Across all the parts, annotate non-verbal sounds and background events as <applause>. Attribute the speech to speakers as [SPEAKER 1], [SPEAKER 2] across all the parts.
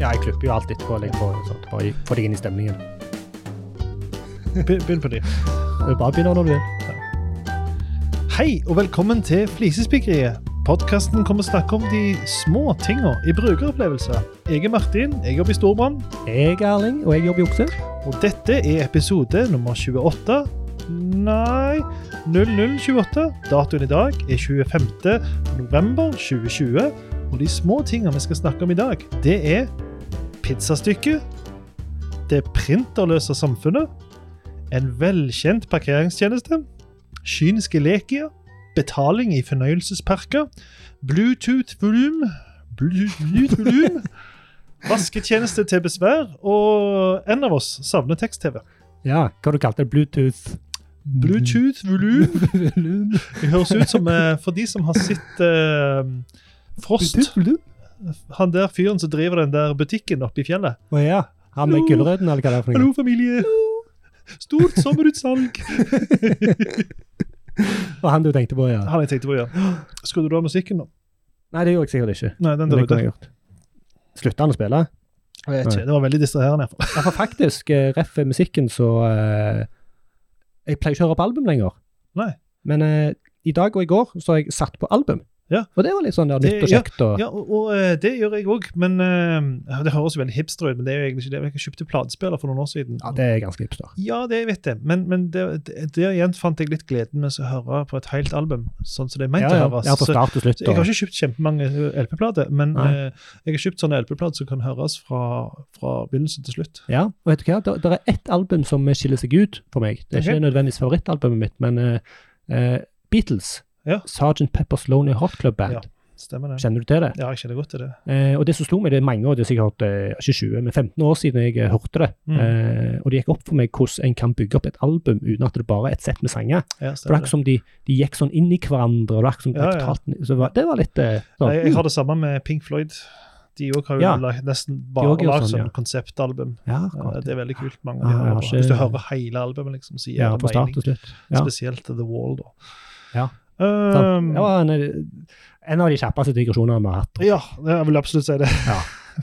[SPEAKER 1] Ja, jeg klipper jo alt etterpå. Jeg får, sånn, bare få deg inn i stemningen.
[SPEAKER 2] Be- Begynn på ny.
[SPEAKER 1] Du Bare begynner når du vil.
[SPEAKER 2] Hei, og velkommen til Flisespikkeriet. Podkasten kommer å snakke om de små tinga i brukeropplevelser. Jeg er Martin, jeg jobber i Storbrann,
[SPEAKER 1] Jeg er Erling, og jeg jobber i Okse.
[SPEAKER 2] og dette er episode nummer 28. Nei 0028. Datoen i dag er 25. november 2020. Og de små tinga vi skal snakke om i dag, det er pizzastykket, det printerløse samfunnet, en velkjent parkeringstjeneste, Kynske lekier. Betaling i fornøyelsesparker. Bluetooth-volum. Bluetooth-volum. Vasketjeneste til besvær. Og en av oss savner tekst-TV.
[SPEAKER 1] Ja, hva du kalte det? Bluetooth?
[SPEAKER 2] Bluetooth-volum.
[SPEAKER 1] <laughs> Volum.
[SPEAKER 2] Det høres ut som eh, for de som har sett eh, Frost,
[SPEAKER 1] Bluetooth? Volum?
[SPEAKER 2] han der fyren som driver den der butikken oppe i fjellet.
[SPEAKER 1] Å ja. Han med
[SPEAKER 2] Hallo.
[SPEAKER 1] gulrøttene, eller hva det er for noe?
[SPEAKER 2] Hallo, familie! Stort sommerutsalg!
[SPEAKER 1] Og han du tenkte på, ja.
[SPEAKER 2] Han jeg tenkte på å gjøre. Skulle du ha musikken nå?
[SPEAKER 1] Nei, det gjorde jeg sikkert ikke.
[SPEAKER 2] Nei, den
[SPEAKER 1] Men
[SPEAKER 2] der
[SPEAKER 1] det
[SPEAKER 2] ute.
[SPEAKER 1] kunne jeg gjort. Slutta han å spille?
[SPEAKER 2] Jeg vet ikke, Det var veldig distraherende. i hvert fall.
[SPEAKER 1] Ja, for faktisk, eh, ref musikken, så eh, Jeg pleier ikke å høre på album lenger.
[SPEAKER 2] Nei.
[SPEAKER 1] Men eh, i dag og i går så har jeg satt på album.
[SPEAKER 2] Ja.
[SPEAKER 1] Og det var litt sånn der,
[SPEAKER 2] Det-
[SPEAKER 1] nytt og
[SPEAKER 2] ja,
[SPEAKER 1] kjekt. Og,
[SPEAKER 2] Ja, og, og eh, det gjør jeg òg, men eh, Det høres jo veldig hipster ut, men det er jo egentlig ikke det. Jeg kjøpte platespiller for noen år siden.
[SPEAKER 1] ja, det er ganske hipster.
[SPEAKER 2] Ja, det vet jeg, men, men det, det, der igjen fant jeg litt gleden med å høre på et helt album, sånn som det er
[SPEAKER 1] Ja,
[SPEAKER 2] meint
[SPEAKER 1] ja,
[SPEAKER 2] å høres.
[SPEAKER 1] ja, for
[SPEAKER 2] Så-
[SPEAKER 1] start og slutt.
[SPEAKER 2] så jeg har
[SPEAKER 1] Og,
[SPEAKER 2] ikke kjøpt kjempemange LP-plater, men
[SPEAKER 1] Nei.
[SPEAKER 2] eh, jeg har kjøpt sånne LP-plater som kan høres fra, fra begynnelse til slutt.
[SPEAKER 1] ja, og vet du hva, det er ett album som skiller seg ut for meg.
[SPEAKER 2] Ok.
[SPEAKER 1] Det er ikke nødvendigvis favorittalbumet mitt, men eh, eh, Beatles.
[SPEAKER 2] Ja.
[SPEAKER 1] Sgt. Peppers Lonely Heart Club Band.
[SPEAKER 2] Ja. Stemmer det?
[SPEAKER 1] Kjenner du til det?
[SPEAKER 2] Ja, jeg kjenner godt til det.
[SPEAKER 1] Eh, og det som slo meg, det er mange år, det er sikkert eh, ikke 20, men 15 år siden jeg eh, hørte det.
[SPEAKER 2] Mm.
[SPEAKER 1] Eh, og det gikk opp for meg hvordan en kan bygge opp et album uten at det bare er et sett med
[SPEAKER 2] Ja,
[SPEAKER 1] sanger. Det var
[SPEAKER 2] stemmer
[SPEAKER 1] akkurat
[SPEAKER 2] det.
[SPEAKER 1] som de, de gikk sånn inn i hverandre. og det var akkurat som de
[SPEAKER 2] Ja,
[SPEAKER 1] gikk
[SPEAKER 2] ja.
[SPEAKER 1] totalt inn- så det, var, det var litt eh, sånn,
[SPEAKER 2] Jeg, jeg har det samme med Pink Floyd. De òg har jo
[SPEAKER 1] Ja.
[SPEAKER 2] la- nesten bare
[SPEAKER 1] også gjør
[SPEAKER 2] lagd
[SPEAKER 1] sånn,
[SPEAKER 2] sånn
[SPEAKER 1] ja.
[SPEAKER 2] konseptalbum.
[SPEAKER 1] ja,
[SPEAKER 2] Ja,
[SPEAKER 1] akkurat.
[SPEAKER 2] Det er veldig kult. mange av
[SPEAKER 1] Ja,
[SPEAKER 2] de
[SPEAKER 1] jeg
[SPEAKER 2] har
[SPEAKER 1] har
[SPEAKER 2] bra.
[SPEAKER 1] ikke-
[SPEAKER 2] Hvis du hører hele albumet, liksom, så gir
[SPEAKER 1] ja,
[SPEAKER 2] det mening.
[SPEAKER 1] fra start til slutt. Ja.
[SPEAKER 2] Spesielt The Wall, da.
[SPEAKER 1] Ja.
[SPEAKER 2] Um,
[SPEAKER 1] sant. Det var en, en av de kjappeste digresjonene vi har hatt.
[SPEAKER 2] ja, jeg vil absolutt si det.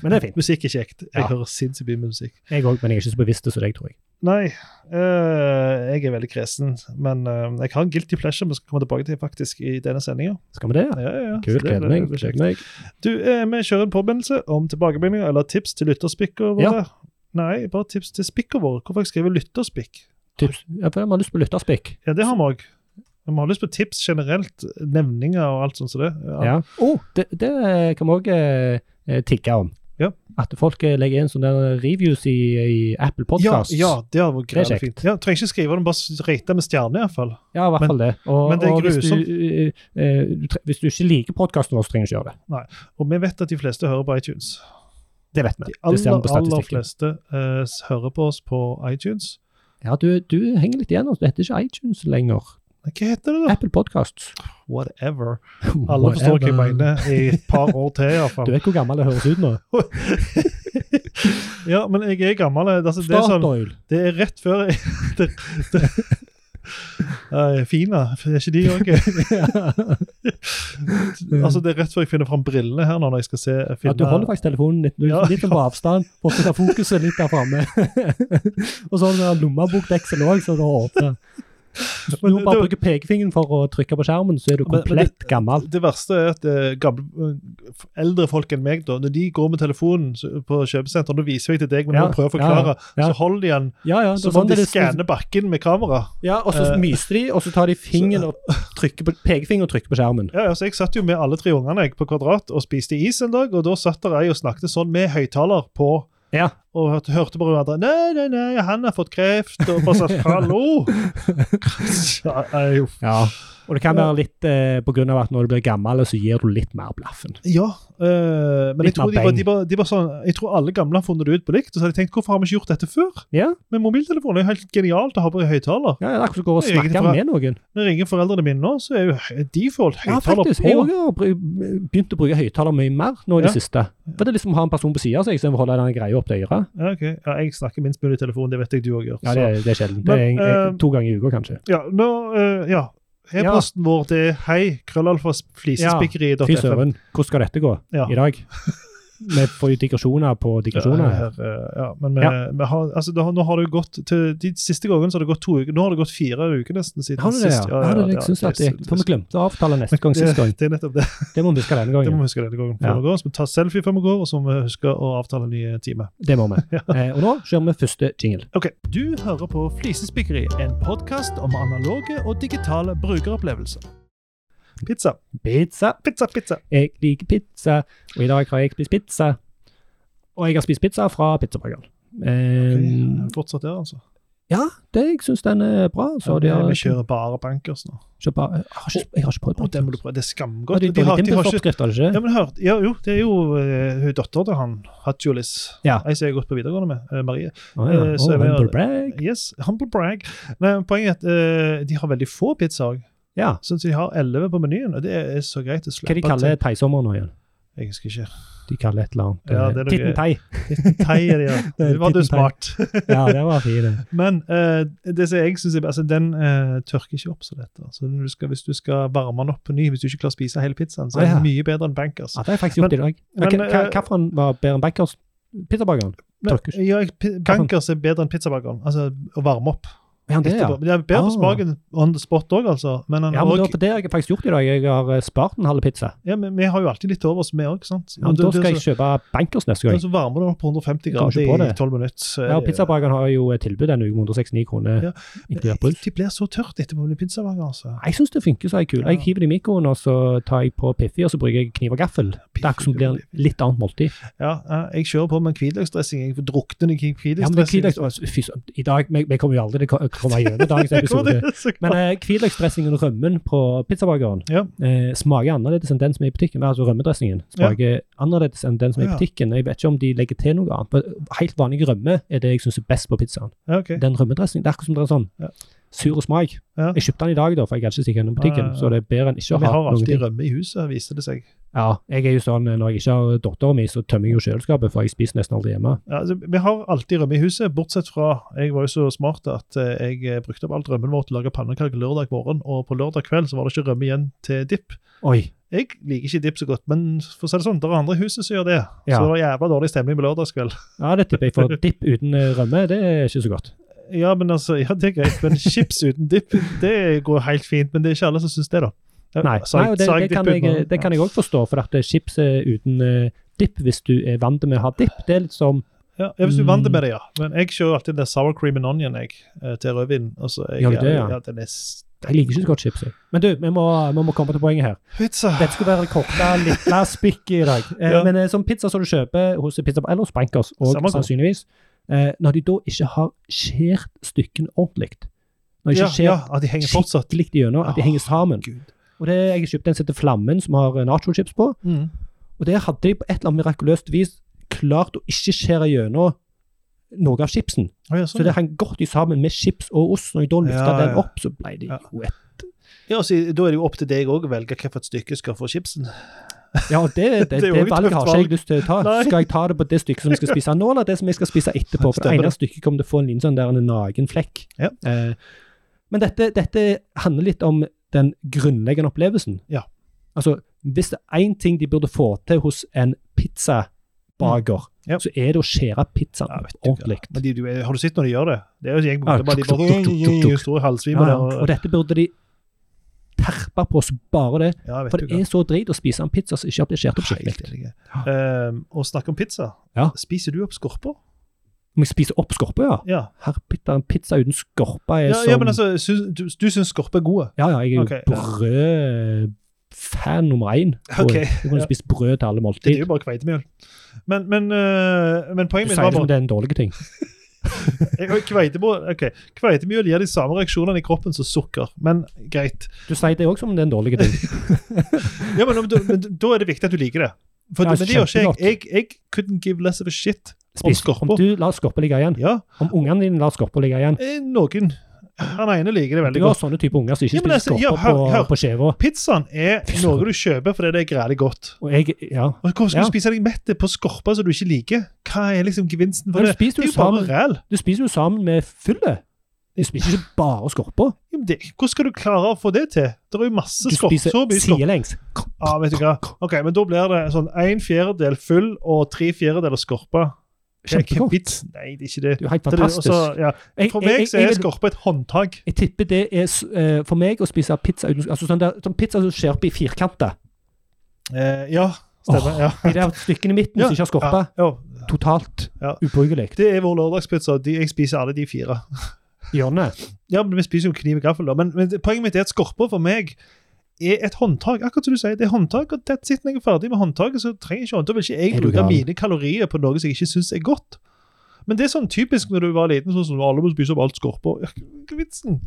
[SPEAKER 1] Men det er fint.
[SPEAKER 2] <laughs> Musikk er kjekt. Jeg
[SPEAKER 1] Ja.
[SPEAKER 2] hører sinnssykt mye musikk.
[SPEAKER 1] Jeg òg, men jeg er ikke så bevisst som deg, tror jeg.
[SPEAKER 2] Nei, eh, jeg er veldig kresen, men eh, jeg har en guilty pleasure vi skal komme tilbake til faktisk i denne sendinga.
[SPEAKER 1] Skal vi det?
[SPEAKER 2] Ja,
[SPEAKER 1] ja?
[SPEAKER 2] ja, ja.
[SPEAKER 1] Kult.
[SPEAKER 2] Så det-
[SPEAKER 1] Gleder meg.
[SPEAKER 2] det blir
[SPEAKER 1] Gleder
[SPEAKER 2] kjekt.
[SPEAKER 1] meg.
[SPEAKER 2] Du, eh, vi kjører en påminnelse om tilbakemeldinger eller tips til lytterspikker våre. Nei, bare tips til spikker våre. Hvorfor har jeg skrevet lytterspikk?
[SPEAKER 1] Tips. Ja, for vi har lyst på lytterspikk.
[SPEAKER 2] Ja, det har vi òg. Vi har lyst på tips generelt, nevninger og alt sånt som det. Ja. Oh!
[SPEAKER 1] Ja. Å, det, det eh, kan vi òg eh, eh, tigge om.
[SPEAKER 2] Ja.
[SPEAKER 1] At folk eh, legger inn sånne der reviews i, i Apple Podcasts.
[SPEAKER 2] Ja, ja, det har vært
[SPEAKER 1] Det er
[SPEAKER 2] greit.
[SPEAKER 1] kjekt.
[SPEAKER 2] fint. Ja, trenger ikke skrive det, bare rate med stjerne iallfall.
[SPEAKER 1] Ja, i hvert
[SPEAKER 2] Men-
[SPEAKER 1] fall det. Og,
[SPEAKER 2] men det er
[SPEAKER 1] og hvis, du,
[SPEAKER 2] grusomt.
[SPEAKER 1] eh, eh, du tre- hvis du ikke liker podkasten vår, så trenger du ikke gjøre det.
[SPEAKER 2] Og vi vet at de fleste hører på iTunes.
[SPEAKER 1] Det vet vi.
[SPEAKER 2] De
[SPEAKER 1] det ser vi
[SPEAKER 2] aller,
[SPEAKER 1] på
[SPEAKER 2] aller
[SPEAKER 1] statistikken.
[SPEAKER 2] fleste eh, hører på oss på iTunes.
[SPEAKER 1] Ja, du, du henger litt igjen. altså. Det heter ikke iTunes lenger.
[SPEAKER 2] Nei, Hva heter det, da?
[SPEAKER 1] Apple Podcasts.
[SPEAKER 2] Whatever. Alle forstår hva jeg mener i et par år til,
[SPEAKER 1] Du
[SPEAKER 2] iallfall.
[SPEAKER 1] vet hvor gammel det høres ut nå?
[SPEAKER 2] Ja, men jeg er gammel. eh, Altså, det, er sånn,
[SPEAKER 1] Statoil.
[SPEAKER 2] det er rett før jeg <laughs> det, det, Eh, Fina, er ikke de
[SPEAKER 1] <laughs>
[SPEAKER 2] òg? altså, det er rett før jeg finner fram brillene her nå, når jeg skal se
[SPEAKER 1] Ja,
[SPEAKER 2] finne
[SPEAKER 1] du holder faktisk telefonen litt, du,
[SPEAKER 2] Ja,
[SPEAKER 1] litt på avstand, for å ta fokuset litt der framme. <laughs> og så har du den lommebokdeksel òg, så det åpner. Hvis du
[SPEAKER 2] Men det-
[SPEAKER 1] bare bruker pekefingeren for å trykke på skjermen, så er du
[SPEAKER 2] Men- men
[SPEAKER 1] komplett gammel.
[SPEAKER 2] Det verste er at eh, gamle, eh, eldre folk enn meg, da, når de går med telefonen så- på kjøpesenteret, da viser jeg til deg, men
[SPEAKER 1] Ja,
[SPEAKER 2] jeg prøver å
[SPEAKER 1] ja, ja,
[SPEAKER 2] forklare,
[SPEAKER 1] ja.
[SPEAKER 2] så holder de den
[SPEAKER 1] Ja, ja, det er
[SPEAKER 2] som om
[SPEAKER 1] sånn
[SPEAKER 2] de
[SPEAKER 1] det er.
[SPEAKER 2] skanner bakken med kamera.
[SPEAKER 1] Ja, og så
[SPEAKER 2] Eh,
[SPEAKER 1] myser de, og så tar de fingeren og trykker på, pekefingeren og trykker på skjermen.
[SPEAKER 2] Ja, ja, så Jeg satt jo med alle tre ungene jeg, på Kvadrat og spiste is en dag, og da satt der ei og snakket sånn med høyttaler på.
[SPEAKER 1] Ja.
[SPEAKER 2] Og hørte, hørte på hverandre 'Nei, nei, nei, han har fått kreft.' Og bare sånn
[SPEAKER 1] <laughs>
[SPEAKER 2] 'Hallo!' Ja, nei, uff.
[SPEAKER 1] Og det kan være litt eh, på grunn av at når du blir gammel, så gir du litt mer blaffen.
[SPEAKER 2] Ja, eh, men jeg
[SPEAKER 1] Litt
[SPEAKER 2] tror, de
[SPEAKER 1] mer
[SPEAKER 2] bare,
[SPEAKER 1] bang.
[SPEAKER 2] de bare, de bare sånn, jeg tror alle gamle har funnet det ut på likt. Og så har de tenkt 'Hvorfor har vi ikke gjort dette før?'
[SPEAKER 1] Ja,
[SPEAKER 2] Men mobiltelefonen er jo helt genialt å ha på i høyttaler.
[SPEAKER 1] ja det er akkurat som å gå og
[SPEAKER 2] Jeg ringer
[SPEAKER 1] snakke
[SPEAKER 2] fra-
[SPEAKER 1] med noen.
[SPEAKER 2] Når jeg ringer foreldrene mine nå, så er jo default
[SPEAKER 1] Ja,
[SPEAKER 2] høyttaler
[SPEAKER 1] faktisk. Jeg
[SPEAKER 2] på.
[SPEAKER 1] også har br- begynt å bruke høyttaler mye mer nå i
[SPEAKER 2] Ja.
[SPEAKER 1] det siste. For det er liksom å ha en person på sida av seg istedenfor å holde den greia opp til øret.
[SPEAKER 2] Ja, ok. ja, jeg snakker minst mulig i telefonen, det vet jeg du òg gjør.
[SPEAKER 1] Ja,
[SPEAKER 2] så-
[SPEAKER 1] det, er- det er sjelden. Det
[SPEAKER 2] Men,
[SPEAKER 1] er en, en,
[SPEAKER 2] eh,
[SPEAKER 1] to ganger i uka, kanskje.
[SPEAKER 2] ja, nå, eh, ja. E-posten vår det er hei, krøllalfa,
[SPEAKER 1] Fy
[SPEAKER 2] flisespikkeri.fm.
[SPEAKER 1] søren, hvordan skal dette gå
[SPEAKER 2] Ja.
[SPEAKER 1] i dag? Vi får jo digresjoner på digresjoner. her.
[SPEAKER 2] Her, eh, ja, men vi, vi har, altså, det har, nå har det jo gått til, De siste gangene så har det gått to uker. Nå har det gått fire uker nesten siden
[SPEAKER 1] Har du det, ja?
[SPEAKER 2] sist.
[SPEAKER 1] ja, det, jeg synes at det,
[SPEAKER 2] det-
[SPEAKER 1] for vi glemte å avtale neste gang sist
[SPEAKER 2] <laughs>
[SPEAKER 1] gang.
[SPEAKER 2] det, det er nettopp det.
[SPEAKER 1] Det må vi huske
[SPEAKER 2] <laughs>
[SPEAKER 1] denne
[SPEAKER 2] Det må
[SPEAKER 1] gangen.
[SPEAKER 2] vi huske denne gangen.
[SPEAKER 1] Ja.
[SPEAKER 2] før vi går, Så vi tar selfie før vi går, og så må vi huske å avtale en ny time.
[SPEAKER 1] Det må vi. Eh, og nå kjører vi første jingle.
[SPEAKER 2] Ok, Du hører på Flisespikkeri, en podkast om analoge og digitale brukeropplevelser. Pizza,
[SPEAKER 1] Pizza.
[SPEAKER 2] pizza, pizza.
[SPEAKER 1] Jeg liker pizza, og i dag har jeg spist pizza. Og jeg har spist pizza fra pizzabakeren. Eh,
[SPEAKER 2] Okay. Fortsatt der, altså.
[SPEAKER 1] Ja, det, jeg syns den er bra. Så de har, liksom-
[SPEAKER 2] Vi kjører bare bankers nå.
[SPEAKER 1] kjøper- jeg, har ikke, jeg har ikke prøvd
[SPEAKER 2] Og den må du
[SPEAKER 1] bankers.
[SPEAKER 2] prøve. Det er
[SPEAKER 1] Ja,
[SPEAKER 2] skamgodt.
[SPEAKER 1] det er
[SPEAKER 2] de har, de har ikke
[SPEAKER 1] oppskrift, har det
[SPEAKER 2] Ja,
[SPEAKER 1] ikke?
[SPEAKER 2] men hørt, ja, jo, det er jo eh, hun datteren til han, Hatjulis,
[SPEAKER 1] Ja.
[SPEAKER 2] ei som jeg har gått på videregående med, eh, Marie.
[SPEAKER 1] Å, ja.
[SPEAKER 2] eh, så
[SPEAKER 1] Å,
[SPEAKER 2] er vi-
[SPEAKER 1] humble brag.
[SPEAKER 2] Yes, humble brag. Nei, men poenget er at eh, de har veldig få pizzaer,
[SPEAKER 1] Ja.
[SPEAKER 2] sånn at de har 11 på menyen, og det er så greit å
[SPEAKER 1] Hva
[SPEAKER 2] slippe
[SPEAKER 1] de kaller thaisommer nå igjen?
[SPEAKER 2] til. Jeg husker ikke.
[SPEAKER 1] De kaller et eller annet
[SPEAKER 2] Ja,
[SPEAKER 1] eh,
[SPEAKER 2] det er noe-
[SPEAKER 1] Titten thai.
[SPEAKER 2] Thai er det, ja.
[SPEAKER 1] <laughs> Det er
[SPEAKER 2] Det var du
[SPEAKER 1] titten thai.
[SPEAKER 2] smart.
[SPEAKER 1] Ja, det var fint. det.
[SPEAKER 2] Men eh, det som jeg synes er altså den eh, tørker ikke opp så lett. Altså, når du skal, hvis du skal varme den opp på ny, hvis du ikke klarer å spise hele pizzaen, så er
[SPEAKER 1] Ah, ja.
[SPEAKER 2] den mye bedre enn bankers.
[SPEAKER 1] Ja, det har jeg faktisk gjort i dag.
[SPEAKER 2] men,
[SPEAKER 1] Hva- hva-
[SPEAKER 2] eh,
[SPEAKER 1] Hvilken var bedre enn Backers? Pizzabakeren?
[SPEAKER 2] Men,
[SPEAKER 1] tørker
[SPEAKER 2] ja, jeg- pi- bankers er bedre enn pizzabakeren, altså å varme opp.
[SPEAKER 1] Ja, det, ja.
[SPEAKER 2] etterpå. Men Det er bedre
[SPEAKER 1] Ah.
[SPEAKER 2] på smaken on the spot òg, altså. Men, han
[SPEAKER 1] Ja, men
[SPEAKER 2] og,
[SPEAKER 1] det, var- det har jeg faktisk gjort i dag. Jeg har eh, spart en halv pizza.
[SPEAKER 2] ja, men vi har jo alltid litt over oss, vi òg.
[SPEAKER 1] Ja, men da skal jeg kjøpe Bankers neste gang.
[SPEAKER 2] så varmer du opp på 150
[SPEAKER 1] Jeg kommer ikke på
[SPEAKER 2] grader i
[SPEAKER 1] det.
[SPEAKER 2] 12 minutter.
[SPEAKER 1] Ja, og Pizzabakeren har jo et tilbud denne uken, 169 kroner.
[SPEAKER 2] Ja.
[SPEAKER 1] inkludert brus.
[SPEAKER 2] De blir så tørt etterpå med pizzabaker, altså.
[SPEAKER 1] Jeg syns det funker så er jeg kul. Jeg hiver det i mikroen, og så tar jeg på Piffi, og så bruker jeg kniv og gaffel. Det er akkurat som det blir en litt annet måltid.
[SPEAKER 2] Ja, ja, jeg kjører på med hvitløksdressing. Jeg drukner i
[SPEAKER 1] Ja, men det er
[SPEAKER 2] hvitløksdressing. <laughs>
[SPEAKER 1] hvitløks... å, Fy søren, i dag Vi vi kommer jo aldri til å komme gjennom dagens episode. Men eh, hvitløksdressingen og rømmen på pizzabakeren
[SPEAKER 2] Ja.
[SPEAKER 1] eh, smaker annerledes enn den som er i butikken. Altså rømmedressingen smaker annerledes enn den som er i
[SPEAKER 2] Ja.
[SPEAKER 1] butikken. Jeg vet ikke om de legger til noe annet. men Helt vanlig rømme er det jeg syns er best på pizzaen.
[SPEAKER 2] Ja, ok.
[SPEAKER 1] Den rømmedressingen, det er akkurat som det er sånn
[SPEAKER 2] Ja.
[SPEAKER 1] sur smak.
[SPEAKER 2] Ja.
[SPEAKER 1] Jeg kjøpte den i dag, da, for jeg gadd ikke stikke gjennom butikken.
[SPEAKER 2] Ja, ja, ja.
[SPEAKER 1] Så det er bedre enn ikke å
[SPEAKER 2] Vi
[SPEAKER 1] ha
[SPEAKER 2] har
[SPEAKER 1] noen
[SPEAKER 2] alltid
[SPEAKER 1] ting.
[SPEAKER 2] rømme i huset, viser det seg.
[SPEAKER 1] Ja, jeg er jo sånn eh, når jeg ikke har dattera mi, så tømmer jeg jo kjøleskapet, for jeg spiser nesten aldri hjemme.
[SPEAKER 2] Ja, altså, vi har alltid rømme i huset, bortsett fra Jeg var jo så smart at eh, jeg eh, brukte opp alt rømmen vår til å lage pannekaker lørdag morgen, og på lørdag kveld så var det ikke rømme igjen til dipp.
[SPEAKER 1] Oi.
[SPEAKER 2] Jeg liker ikke dipp så godt, men for å si det sånn, det er andre i huset som gjør det.
[SPEAKER 1] Ja.
[SPEAKER 2] Så det var jævla dårlig stemning på lørdagskveld.
[SPEAKER 1] Ja, det tipper jeg, for dipp uten eh, rømme, det er ikke så godt.
[SPEAKER 2] Ja, men altså, ja, det er greit, men chips uten dipp, det går helt fint. Men det er ikke alle som syns det, da. Ja,
[SPEAKER 1] Nei,
[SPEAKER 2] sa jeg-
[SPEAKER 1] nei og det,
[SPEAKER 2] sa jeg
[SPEAKER 1] det, kan
[SPEAKER 2] dipp
[SPEAKER 1] jeg,
[SPEAKER 2] uten-
[SPEAKER 1] det kan jeg òg forstå, for at eh, chips eh, uten eh, dipp, hvis du er vant med å ha dipp, det er litt som
[SPEAKER 2] Ja, ja, hvis du er vant
[SPEAKER 1] Mm.
[SPEAKER 2] med det, ja. Men jeg kjører alltid den sour cream and onion jeg, eh, til rødvin. Og så jeg,
[SPEAKER 1] Gjør du det, ja?
[SPEAKER 2] ja, den er s-
[SPEAKER 1] Jeg liker ikke så godt chips, jeg. Men du, vi må, vi må komme til poenget her.
[SPEAKER 2] Pizza!
[SPEAKER 1] Dette skulle være det korte, lille spikket i dag. Eh,
[SPEAKER 2] Ja.
[SPEAKER 1] Men eh, som pizza som du kjøper hos pizza, eller hos Bankers, og
[SPEAKER 2] Samme hvor.
[SPEAKER 1] sannsynligvis eh, Når de da ikke har skjært stykken ordentlig Når de
[SPEAKER 2] ja,
[SPEAKER 1] ikke
[SPEAKER 2] ja,
[SPEAKER 1] skjært
[SPEAKER 2] ja, de henger fortsatt.
[SPEAKER 1] skikkelig gjennom, at de
[SPEAKER 2] Åh,
[SPEAKER 1] henger sammen.
[SPEAKER 2] Ah, Gud.
[SPEAKER 1] Og det, Jeg kjøpte en som heter Flammen, som har eh, nacho-chips på.
[SPEAKER 2] Mm.
[SPEAKER 1] Og der hadde de på et eller annet mirakuløst vis klart å ikke skjære gjennom noe av chipsen.
[SPEAKER 2] Å, ja,
[SPEAKER 1] Så
[SPEAKER 2] sånn.
[SPEAKER 1] det hang godt i sammen med chips og ost. Når jeg da løfta
[SPEAKER 2] Ja, ja.
[SPEAKER 1] den opp, så ble det
[SPEAKER 2] Ja.
[SPEAKER 1] jo et
[SPEAKER 2] ja, så, da er det jo opp til deg òg å velge hvilket stykke skal få chipsen.
[SPEAKER 1] Ja, og det, det, det,
[SPEAKER 2] Det er jo et
[SPEAKER 1] valget har
[SPEAKER 2] tøft
[SPEAKER 1] ikke jeg
[SPEAKER 2] valg.
[SPEAKER 1] lyst til å ta.
[SPEAKER 2] Nei.
[SPEAKER 1] Skal jeg ta det på det stykket som jeg skal spise nå, eller det som jeg skal spise etterpå? For det
[SPEAKER 2] Stemmer
[SPEAKER 1] ene stykket kommer til å få en liten sånn der en nagen flekk.
[SPEAKER 2] Ja.
[SPEAKER 1] Eh, men dette, dette handler litt om den grunnleggende opplevelsen.
[SPEAKER 2] Ja.
[SPEAKER 1] Altså, hvis det er én ting de burde få til hos en pizzabaker,
[SPEAKER 2] Mm. Ja.
[SPEAKER 1] så er det å skjære pizzaen
[SPEAKER 2] Ja, vet du hva.
[SPEAKER 1] ordentlig.
[SPEAKER 2] Men de, du, er- har du sett når de gjør det? Det er jo en gjeng
[SPEAKER 1] Ja,
[SPEAKER 2] med bare de
[SPEAKER 1] tuk, tuk, tuk, tuk,
[SPEAKER 2] bare
[SPEAKER 1] tuk.
[SPEAKER 2] står i
[SPEAKER 1] Ja,
[SPEAKER 2] halsvime
[SPEAKER 1] ja.
[SPEAKER 2] der.
[SPEAKER 1] Og
[SPEAKER 2] og-
[SPEAKER 1] dette burde de terpe på så bare det.
[SPEAKER 2] Ja, vet
[SPEAKER 1] For
[SPEAKER 2] du
[SPEAKER 1] det
[SPEAKER 2] hva.
[SPEAKER 1] er så drit å spise en pizza som ikke har blitt skjært opp
[SPEAKER 2] Helt
[SPEAKER 1] skikkelig.
[SPEAKER 2] enig. Ehm, Og snakke om pizza.
[SPEAKER 1] Ja.
[SPEAKER 2] Spiser du opp skorper?
[SPEAKER 1] Må jeg spise opp skorpe, ja?
[SPEAKER 2] Ja.
[SPEAKER 1] Herre pitta, en pizza uten skorpe er
[SPEAKER 2] Ja,
[SPEAKER 1] som
[SPEAKER 2] ja men altså, syns- du, du syns skorper er gode?
[SPEAKER 1] Ja, ja, jeg er jo
[SPEAKER 2] Ok, ja.
[SPEAKER 1] brødfan nummer én.
[SPEAKER 2] <laughs>
[SPEAKER 1] Og
[SPEAKER 2] Ok,
[SPEAKER 1] Jeg kunne
[SPEAKER 2] ja.
[SPEAKER 1] spist brød til
[SPEAKER 2] Det
[SPEAKER 1] alle
[SPEAKER 2] er
[SPEAKER 1] måltid.
[SPEAKER 2] jo bare kveitemjøl. Men, men, eh, men
[SPEAKER 1] Du
[SPEAKER 2] poenget mitt
[SPEAKER 1] sier
[SPEAKER 2] var
[SPEAKER 1] det som
[SPEAKER 2] bare
[SPEAKER 1] det er en dårlig ting.
[SPEAKER 2] Ja, Kveitemjøl ok. Kveitemjøl gir de samme reaksjonene i kroppen som sukker, men greit.
[SPEAKER 1] Du sier det òg som det er en dårlig
[SPEAKER 2] <laughs>
[SPEAKER 1] ting.
[SPEAKER 2] Ja, men, da- men Da er det viktig at du liker det. For
[SPEAKER 1] Ja,
[SPEAKER 2] men det gjør ikke jeg.
[SPEAKER 1] kjempegodt.
[SPEAKER 2] jeg. Jeg couldn't give less of a shit.
[SPEAKER 1] Spis.
[SPEAKER 2] skorpe.
[SPEAKER 1] Om du lar skorpe ligge igjen.
[SPEAKER 2] Ja,
[SPEAKER 1] Om ungene dine lar skorpe ligge igjen.
[SPEAKER 2] eh, noen. Han ene liker det
[SPEAKER 1] Du
[SPEAKER 2] veldig
[SPEAKER 1] har
[SPEAKER 2] godt.
[SPEAKER 1] sånne type unger som ikke
[SPEAKER 2] Ja, men
[SPEAKER 1] spiser
[SPEAKER 2] altså, ja,
[SPEAKER 1] skorpe
[SPEAKER 2] hør- hør.
[SPEAKER 1] på, på skjeva.
[SPEAKER 2] Pizzaen er
[SPEAKER 1] Fy søren.
[SPEAKER 2] noe du kjøper fordi det er grælig godt.
[SPEAKER 1] Og jeg Ja.
[SPEAKER 2] Og Hvorfor skal
[SPEAKER 1] Ja.
[SPEAKER 2] du spise deg mett på skorper som du ikke liker? Hva er liksom gevinsten for
[SPEAKER 1] Men du
[SPEAKER 2] det?
[SPEAKER 1] spiser
[SPEAKER 2] Det
[SPEAKER 1] jo
[SPEAKER 2] er jo bare
[SPEAKER 1] sammen,
[SPEAKER 2] ræl.
[SPEAKER 1] du spiser jo sammen med fyllet. Du spiser ikke bare skorper.
[SPEAKER 2] Jo, men det, hvordan skal du klare å få det til? Det er jo masse
[SPEAKER 1] Du
[SPEAKER 2] skorp,
[SPEAKER 1] spiser
[SPEAKER 2] så mye skorp.
[SPEAKER 1] sidelengs.
[SPEAKER 2] Ja, vet du hva. Ok, men da blir det sånn en fjerdedel full og tre fjerdedeler skorpe. Det er ikke
[SPEAKER 1] Kjempegodt.
[SPEAKER 2] vits. Nei, det er ikke det.
[SPEAKER 1] Det er jo helt
[SPEAKER 2] Det er det,
[SPEAKER 1] fantastisk.
[SPEAKER 2] også- ja.
[SPEAKER 1] Jeg-
[SPEAKER 2] For
[SPEAKER 1] jeg-
[SPEAKER 2] meg
[SPEAKER 1] jeg-
[SPEAKER 2] så er
[SPEAKER 1] jeg vil-
[SPEAKER 2] skorpe et håndtak.
[SPEAKER 1] Jeg tipper det er s- eh, for meg å spise pizza uten altså sånn der, sånn pizza som skjer opp i firkanter.
[SPEAKER 2] Eh, ja, stemmer.
[SPEAKER 1] Åh,
[SPEAKER 2] ja.
[SPEAKER 1] De der stykkene <laughs> i midten
[SPEAKER 2] Ja,
[SPEAKER 1] som ikke har skorpe.
[SPEAKER 2] Ja, jo.
[SPEAKER 1] Totalt
[SPEAKER 2] Ja.
[SPEAKER 1] ubrukelig.
[SPEAKER 2] Det er vår lørdagspizza. De, jeg spiser alle de fire.
[SPEAKER 1] Hjørnet.
[SPEAKER 2] Ja, men Vi spiser jo kniv og gaffel, da. Men, men det- poenget mitt er at skorpa for meg er et håndtak. Akkurat som du sier, det er håndtak, og that's it. Når jeg er ferdig med håndtaket, så trenger jeg ikke håndtak. Da vil ikke jeg
[SPEAKER 1] Er du
[SPEAKER 2] bruke
[SPEAKER 1] gal?
[SPEAKER 2] mine kalorier på noe som jeg ikke syns er godt. Men det er sånn typisk når du var liten, sånn som alle må spise opp alt skorpa. Ja, Hva er vitsen?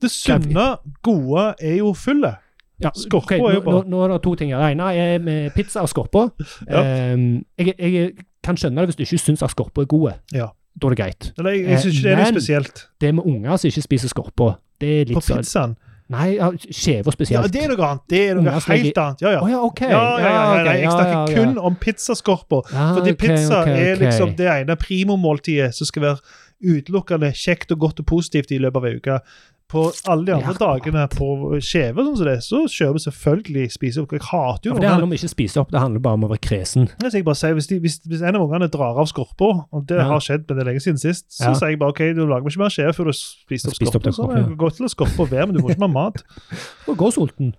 [SPEAKER 2] Det sunne, gode er jo fullet.
[SPEAKER 1] Ja,
[SPEAKER 2] Skorpa
[SPEAKER 1] ok,
[SPEAKER 2] er jo
[SPEAKER 1] nå, nå,
[SPEAKER 2] bare-
[SPEAKER 1] nå er det to ting. her. Det ene er med pizza og skorpa.
[SPEAKER 2] Ja.
[SPEAKER 1] Ehm, jeg, jeg kan skjønne det hvis du ikke syns at skorpa er gode.
[SPEAKER 2] Ja.
[SPEAKER 1] Da er det greit.
[SPEAKER 2] Eller jeg, jeg
[SPEAKER 1] Eh,
[SPEAKER 2] syns ikke det er noe
[SPEAKER 1] men-
[SPEAKER 2] spesielt.
[SPEAKER 1] Det med unger som ikke spiser skorpa, det
[SPEAKER 2] På
[SPEAKER 1] er litt sånn
[SPEAKER 2] pizzaen
[SPEAKER 1] Nei, ja, skjever
[SPEAKER 2] Ja,
[SPEAKER 1] spesielt.
[SPEAKER 2] det er noe annet. Det er noe
[SPEAKER 1] Unger som
[SPEAKER 2] helt annet. Ja, ja.
[SPEAKER 1] Å ja, OK.
[SPEAKER 2] Ja, ja, ja,
[SPEAKER 1] ok,
[SPEAKER 2] nei, jeg snakker
[SPEAKER 1] ja, ja.
[SPEAKER 2] kun om pizzaskorpa.
[SPEAKER 1] Ah,
[SPEAKER 2] Fordi
[SPEAKER 1] ok,
[SPEAKER 2] pizza
[SPEAKER 1] ok,
[SPEAKER 2] er
[SPEAKER 1] ok.
[SPEAKER 2] liksom det ene primomåltidet som skal være utelukkende kjekt og godt og positivt i løpet av ei uke. På alle de andre
[SPEAKER 1] Ja,
[SPEAKER 2] dagene på skjeve, sånn som det, er, så kjører vi selvfølgelig spise opp. Jeg hater
[SPEAKER 1] Ja,
[SPEAKER 2] jo
[SPEAKER 1] for det
[SPEAKER 2] ungene.
[SPEAKER 1] handler om å ikke spise opp, det handler bare om å være kresen.
[SPEAKER 2] Så jeg bare sier, hvis, de, hvis, hvis en av ungene drar av skorpa, og det
[SPEAKER 1] Ja.
[SPEAKER 2] har skjedd men det er lenge siden sist, så
[SPEAKER 1] Ja.
[SPEAKER 2] sier jeg bare OK, du lager ikke mer skjeve før du har spist opp
[SPEAKER 1] Spist opp
[SPEAKER 2] skorpa.
[SPEAKER 1] den
[SPEAKER 2] Så
[SPEAKER 1] skorpen, ja.
[SPEAKER 2] gå til å skorpe og være, men du må ikke ha mat.
[SPEAKER 1] Og gå sulten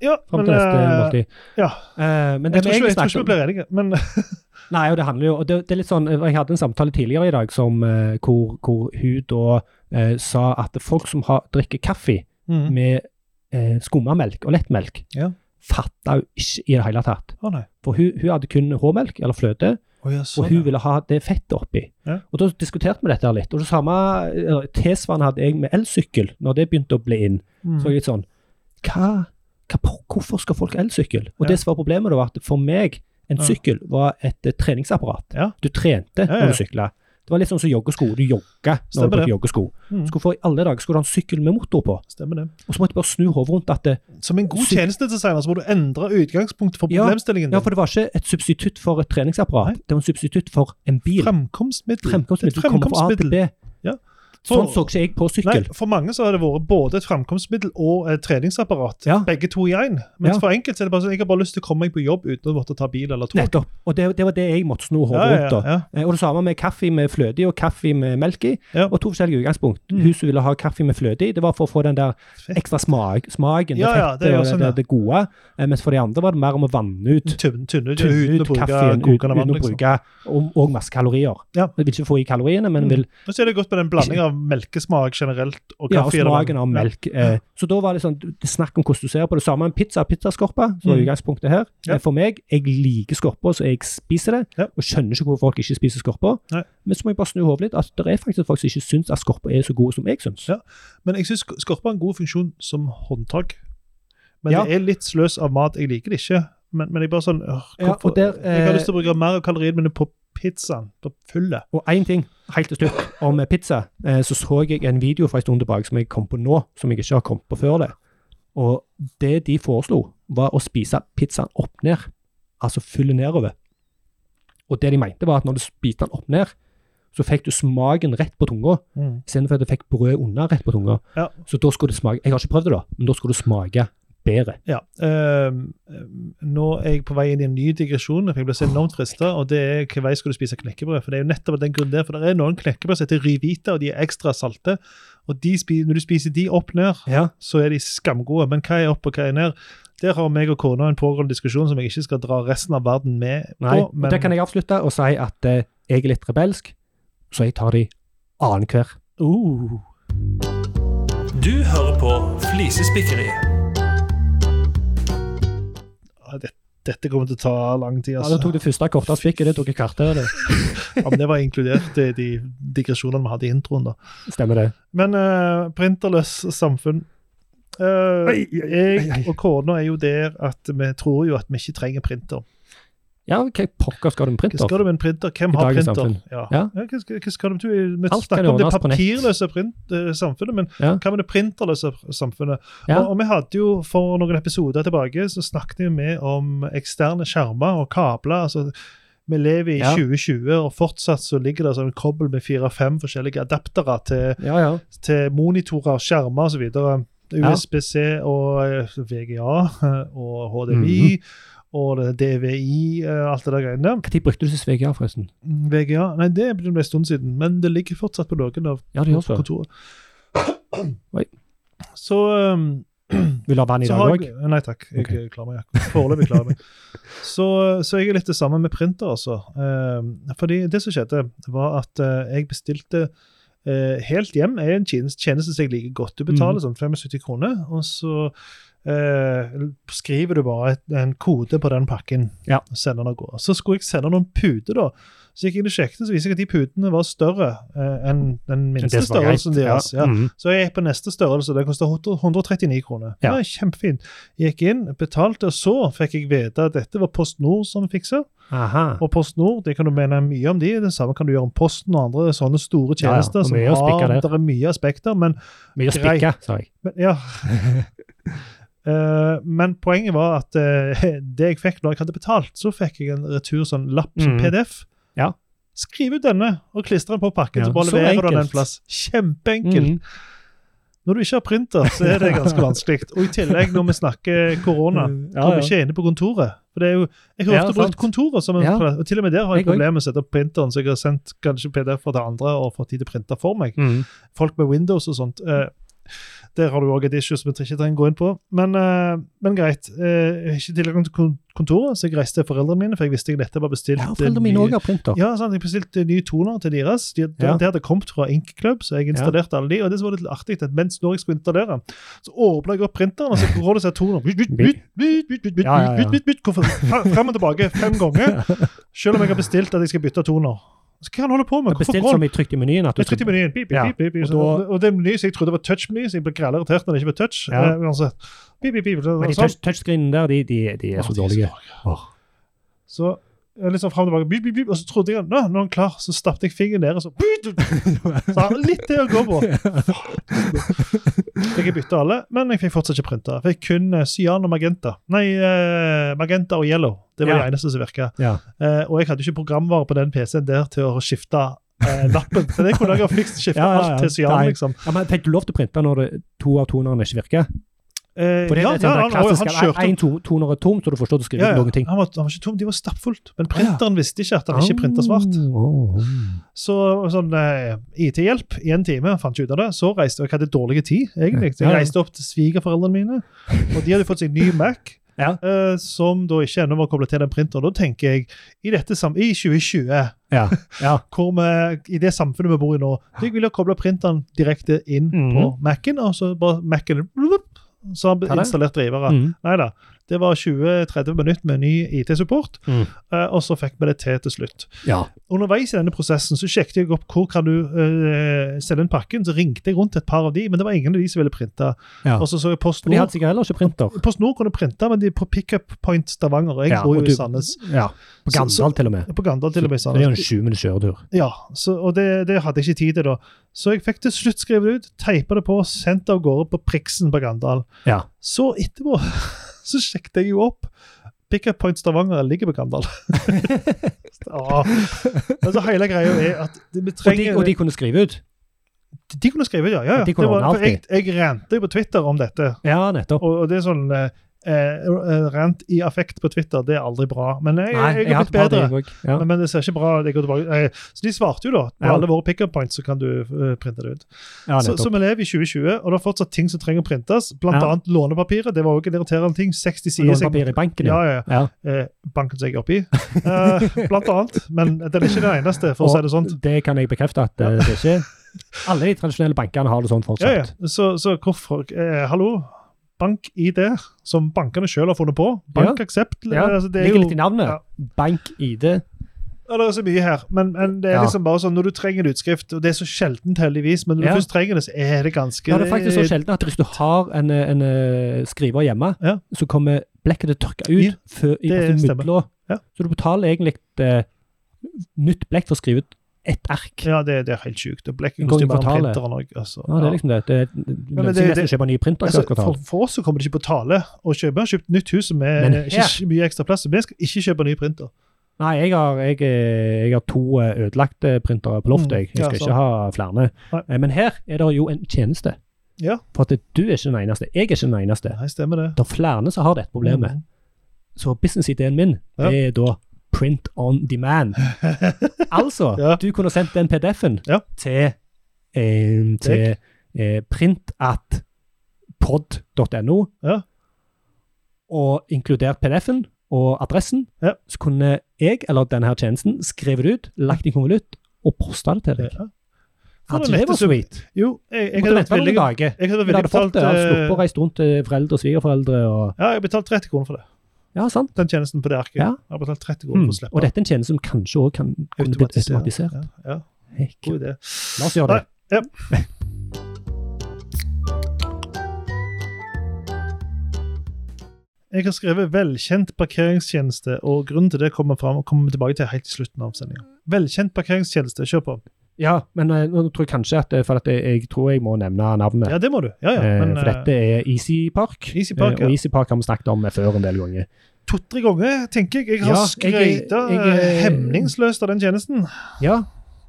[SPEAKER 2] Ja,
[SPEAKER 1] <laughs>
[SPEAKER 2] men,
[SPEAKER 1] fram til neste
[SPEAKER 2] eh,
[SPEAKER 1] måltid.
[SPEAKER 2] ja.
[SPEAKER 1] Eh, men det
[SPEAKER 2] jeg tror
[SPEAKER 1] vi
[SPEAKER 2] ikke,
[SPEAKER 1] egentlig
[SPEAKER 2] jeg tror
[SPEAKER 1] snakket
[SPEAKER 2] ikke
[SPEAKER 1] om-
[SPEAKER 2] vi blir enige, men <laughs>
[SPEAKER 1] Nei, og det handler jo og det, det er litt sånn, Jeg hadde en samtale tidligere i dag som, eh, hvor, hvor hun da eh, sa at folk som har, drikker kaffe
[SPEAKER 2] mm.
[SPEAKER 1] med eh, skummamelk og lettmelk,
[SPEAKER 2] Ja.
[SPEAKER 1] fatta hun ikke i det hele tatt.
[SPEAKER 2] Å nei.
[SPEAKER 1] For hun, hun hadde kun råmelk, eller fløte,
[SPEAKER 2] Å, ja,
[SPEAKER 1] og
[SPEAKER 2] sånn,
[SPEAKER 1] hun
[SPEAKER 2] ja.
[SPEAKER 1] ville ha det fettet oppi.
[SPEAKER 2] Ja.
[SPEAKER 1] Og Da diskuterte vi dette her litt. og det samme eh, Tilsvarende hadde jeg med elsykkel, når det begynte å bli inn. Så
[SPEAKER 2] Mm.
[SPEAKER 1] jeg litt sånn hva, hva, Hvorfor skal folk ha elsykkel? Og
[SPEAKER 2] Ja.
[SPEAKER 1] det som var problemet, da, var at for meg en
[SPEAKER 2] Ja.
[SPEAKER 1] sykkel var et eh, treningsapparat.
[SPEAKER 2] Ja.
[SPEAKER 1] Du trente
[SPEAKER 2] Ja, ja.
[SPEAKER 1] når du sykla. Det var litt sånn som joggesko. Du jogga når
[SPEAKER 2] Stemmer
[SPEAKER 1] du
[SPEAKER 2] det.
[SPEAKER 1] brukte joggesko.
[SPEAKER 2] Mm.
[SPEAKER 1] Hvorfor i alle dager skulle du ha en sykkel med motor på?
[SPEAKER 2] Stemmer det.
[SPEAKER 1] Og så måtte jeg bare snu hodet rundt at eh, det,
[SPEAKER 2] Som en god
[SPEAKER 1] Sy-
[SPEAKER 2] tjenestedesigner så må du endre utgangspunktet for
[SPEAKER 1] Ja,
[SPEAKER 2] problemstillingen
[SPEAKER 1] Ja,
[SPEAKER 2] din.
[SPEAKER 1] for det var ikke et substitutt for et treningsapparat.
[SPEAKER 2] Nei.
[SPEAKER 1] Det var en substitutt for en bil.
[SPEAKER 2] Fremkomstmiddel.
[SPEAKER 1] Fremkomstmiddel.
[SPEAKER 2] Et
[SPEAKER 1] Du kommer fra A til B.
[SPEAKER 2] Ja.
[SPEAKER 1] Sånn
[SPEAKER 2] For-
[SPEAKER 1] så ikke jeg på
[SPEAKER 2] Nei,
[SPEAKER 1] sykkel.
[SPEAKER 2] for mange så har det vært både et fremkomstmiddel og et treningsapparat.
[SPEAKER 1] Ja.
[SPEAKER 2] Begge to i én. Mens
[SPEAKER 1] Ja.
[SPEAKER 2] for enkelte er det bare sånn jeg har bare lyst til å komme meg på jobb uten å måtte ta bil eller tog.
[SPEAKER 1] Nettopp. Og det, det var det jeg måtte snu hodet
[SPEAKER 2] Ja, ja,
[SPEAKER 1] rundt. da.
[SPEAKER 2] ja.
[SPEAKER 1] Eh, Og det samme med kaffe med fløte i og kaffe med melk i.
[SPEAKER 2] Ja.
[SPEAKER 1] Og to forskjellige utgangspunkt.
[SPEAKER 2] Mm.
[SPEAKER 1] Hun som ville ha kaffe med fløte i, det var for å få den der
[SPEAKER 2] Fett.
[SPEAKER 1] ekstra smak, smaken,
[SPEAKER 2] Ja, ja,
[SPEAKER 1] det
[SPEAKER 2] det er
[SPEAKER 1] fettet
[SPEAKER 2] jo
[SPEAKER 1] og det,
[SPEAKER 2] sånn,
[SPEAKER 1] det,
[SPEAKER 2] ja.
[SPEAKER 1] det gode. Eh, Mens for de andre var det mer om å vanne ut.
[SPEAKER 2] Tynne tynne ut
[SPEAKER 1] Tynne
[SPEAKER 2] uten å
[SPEAKER 1] ut
[SPEAKER 2] bruke
[SPEAKER 1] kaffen ut-
[SPEAKER 2] kokende vann.
[SPEAKER 1] uten å
[SPEAKER 2] Liksom.
[SPEAKER 1] bruke og, og masse kalorier.
[SPEAKER 2] Ja.
[SPEAKER 1] Jeg vil ikke få i kaloriene, men
[SPEAKER 2] Mm.
[SPEAKER 1] vil
[SPEAKER 2] Og så er det godt med den blandingen av melkesmak generelt og
[SPEAKER 1] Ja, og
[SPEAKER 2] kaffe. i det.
[SPEAKER 1] smaken av
[SPEAKER 2] Ja.
[SPEAKER 1] melk. Eh, så da var det sånn, det er snakk om hvordan du ser på det. Samme med pizza. Pizzaskorpa, som var
[SPEAKER 2] Mm.
[SPEAKER 1] utgangspunktet her.
[SPEAKER 2] Ja.
[SPEAKER 1] Eh, For meg, jeg liker skorpa, så jeg spiser det.
[SPEAKER 2] Ja.
[SPEAKER 1] Og skjønner ikke hvorfor folk ikke spiser skorpa.
[SPEAKER 2] Nei.
[SPEAKER 1] Men så må jeg bare snu hodet litt. at det er faktisk folk som ikke syns at skorpa er så god som jeg syns.
[SPEAKER 2] Ja. Men jeg syns skorpe har en god funksjon som håndtak. Men
[SPEAKER 1] Ja.
[SPEAKER 2] det er litt sløs av mat. Jeg liker det ikke. Men, men jeg bare sånn øh,
[SPEAKER 1] Ja, og
[SPEAKER 2] hvorfor,
[SPEAKER 1] der,
[SPEAKER 2] Jeg har
[SPEAKER 1] eh,
[SPEAKER 2] lyst til å bruke mer av kaloriene mine på pizzaen. På fullet.
[SPEAKER 1] Og én ting helt til slutt om eh, pizza. Eh, så så jeg en video fra en stund tilbake som jeg kom på nå, som jeg ikke har kommet på før det. Og det de foreslo, var å spise pizzaen opp ned. Altså fylle nedover. Og det de mente, var at når du spiste den opp ned, så fikk du smaken rett på tunga, istedenfor at du fikk brød unna rett på tunga.
[SPEAKER 2] Ja.
[SPEAKER 1] Så da skulle det smake Jeg har ikke prøvd det, da, men da skulle det smake bedre.
[SPEAKER 2] Ja. ehm, ehm, nå er jeg på vei inn i en ny digresjon. for Jeg blir så enormt frista. Og det er hvilken vei skal du spise knekkebrød? For det er jo nettopp av den grunnen der. For det er noen knekkebrød som heter Ryvita, og de er ekstra salte. Og de, spi- når du spiser de opp ned,
[SPEAKER 1] Ja.
[SPEAKER 2] så er de skamgode. Men hva er opp og hva er ned? Der har meg og kona en pågående diskusjon som jeg ikke skal dra resten av verden med
[SPEAKER 1] Nei,
[SPEAKER 2] på. Men
[SPEAKER 1] og Det kan jeg avslutte og si at eh, jeg er litt rebelsk, så jeg tar de annenhver.
[SPEAKER 2] Uh.
[SPEAKER 3] Du hører på Flisespikkeri.
[SPEAKER 2] Ja, Ah, det, dette kommer til å ta lang tid,
[SPEAKER 1] Ja,
[SPEAKER 2] altså.
[SPEAKER 1] da tok det første kortet jeg fikk, og det tok jeg kvarter. Det.
[SPEAKER 2] <laughs> Ja, men det var inkludert i de digresjonene vi hadde i introen, da.
[SPEAKER 1] Stemmer det.
[SPEAKER 2] Men eh, printerløs samfunn Eh,
[SPEAKER 1] Ei, ei, ei, ei.
[SPEAKER 2] Jeg og kona er jo der at vi tror jo at vi ikke trenger printer.
[SPEAKER 1] Ja, hva pokker skal du med
[SPEAKER 2] Hva
[SPEAKER 1] printer?
[SPEAKER 2] skal du med en printer? Hvem
[SPEAKER 1] I
[SPEAKER 2] har
[SPEAKER 1] dagens
[SPEAKER 2] printer?
[SPEAKER 1] samfunn.
[SPEAKER 2] Ja.
[SPEAKER 1] Ja.
[SPEAKER 2] Ja, hva, skal, hva skal du, vi
[SPEAKER 1] Alt kan
[SPEAKER 2] snakker om det
[SPEAKER 1] ordnes på nett.
[SPEAKER 2] papirløse print, eh, samfunnet, men
[SPEAKER 1] Ja.
[SPEAKER 2] hva med det printerløse samfunnet?
[SPEAKER 1] Ja.
[SPEAKER 2] Og, og vi hadde jo For noen episoder tilbake så snakket vi med om eksterne skjermer og kabler. altså Vi lever i
[SPEAKER 1] Ja.
[SPEAKER 2] 2020, og fortsatt så ligger det sånn kobbel med fire-fem forskjellige adaptere til,
[SPEAKER 1] Ja, ja.
[SPEAKER 2] til monitorer, skjermer osv.
[SPEAKER 1] Ja.
[SPEAKER 2] USBC og eh, VGA eh, <laughs> og
[SPEAKER 1] Mm.
[SPEAKER 2] HDMI og det DVI, eh, alt det der greiene der.
[SPEAKER 1] Når brukte du sist VGA, forresten?
[SPEAKER 2] Mm, VGA Nei, det ble en stund siden, men det ligger fortsatt på noen av
[SPEAKER 1] Ja, det gjør det.
[SPEAKER 2] kontoret.
[SPEAKER 1] Oi.
[SPEAKER 2] Så um,
[SPEAKER 1] Vil du ha vann i
[SPEAKER 2] så
[SPEAKER 1] dag
[SPEAKER 2] har
[SPEAKER 1] òg?
[SPEAKER 2] jeg, Nei takk, jeg
[SPEAKER 1] Ok.
[SPEAKER 2] klarer meg. Foreløpig klarer
[SPEAKER 1] <laughs>
[SPEAKER 2] jeg meg. Så, så jeg er litt det samme med printer, altså. Eh, fordi det som skjedde, var at eh, jeg bestilte eh, Helt hjem er en tjeneste, tjeneste som jeg liker godt. Du betaler
[SPEAKER 1] Mhm.
[SPEAKER 2] sånn 75 kroner, og så eh, skriver du bare et, en kode på den pakken
[SPEAKER 1] Ja.
[SPEAKER 2] og sender den av gårde. Så skulle jeg sende noen puter, da. Så gikk jeg inn og sjekket, så viser jeg at de putene var større eh, enn den minste størrelsen deres. Ja.
[SPEAKER 1] Mm.
[SPEAKER 2] Så jeg gikk på neste størrelse, den kosta 139 kroner.
[SPEAKER 1] Ja.
[SPEAKER 2] Ja. Kjempefint. Gikk inn, betalte, og så fikk jeg vite at dette var Post Nord som fiksa.
[SPEAKER 1] Aha.
[SPEAKER 2] Og Post Nord, det kan du mene mye om de, det samme kan du gjøre om Posten og andre sånne store
[SPEAKER 1] Ja, ja, og
[SPEAKER 2] tjenester
[SPEAKER 1] mye å
[SPEAKER 2] som
[SPEAKER 1] spikke
[SPEAKER 2] har
[SPEAKER 1] der.
[SPEAKER 2] der er mye aspekter, men,
[SPEAKER 1] Mye å
[SPEAKER 2] grei.
[SPEAKER 1] spikke, sa jeg.
[SPEAKER 2] men
[SPEAKER 1] <laughs>
[SPEAKER 2] ja. Eh, men poenget var at eh, <laughs> det jeg fikk når jeg hadde betalt, så fikk jeg en retur sånn lapp som
[SPEAKER 1] Mm.
[SPEAKER 2] PDF.
[SPEAKER 1] Ja.
[SPEAKER 2] Skriv ut denne og klistre den på pakken,
[SPEAKER 1] Ja,
[SPEAKER 2] så bare
[SPEAKER 1] så
[SPEAKER 2] leverer du den
[SPEAKER 1] enkelt.
[SPEAKER 2] en plass. Kjempeenkelt.
[SPEAKER 1] Mm.
[SPEAKER 2] Når du ikke har printer, så er
[SPEAKER 1] <laughs>
[SPEAKER 2] det ganske vanskelig. Og i tillegg, når vi snakker korona,
[SPEAKER 1] Mm. Ja,
[SPEAKER 2] kommer
[SPEAKER 1] ja.
[SPEAKER 2] ikke inne på kontoret. For det er jo, Jeg har
[SPEAKER 1] Ja,
[SPEAKER 2] ofte
[SPEAKER 1] sant.
[SPEAKER 2] brukt kontoret, som en,
[SPEAKER 1] Ja.
[SPEAKER 2] og til og med der har jeg,
[SPEAKER 1] Jeg også.
[SPEAKER 2] problemer med å sette opp printeren, så jeg har sendt kanskje PDF-er til andre og fått de til å printe for meg.
[SPEAKER 1] Mm.
[SPEAKER 2] Folk med Windows og sånt. eh, der har du òg et issue som vi ikke trenger å gå inn på. Men, eh, men greit. eh, jeg har ikke tilgang til kon- kontoret, så jeg reiste til foreldrene mine, for jeg visste jeg nettopp har bestilt
[SPEAKER 1] Ja,
[SPEAKER 2] eh,
[SPEAKER 1] foreldrene
[SPEAKER 2] ny-
[SPEAKER 1] mine òg har printer.
[SPEAKER 2] ja, sant, jeg bestilte eh, nye toner til deres. De, de,
[SPEAKER 1] Ja.
[SPEAKER 2] Det hadde kommet fra Ink Club, så jeg installerte alle de. Og det som var litt artig, at mens når jeg skulle installere, så åpna jeg opp printeren, og så går det seg toner. Bytt, bytt, bytt, bytt, bytt, bytt, bytt,
[SPEAKER 1] Ja, ja, ja.
[SPEAKER 2] bytt, bytt, bytt, hvorfor- fra- Frem og tilbake fem ganger. Selv om jeg har bestilt at jeg skal bytte toner. Så hva er det han holder på med?
[SPEAKER 1] Jeg
[SPEAKER 2] Hvorfor
[SPEAKER 1] bestilte
[SPEAKER 2] går
[SPEAKER 1] som
[SPEAKER 2] han?
[SPEAKER 1] jeg trykte i menyen. At du
[SPEAKER 2] Jeg trykte i menyen. Pip, pip,
[SPEAKER 1] Ja,
[SPEAKER 2] pip, pip, pip,
[SPEAKER 1] og
[SPEAKER 2] sånn.
[SPEAKER 1] da-
[SPEAKER 2] Og det er meny som jeg trodde var touch-meny, så jeg ble grell irritert når det ikke var touch.
[SPEAKER 1] Ja.
[SPEAKER 2] Eh, uansett. Pip, pip, pip,
[SPEAKER 1] Men
[SPEAKER 2] sånn.
[SPEAKER 1] de touch, touchscreenene der, de, de, de er
[SPEAKER 2] Å,
[SPEAKER 1] så
[SPEAKER 2] de er så
[SPEAKER 1] dårlige. Åh.
[SPEAKER 2] Så jeg liksom frem og tilbake, bip, bip, bip, og så trodde jeg nå, nå er han klar. Så stappet jeg fingeren ned, og så Så han har litt det å gå på. Fikk jeg bytte alle, men jeg fikk fortsatt ikke printa. Fikk kun eh, cyan og magenta. Nei, eh, magenta og yellow. Det var
[SPEAKER 1] Ja.
[SPEAKER 2] det eneste som virka.
[SPEAKER 1] Ja.
[SPEAKER 2] og jeg hadde ikke programvare på den PC-en der til å skifte eh, lappen. Men jeg kunne jeg ha fikst skifta
[SPEAKER 1] Ja, ja, ja.
[SPEAKER 2] alt til cyan,
[SPEAKER 1] Nei.
[SPEAKER 2] liksom.
[SPEAKER 1] ja, men Fikk du lov til å printe når det, to av tonerne ikke virker?
[SPEAKER 2] Eh,
[SPEAKER 1] For det
[SPEAKER 2] ja,
[SPEAKER 1] er
[SPEAKER 2] ja,
[SPEAKER 1] sånn
[SPEAKER 2] han,
[SPEAKER 1] der klassisk,
[SPEAKER 2] han
[SPEAKER 1] eller
[SPEAKER 2] kjørte
[SPEAKER 1] en to, toner er tom, så du forstår at du skriver
[SPEAKER 2] ja, ja.
[SPEAKER 1] noen ting.
[SPEAKER 2] Han, var, han var ikke tom, de var stappfullt. Men printeren visste ikke at han ikke printa svart.
[SPEAKER 1] Åh, åh.
[SPEAKER 2] Så sånn eh, IT-hjelp i en time, fant ikke ut av det. Så reiste og jeg hadde dårlig tid, egentlig. Så
[SPEAKER 1] Ja,
[SPEAKER 2] jeg
[SPEAKER 1] ja.
[SPEAKER 2] reiste opp til svigerforeldrene mine, og de hadde fått seg ny Mac.
[SPEAKER 1] Ja.
[SPEAKER 2] eh, som da ikke ennå var koblet til den printeren. Da tenker jeg, i dette sam i 2020,
[SPEAKER 1] Ja. ja.
[SPEAKER 2] <laughs> hvor vi, i det samfunnet vi bor i nå, så jeg ville koble printeren direkte inn
[SPEAKER 1] Mhm.
[SPEAKER 2] på Mac-en, og så bare Mac-en blup, Så han ble
[SPEAKER 1] Ja, det.
[SPEAKER 2] installert drivere.
[SPEAKER 1] Mm.
[SPEAKER 2] Nei da. Det var 20-30 minutter med ny IT-support,
[SPEAKER 1] Mm.
[SPEAKER 2] eh, og så fikk vi det til til slutt
[SPEAKER 1] ja.
[SPEAKER 2] underveis i denne prosessen så sjekket jeg opp hvor kan du eh, sende inn pakken. Så ringte jeg rundt til et par av de, men det var ingen av de som ville printe.
[SPEAKER 1] Ja.
[SPEAKER 2] Og så så jeg Post
[SPEAKER 1] For de hadde
[SPEAKER 2] Nord.
[SPEAKER 1] sikkert heller ikke printer.
[SPEAKER 2] Post Nord kunne printe, men de er på Pickup Point Stavanger. og Jeg
[SPEAKER 1] Ja,
[SPEAKER 2] bor
[SPEAKER 1] og
[SPEAKER 2] jo
[SPEAKER 1] du-
[SPEAKER 2] i Sandnes.
[SPEAKER 1] Ja. På
[SPEAKER 2] Så- så-
[SPEAKER 1] Gandal, til og med.
[SPEAKER 2] På Gandal til og med i
[SPEAKER 1] Så det er jo en
[SPEAKER 2] Sandnes.
[SPEAKER 1] sju minutters kjøretur.
[SPEAKER 2] Ja, så, og det, det hadde jeg ikke tid til da. Så jeg fikk til slutt skrevet det ut, teipa det på, sendt det av gårde på Priksen på Gandal.
[SPEAKER 1] Ja.
[SPEAKER 2] Så etterpå <laughs> så sjekket jeg jo opp. Pickup Point Stavanger ligger på
[SPEAKER 1] <laughs>
[SPEAKER 2] Gandal. ja. Altså, hele greia er at vi
[SPEAKER 1] Og de,
[SPEAKER 2] trenger
[SPEAKER 1] og de kunne skrive ut?
[SPEAKER 2] De kunne skrevet, ja. ja.
[SPEAKER 1] Ja,
[SPEAKER 2] ja.
[SPEAKER 1] de
[SPEAKER 2] Det
[SPEAKER 1] kunne
[SPEAKER 2] var,
[SPEAKER 1] ordne
[SPEAKER 2] for jeg, jeg rante på Twitter om dette,
[SPEAKER 1] Ja, nettopp.
[SPEAKER 2] og, og det er sånn eh, eh, Rant i affekt på Twitter, det er aldri bra. Men jeg,
[SPEAKER 1] Nei,
[SPEAKER 2] jeg,
[SPEAKER 1] jeg
[SPEAKER 2] har blitt
[SPEAKER 1] har et par
[SPEAKER 2] bedre.
[SPEAKER 1] driv òg. Ja.
[SPEAKER 2] Men, men det ser ikke bra ut. jeg går tilbake. Eh, Så de svarte jo, da. På
[SPEAKER 1] Ja.
[SPEAKER 2] alle våre pickup points så kan du eh, printe det ut.
[SPEAKER 1] ja,
[SPEAKER 2] så, så
[SPEAKER 1] nettopp.
[SPEAKER 2] vi lever i 2020, og det er fortsatt ting som trenger å printes. Blant
[SPEAKER 1] Ja.
[SPEAKER 2] annet lånepapiret. Det var også en irriterende ting. 60 sider. som-
[SPEAKER 1] Lånepapir i banken,
[SPEAKER 2] Ja,
[SPEAKER 1] ja.
[SPEAKER 2] ja, ja.
[SPEAKER 1] ja.
[SPEAKER 2] Eh, banken som jeg er oppi. Eh, blant annet. Men den er ikke den eneste, for å
[SPEAKER 1] Og
[SPEAKER 2] si det sånn.
[SPEAKER 1] Det kan jeg bekrefte at eh, det ikke
[SPEAKER 2] <laughs>
[SPEAKER 1] Alle de tradisjonelle bankene har det sånn
[SPEAKER 2] Ja, ja.
[SPEAKER 1] fortsatt.
[SPEAKER 2] Så, så hvorfor eh, Hallo? BankID, som bankene sjøl har funnet på. Bankaksept.
[SPEAKER 1] Ja,
[SPEAKER 2] altså, det er
[SPEAKER 1] Ligger
[SPEAKER 2] jo
[SPEAKER 1] litt i navnet.
[SPEAKER 2] ja.
[SPEAKER 1] Bank-ID.
[SPEAKER 2] Ja, det er så mye her, men, men det er
[SPEAKER 1] Ja.
[SPEAKER 2] liksom bare sånn når du trenger en utskrift, og det er så sjeldent heldigvis, men når
[SPEAKER 1] Ja.
[SPEAKER 2] du først trenger det, så er det ganske
[SPEAKER 1] Ja, det er faktisk så sjelden at hvis du har en, eh, en eh, skriver hjemme,
[SPEAKER 2] Ja.
[SPEAKER 1] så kommer blekket til å tørke ut
[SPEAKER 2] Ja,
[SPEAKER 1] før, i
[SPEAKER 2] det
[SPEAKER 1] altså,
[SPEAKER 2] stemmer.
[SPEAKER 1] middelå.
[SPEAKER 2] Ja.
[SPEAKER 1] Så du betaler egentlig eh, nytt blekk for å skrive ut ett ark.
[SPEAKER 2] Ja, det, det er helt sjukt. Det blekker
[SPEAKER 1] En gang
[SPEAKER 2] koster
[SPEAKER 1] i
[SPEAKER 2] bare en
[SPEAKER 1] kvartalet.
[SPEAKER 2] printer og noe, altså.
[SPEAKER 1] Ja, det er liksom det. Det, det,
[SPEAKER 2] men
[SPEAKER 1] lønner
[SPEAKER 2] det-
[SPEAKER 1] seg nesten
[SPEAKER 2] det-
[SPEAKER 1] å kjøpe en ny printer.
[SPEAKER 2] Altså,
[SPEAKER 1] hvert kvartal.
[SPEAKER 2] for, for oss så kommer det ikke på tale å kjøpe. Jeg har kjøpt nytt hus som er
[SPEAKER 1] Men
[SPEAKER 2] ikke
[SPEAKER 1] her-
[SPEAKER 2] så mye ekstra plass, så vi skal ikke kjøpe ny printer.
[SPEAKER 1] Nei, jeg har, jeg, eh, jeg har to eh, ødelagte printere på loftet. Jeg, jeg
[SPEAKER 2] ja,
[SPEAKER 1] skal
[SPEAKER 2] sant.
[SPEAKER 1] ikke ha flere.
[SPEAKER 2] Nei.
[SPEAKER 1] Eh, Men her er det jo en tjeneste.
[SPEAKER 2] Ja.
[SPEAKER 1] For at du er ikke den eneste. Jeg er ikke den eneste.
[SPEAKER 2] Nei, stemmer det. Mm,
[SPEAKER 1] Det er flere som har dette problemet. Så businessideen min
[SPEAKER 2] Ja.
[SPEAKER 1] det er da print on
[SPEAKER 2] <laughs>
[SPEAKER 1] demand. altså,
[SPEAKER 2] Ja.
[SPEAKER 1] du kunne sendt den PDF-en
[SPEAKER 2] Ja.
[SPEAKER 1] til, eh, til eh, printatpod.no,
[SPEAKER 2] Ja.
[SPEAKER 1] og inkludert PDF-en og adressen,
[SPEAKER 2] Ja.
[SPEAKER 1] så kunne jeg eller denne her tjenesten skrevet det ut, lagt det i konvolutt og posta det til deg.
[SPEAKER 2] Ja. For
[SPEAKER 1] Hadde
[SPEAKER 2] det
[SPEAKER 1] det
[SPEAKER 2] lette
[SPEAKER 1] vært
[SPEAKER 2] sum-
[SPEAKER 1] sweet?
[SPEAKER 2] Jo, jeg, jeg
[SPEAKER 1] Måtte
[SPEAKER 2] hadde vært
[SPEAKER 1] vente
[SPEAKER 2] villig
[SPEAKER 1] noen dager.
[SPEAKER 2] Jeg hadde
[SPEAKER 1] Vi
[SPEAKER 2] vært
[SPEAKER 1] hadde
[SPEAKER 2] villig betalt
[SPEAKER 1] fått det. Hadde sluppet å
[SPEAKER 2] eh,
[SPEAKER 1] reise rundt til foreldre og svigerforeldre. Og,
[SPEAKER 2] Ja, jeg har betalt 30 kroner for det.
[SPEAKER 1] ja, sant?
[SPEAKER 2] Den tjenesten på det arket.
[SPEAKER 1] Ja.
[SPEAKER 2] Jeg har betalt 30 kroner
[SPEAKER 1] Mm.
[SPEAKER 2] for å slippe
[SPEAKER 1] Og dette er en tjeneste som kanskje òg kan kunne blitt
[SPEAKER 2] automatisere.
[SPEAKER 1] automatisert.
[SPEAKER 2] Ja, ja,
[SPEAKER 1] Heck.
[SPEAKER 2] god idé.
[SPEAKER 1] La oss gjøre det.
[SPEAKER 2] Nei, ja. Jeg har skrevet 'velkjent parkeringstjeneste', og grunnen til det kommer fram, kommer vi tilbake til helt i slutten av sendinga. Velkjent parkeringstjeneste, kjør på.
[SPEAKER 1] Ja, men eh, nå tror jeg kanskje at eh, For at jeg, jeg tror jeg må nevne navnet.
[SPEAKER 2] Ja, det må du. Ja, ja.
[SPEAKER 1] Eh,
[SPEAKER 2] Men
[SPEAKER 1] for dette er Easy Park.
[SPEAKER 2] Easy Park,
[SPEAKER 1] Eh,
[SPEAKER 2] ja.
[SPEAKER 1] Og Easy Park har vi snakket om eh, før en del ganger.
[SPEAKER 2] to-tre ganger, tenker jeg. Jeg har
[SPEAKER 1] Ja, jeg- jeg-
[SPEAKER 2] skreita
[SPEAKER 1] jeg-
[SPEAKER 2] hemningsløst av den tjenesten,
[SPEAKER 1] Ja,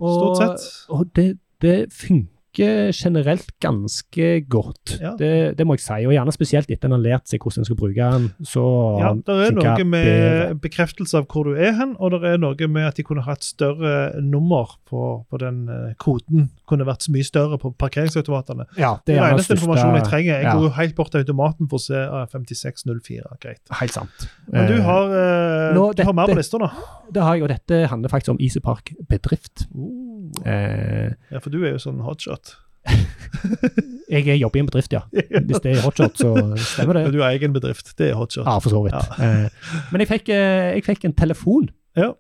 [SPEAKER 1] og,
[SPEAKER 2] stort sett.
[SPEAKER 1] Og det, det funker generelt ganske godt.
[SPEAKER 2] Ja.
[SPEAKER 1] Det, det må jeg si. Og gjerne spesielt etter en har lært seg hvordan en skal bruke den. Så
[SPEAKER 2] Ja, det er
[SPEAKER 1] funker
[SPEAKER 2] noe
[SPEAKER 1] bedre.
[SPEAKER 2] med bekreftelse av hvor du er hen, og det er noe med at de kunne hatt større nummer på, på den eh, koden. Kunne vært så mye større på parkeringsautomatene.
[SPEAKER 1] ja,
[SPEAKER 2] Det er den
[SPEAKER 1] det er gjerne
[SPEAKER 2] eneste informasjonen jeg
[SPEAKER 1] største
[SPEAKER 2] trenger. Jeg
[SPEAKER 1] ja.
[SPEAKER 2] går jo helt bort til automaten for å se ah, 5604. Greit.
[SPEAKER 1] Helt sant.
[SPEAKER 2] Men du
[SPEAKER 1] Eh,
[SPEAKER 2] har, eh,
[SPEAKER 1] nå,
[SPEAKER 2] du har mer på
[SPEAKER 1] dette-
[SPEAKER 2] lista nå.
[SPEAKER 1] Det har jeg, og dette handler faktisk om Easy Park bedrift. Eh,
[SPEAKER 2] Uh. Ja, for du er jo sånn hotshot.
[SPEAKER 1] jeg jobber i en bedrift, ja.
[SPEAKER 2] <laughs>
[SPEAKER 1] Hvis det er hotshot, så stemmer
[SPEAKER 2] Men
[SPEAKER 1] det.
[SPEAKER 2] du har egen bedrift. Det er hotshot.
[SPEAKER 1] Ja, for så vidt. Eh, men jeg fikk, eh, jeg fikk en telefon
[SPEAKER 2] Ja.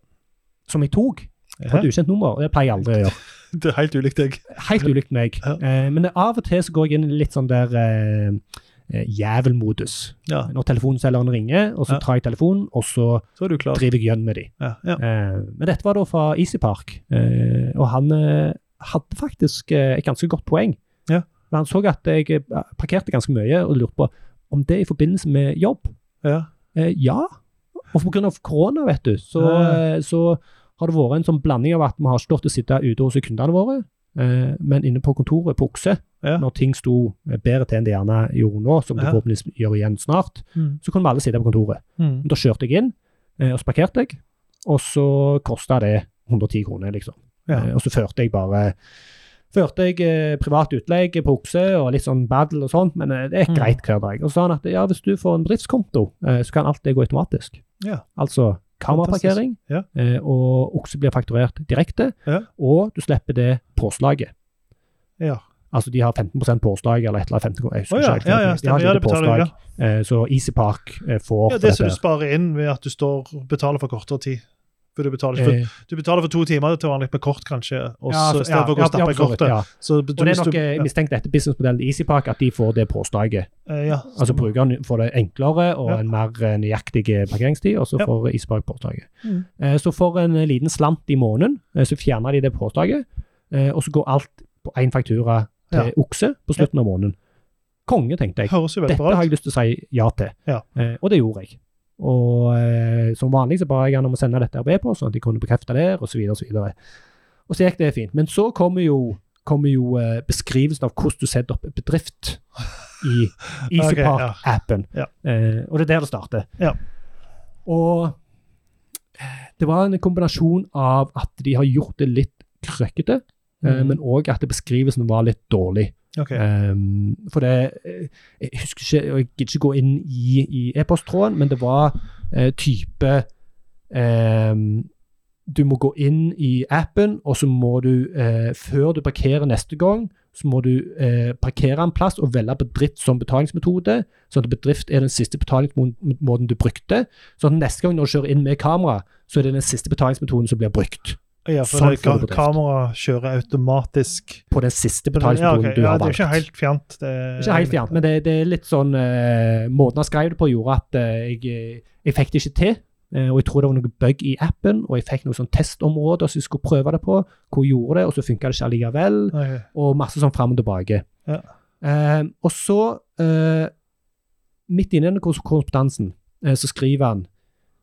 [SPEAKER 1] som jeg tok på et
[SPEAKER 2] Hæ?
[SPEAKER 1] ukjent nummer. og Det pleier jeg aldri å gjøre.
[SPEAKER 2] <laughs> Det er helt ulikt deg.
[SPEAKER 1] Helt ulikt meg.
[SPEAKER 2] Ja.
[SPEAKER 1] Eh, men av og til så går jeg inn i litt sånn der eh, eh, jævelmodus.
[SPEAKER 2] Ja,
[SPEAKER 1] Når telefonselgeren ringer, og
[SPEAKER 2] Ja.
[SPEAKER 1] så tar jeg telefonen, og så
[SPEAKER 2] så er du klar.
[SPEAKER 1] driver jeg gjønn med de.
[SPEAKER 2] Ja, ja.
[SPEAKER 1] Eh, men dette var da fra Easy Park, eh, og han eh, hadde faktisk eh, et ganske godt poeng.
[SPEAKER 2] Ja.
[SPEAKER 1] Men han så at jeg eh, parkerte ganske mye, og lurte på om det er i forbindelse med jobb.
[SPEAKER 2] ja.
[SPEAKER 1] Eh, ja, og på grunn av korona, vet du, så,
[SPEAKER 2] Ja.
[SPEAKER 1] eh, så har det vært en sånn blanding av at vi har stått og sittet ute hos kundene våre, eh, men inne på kontoret på Okse,
[SPEAKER 2] Ja.
[SPEAKER 1] når ting sto eh, bedre til enn det gjerne gjorde nå, som det
[SPEAKER 2] Ja.
[SPEAKER 1] forhåpentligvis gjør igjen snart,
[SPEAKER 2] Mm.
[SPEAKER 1] så kunne vi alle sitte på kontoret.
[SPEAKER 2] Mm.
[SPEAKER 1] Da kjørte jeg inn, eh, og så parkerte jeg, og så kosta det 110 kroner, liksom.
[SPEAKER 2] Ja.
[SPEAKER 1] Eh, Og så førte jeg bare førte jeg eh, privat utleie på okse og litt sånn battle og sånt, men eh, det er
[SPEAKER 2] Mm.
[SPEAKER 1] greit hver dag. Og så sa han at ja, hvis du får en bedriftskonto, eh, så kan alt det gå automatisk.
[SPEAKER 2] Ja.
[SPEAKER 1] Altså kameraparkering,
[SPEAKER 2] Fantastisk. Ja.
[SPEAKER 1] eh, og okse blir fakturert direkte,
[SPEAKER 2] Ja.
[SPEAKER 1] og du slipper det påslaget.
[SPEAKER 2] ja.
[SPEAKER 1] Altså de har 15 påslag eller et eller annet. 15,
[SPEAKER 2] Å
[SPEAKER 1] jeg husker
[SPEAKER 2] ja,
[SPEAKER 1] ikke helt.
[SPEAKER 2] ja, ja,
[SPEAKER 1] de har
[SPEAKER 2] stemmer. Ja,
[SPEAKER 1] ikke
[SPEAKER 2] det betaler jeg,
[SPEAKER 1] påslag,
[SPEAKER 2] ja.
[SPEAKER 1] eh, så Easy Park eh, får
[SPEAKER 2] Ja,
[SPEAKER 1] for
[SPEAKER 2] det som du
[SPEAKER 1] dette.
[SPEAKER 2] sparer inn ved at du står, betaler for kortere tid. For du, betaler ikke for,
[SPEAKER 1] Eh,
[SPEAKER 2] du betaler for to timer til vanlig med kort, kanskje, og
[SPEAKER 1] ja,
[SPEAKER 2] så,
[SPEAKER 1] så-
[SPEAKER 2] i stedet for å gå og stappe i
[SPEAKER 1] for så vidt,
[SPEAKER 2] kortet.
[SPEAKER 1] ja.
[SPEAKER 2] Så du,
[SPEAKER 1] Og det er
[SPEAKER 2] hvis
[SPEAKER 1] nok
[SPEAKER 2] du-
[SPEAKER 1] eh, mistenkt etter businessmodellen til EasyPark at de får det påslaget.
[SPEAKER 2] ja, eh, ja,
[SPEAKER 1] Altså
[SPEAKER 2] stemmer.
[SPEAKER 1] brukeren får det enklere og
[SPEAKER 2] Ja.
[SPEAKER 1] en mer eh, nøyaktig eh, parkeringstid, og så
[SPEAKER 2] Ja.
[SPEAKER 1] får EasyPark påslaget.
[SPEAKER 2] Mm.
[SPEAKER 1] Eh, Så for en eh, liten slant i måneden, eh, så fjerner de det påslaget, eh, og så går alt på én faktura til
[SPEAKER 2] Ja.
[SPEAKER 1] okse på slutten av måneden. Konge, tenkte jeg.
[SPEAKER 2] Høres jo veldig
[SPEAKER 1] Dette
[SPEAKER 2] bra ut.
[SPEAKER 1] har jeg lyst til å si ja til.
[SPEAKER 2] Ja.
[SPEAKER 1] Eh, Og det gjorde jeg. Og eh, som vanlig så ba jeg han om å sende dette her på e-post, sånn at de kunne bekrefte det, og så videre og så videre. Og så gikk det fint. Men så kommer jo, kommer jo eh, beskrivelsen av hvordan du setter opp en bedrift
[SPEAKER 2] <laughs>
[SPEAKER 1] i
[SPEAKER 2] Ok, ja.
[SPEAKER 1] EasyPark-appen.
[SPEAKER 2] Ja.
[SPEAKER 1] Eh, og det er der det starter.
[SPEAKER 2] Ja.
[SPEAKER 1] Og eh, det var en kombinasjon av at de har gjort det litt krøkkete, eh,
[SPEAKER 2] Mhm.
[SPEAKER 1] men òg at beskrivelsen var litt dårlig.
[SPEAKER 2] Ok.
[SPEAKER 1] Ehm, for det eh, Jeg husker ikke, og jeg gidder ikke gå inn i, i e-posttråden, men det var eh, type ehm, Du må gå inn i appen, og så må du, eh, før du parkerer neste gang, så må du eh, parkere en plass og velge bedrift som betalingsmetode, sånn at bedrift er den siste betalingsmåten du brukte. Sånn at neste gang når du kjører inn med kamera, så er det den siste betalingsmetoden som blir brukt.
[SPEAKER 2] Ja, for
[SPEAKER 1] sånn
[SPEAKER 2] det,
[SPEAKER 1] får
[SPEAKER 2] ka
[SPEAKER 1] du bedrift.
[SPEAKER 2] kamera kjører automatisk.
[SPEAKER 1] På den siste
[SPEAKER 2] Ja,
[SPEAKER 1] betalingsmetoden
[SPEAKER 2] ok,
[SPEAKER 1] du
[SPEAKER 2] ja,
[SPEAKER 1] har
[SPEAKER 2] det er jo
[SPEAKER 1] valgt.
[SPEAKER 2] ikke helt fjernt. Det,
[SPEAKER 1] Ikke helt fjernt, men det, det er litt sånn eh, Måten han skrev det på, gjorde at eh, jeg, jeg fikk det ikke til. Eh, og jeg tror det var noe bug i appen, og jeg fikk noen sånn testområder som jeg skulle prøve det på. Hvor jeg gjorde det, og så funka det ikke allikevel.
[SPEAKER 2] Ok.
[SPEAKER 1] Og masse sånn fram og tilbake.
[SPEAKER 2] Ja.
[SPEAKER 1] Eh, og så, eh, midt inne i den kor- korrespondansen, eh, så skriver han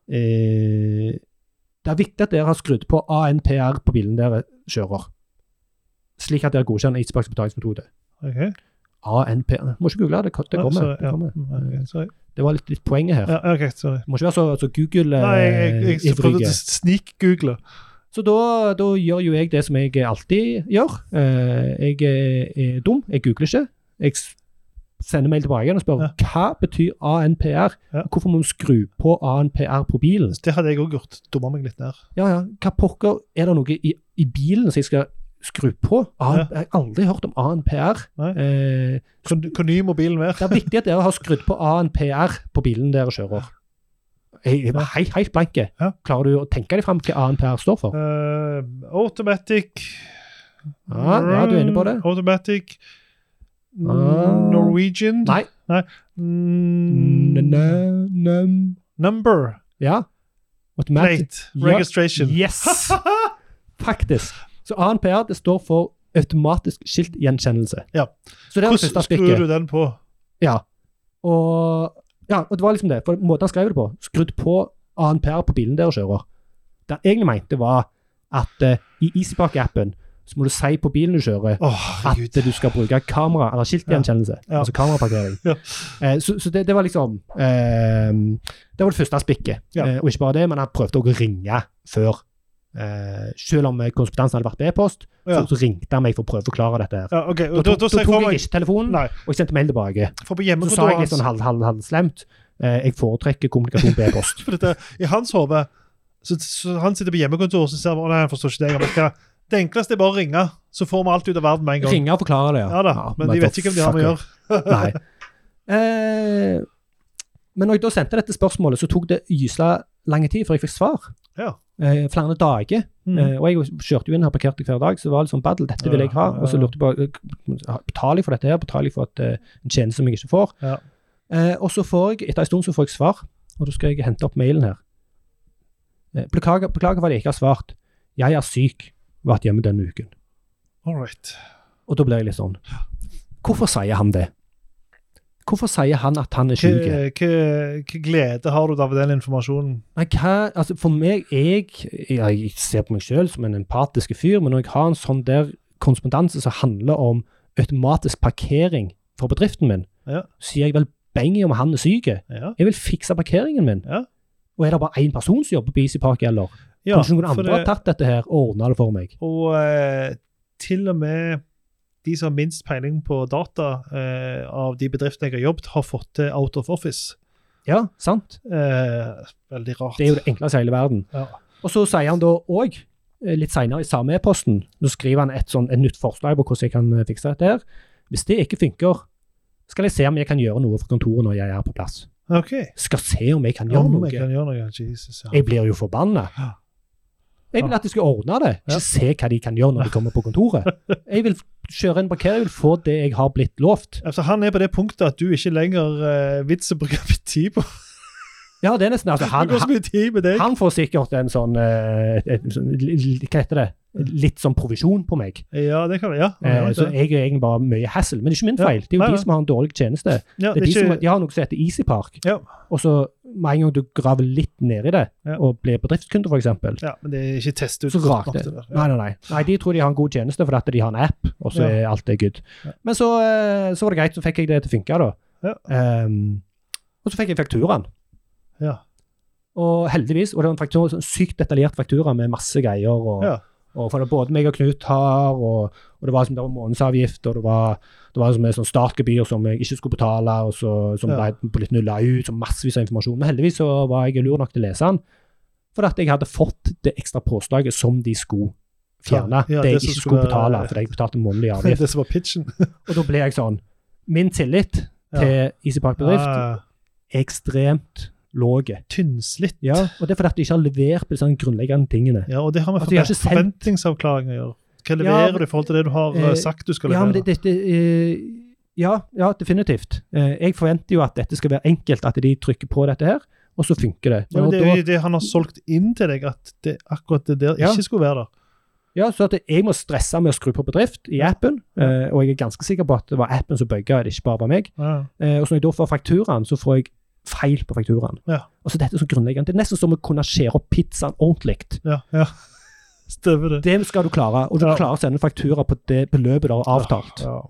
[SPEAKER 1] eh, Det er viktig at dere har skrudd på ANPR på bilen dere kjører, slik at dere godkjenner Isbaks betalingsmetode.
[SPEAKER 2] Ok.
[SPEAKER 1] ANPR Må ikke google det,
[SPEAKER 2] Ja,
[SPEAKER 1] det kommer.
[SPEAKER 2] sorry,
[SPEAKER 1] Det, kommer.
[SPEAKER 2] Ja, ok, sorry.
[SPEAKER 1] det var litt, litt poenget her.
[SPEAKER 2] Ja, ok, sorry.
[SPEAKER 1] Må ikke være så, så
[SPEAKER 2] Nei, jeg, jeg, jeg prøvde
[SPEAKER 1] Google-ivrige.
[SPEAKER 2] å snikgoogle.
[SPEAKER 1] Så da, da gjør jo jeg det som jeg alltid gjør. Eh, jeg er- er dum, jeg googler ikke. Jeg s- sender mail tilbake igjen og spør
[SPEAKER 2] Ja.
[SPEAKER 1] hva betyr ANPR?
[SPEAKER 2] Ja.
[SPEAKER 1] Hvorfor må vi skru på ANPR på bilen?
[SPEAKER 2] Det hadde jeg òg gjort. Dumma meg litt ned.
[SPEAKER 1] Ja, ja, hva pokker er det noe i, i bilen som jeg skal skru på? AN, Jeg har aldri hørt om ANPR.
[SPEAKER 2] Nei.
[SPEAKER 1] Eh,
[SPEAKER 2] Hvor hvor ny mobilen var.
[SPEAKER 1] det er viktig at dere har skrudd på ANPR på bilen dere kjører. Jeg jeg var hei- helt blanke.
[SPEAKER 2] Ja.
[SPEAKER 1] Klarer du å tenke deg fram hva ANPR står for?
[SPEAKER 2] Eh, automatic
[SPEAKER 1] Ja, Ah, ja, du er inne på det.
[SPEAKER 2] Automatic
[SPEAKER 1] Ah.
[SPEAKER 2] Norwegian
[SPEAKER 1] Nei.
[SPEAKER 2] Mm, Number
[SPEAKER 1] Ja. Automatic
[SPEAKER 2] plate
[SPEAKER 1] Ja.
[SPEAKER 2] registration. <laughs>
[SPEAKER 1] Yes! Faktisk. Så ANPR det står for automatisk skiltgjenkjennelse.
[SPEAKER 2] Ja.
[SPEAKER 1] Så det er det
[SPEAKER 2] Hvordan
[SPEAKER 1] første
[SPEAKER 2] skrur du
[SPEAKER 1] stikket.
[SPEAKER 2] den på?
[SPEAKER 1] Ja. Og, ja, og det var liksom det. For måten han skrev det på, skrudd på ANPR på bilen dere kjører. Det han egentlig mente, var at eh, i Easypark-appen så må du si på bilen du kjører,
[SPEAKER 2] Åh,
[SPEAKER 1] at
[SPEAKER 2] herregud.
[SPEAKER 1] du skal bruke kamera, eller skiltgjenkjennelse.
[SPEAKER 2] Ja.
[SPEAKER 1] Altså kameraparkering.
[SPEAKER 2] Ja.
[SPEAKER 1] Eh, så så det, det var liksom eh, Det var det første spikket.
[SPEAKER 2] Ja.
[SPEAKER 1] Eh, og ikke bare det, men han prøvde også å ringe før. Eh, selv om eh, korrespondansen hadde vært på e-post,
[SPEAKER 2] Ja.
[SPEAKER 1] så, så ringte han meg for å prøve å forklare dette. her.
[SPEAKER 2] Ja, ok.
[SPEAKER 1] Da,
[SPEAKER 2] Og da,
[SPEAKER 1] tok-
[SPEAKER 2] da
[SPEAKER 1] da
[SPEAKER 2] ser jeg
[SPEAKER 1] tok
[SPEAKER 2] for
[SPEAKER 1] jeg
[SPEAKER 2] meg
[SPEAKER 1] ikke telefonen,
[SPEAKER 2] Nei,
[SPEAKER 1] og jeg sendte mail tilbake.
[SPEAKER 2] for på
[SPEAKER 1] Så sa jeg
[SPEAKER 2] hjemmekontoret
[SPEAKER 1] litt sånn halv, halv, halvslemt eh, Jeg foretrekker kommunikasjon på e-post.
[SPEAKER 2] for dette, I hans hode så, så Han sitter på hjemmekontoret og ser han, nei, han forstår ikke det. Jeg bare, hva- Det enkleste er bare å ringe, så får vi alt ut av verden med <laughs> en gang.
[SPEAKER 1] Ringe og forklare det,
[SPEAKER 2] Ja da, Men de vet ikke hvem de har med å
[SPEAKER 1] fucker.
[SPEAKER 2] gjøre.
[SPEAKER 1] Nei.
[SPEAKER 2] <laughs>
[SPEAKER 1] Eh, men når jeg da sendte dette spørsmålet, så tok det gysla lang tid før jeg fikk svar.
[SPEAKER 2] Ja.
[SPEAKER 1] Eh, flere dager.
[SPEAKER 2] Mm.
[SPEAKER 1] Eh, og jeg kjørte jo inn her parkerte hver dag, så det var litt sånn battle. Dette vil jeg ha.
[SPEAKER 2] Ja, ja, ja.
[SPEAKER 1] Og så lurte jeg på eh, Betaler jeg for dette her? Betaler jeg for et, eh, en tjeneste som jeg ikke får?
[SPEAKER 2] Ja.
[SPEAKER 1] Eh, og så får jeg, etter en stund så får jeg svar, og da skal jeg hente opp mailen her. Eh, beklager, beklager for at jeg ikke har svart. Jeg er syk. Vært hjemme denne uken.
[SPEAKER 2] All right.
[SPEAKER 1] Og da blir jeg litt sånn Hvorfor sier han det? Hvorfor sier han at han er syk?
[SPEAKER 2] Hva- hva- hva glede har du av den informasjonen?
[SPEAKER 1] Nei, hva, altså for meg, jeg, jeg ser på meg selv som en empatisk fyr, men når jeg har en sånn der konspondanse som handler om automatisk parkering for bedriften min,
[SPEAKER 2] Ja.
[SPEAKER 1] så sier jeg vel beng i om han er syk.
[SPEAKER 2] Ja.
[SPEAKER 1] Jeg vil fikse parkeringen min.
[SPEAKER 2] Ja.
[SPEAKER 1] Og er det bare én person som jobber på Easy Park, eller?
[SPEAKER 2] ja
[SPEAKER 1] Kanskje noen
[SPEAKER 2] for
[SPEAKER 1] andre har tatt dette her og ordna det for meg?
[SPEAKER 2] Og eh, til og med de som har minst peiling på data eh, av de bedriftene jeg har jobbet, har fått til out of office.
[SPEAKER 1] Ja, sant?
[SPEAKER 2] Eh, veldig rart.
[SPEAKER 1] Det er jo det enkleste i hele verden.
[SPEAKER 2] Ja.
[SPEAKER 1] Og så sier han da òg, litt seinere i samme e-posten, så skriver han et, sånn, et nytt forslag på hvordan jeg kan eh, fikse dette her. Hvis det ikke funker, skal jeg se om jeg kan gjøre noe for kontoret når jeg er på plass.
[SPEAKER 2] OK.
[SPEAKER 1] Skal se om jeg kan
[SPEAKER 2] Ja,
[SPEAKER 1] gjøre
[SPEAKER 2] men jeg
[SPEAKER 1] noe.
[SPEAKER 2] kan gjøre noe. Jesus, ja.
[SPEAKER 1] Jeg blir jo forbanna.
[SPEAKER 2] Ja.
[SPEAKER 1] Jeg vil at de skal ordne det,
[SPEAKER 2] Ja.
[SPEAKER 1] ikke se hva de kan gjøre når de kommer på kontoret. Jeg vil kjøre inn parkering, jeg vil få det jeg har blitt lovt.
[SPEAKER 2] Altså, han er på det punktet at du ikke lenger eh, vitser å bruke tid på.
[SPEAKER 1] Ja, det er nesten altså,
[SPEAKER 2] Han,
[SPEAKER 1] han,
[SPEAKER 2] går så mye tid med deg.
[SPEAKER 1] han får sikkert en sånn eh, et, et, sånn- Hva heter det? Litt sånn provisjon på meg.
[SPEAKER 2] ja, det kan være. Ja, han
[SPEAKER 1] Eh,
[SPEAKER 2] gjør
[SPEAKER 1] så
[SPEAKER 2] det.
[SPEAKER 1] jeg er egentlig bare mye hassle, men det er ikke min
[SPEAKER 2] Ja,
[SPEAKER 1] feil. Det er jo
[SPEAKER 2] nei, nei.
[SPEAKER 1] de som har en dårlig tjeneste.
[SPEAKER 2] ja,
[SPEAKER 1] Det er de, som, de har noe som heter Easy Park.
[SPEAKER 2] Ja.
[SPEAKER 1] Og så med en gang du graver litt ned i det,
[SPEAKER 2] Ja.
[SPEAKER 1] og blir bedriftskunde f.eks.,
[SPEAKER 2] ja, men det er ikke test ut
[SPEAKER 1] så rakt det.
[SPEAKER 2] der.
[SPEAKER 1] Nei, nei, nei. nei, de tror de har en god tjeneste fordi at de har en app, og så
[SPEAKER 2] Ja.
[SPEAKER 1] er alt det good.
[SPEAKER 2] Ja.
[SPEAKER 1] Men så, eh, så var det greit, så fikk jeg det til å funke, da.
[SPEAKER 2] Ja.
[SPEAKER 1] Ehm, og så fikk jeg fakturaen.
[SPEAKER 2] Ja.
[SPEAKER 1] Og heldigvis, og det var en faktura, sånn sykt detaljert faktura med masse greier. og...
[SPEAKER 2] Ja.
[SPEAKER 1] Og for det både meg og Knut har, og, og det var som det var månedsavgift, og det var, det var som et sånt startgebyr som jeg ikke skulle betale, og så, som
[SPEAKER 2] Ja.
[SPEAKER 1] ble på litt nulla ut, så massevis av informasjon. Men heldigvis så var jeg lur nok til å lese den, for at jeg hadde fått det ekstra påslaget som de skulle fjerne.
[SPEAKER 2] Ja, ja,
[SPEAKER 1] det
[SPEAKER 2] det
[SPEAKER 1] jeg
[SPEAKER 2] som
[SPEAKER 1] ikke
[SPEAKER 2] skulle
[SPEAKER 1] skulle
[SPEAKER 2] være-
[SPEAKER 1] betale, fordi jeg betalte månedlig
[SPEAKER 2] Det <laughs>
[SPEAKER 1] avgift.
[SPEAKER 2] er det som var pitchen.
[SPEAKER 1] Og da ble jeg sånn Min tillit til Easy Park Bedrift
[SPEAKER 2] Ja,
[SPEAKER 1] er ekstremt låg.
[SPEAKER 2] Tynnslitt.
[SPEAKER 1] Ja, og det er fordi at de ikke har levert på disse grunnleggende tingene.
[SPEAKER 2] Ja, og det har med
[SPEAKER 1] Altså, de har ikke
[SPEAKER 2] forvent- forventningsavklaring å gjøre. Hva leverer
[SPEAKER 1] men-
[SPEAKER 2] du i forhold til det du har
[SPEAKER 1] Eh,
[SPEAKER 2] eh, sagt du skal
[SPEAKER 1] Ja, men
[SPEAKER 2] levere?
[SPEAKER 1] det, det, det, eh, ja, ja, definitivt. Eh, Jeg forventer jo at dette skal være enkelt, at de trykker på dette her, og så funker det.
[SPEAKER 2] Ja, men
[SPEAKER 1] Og
[SPEAKER 2] det er jo
[SPEAKER 1] da,
[SPEAKER 2] det han har solgt inn til deg, at det, akkurat det der
[SPEAKER 1] Ja.
[SPEAKER 2] ikke skulle være der.
[SPEAKER 1] ja, så at jeg må stresse med å skru på bedrift i appen, eh, og jeg er ganske sikker på at det var appen som bugga, det ikke bare var meg.
[SPEAKER 2] Ja.
[SPEAKER 1] Eh, Og så når jeg da får fakturaen, så får jeg feil på fakturaen.
[SPEAKER 2] Ja.
[SPEAKER 1] Og så dette er så grunnleggende. Det er nesten som å kunne skjære opp pizzaen ordentlig.
[SPEAKER 2] Ja, ja. <laughs> Stemmer det.
[SPEAKER 1] Det skal du klare, og du
[SPEAKER 2] Ja.
[SPEAKER 1] klarer å sende faktura på det beløpet du har avtalt.
[SPEAKER 2] Ja.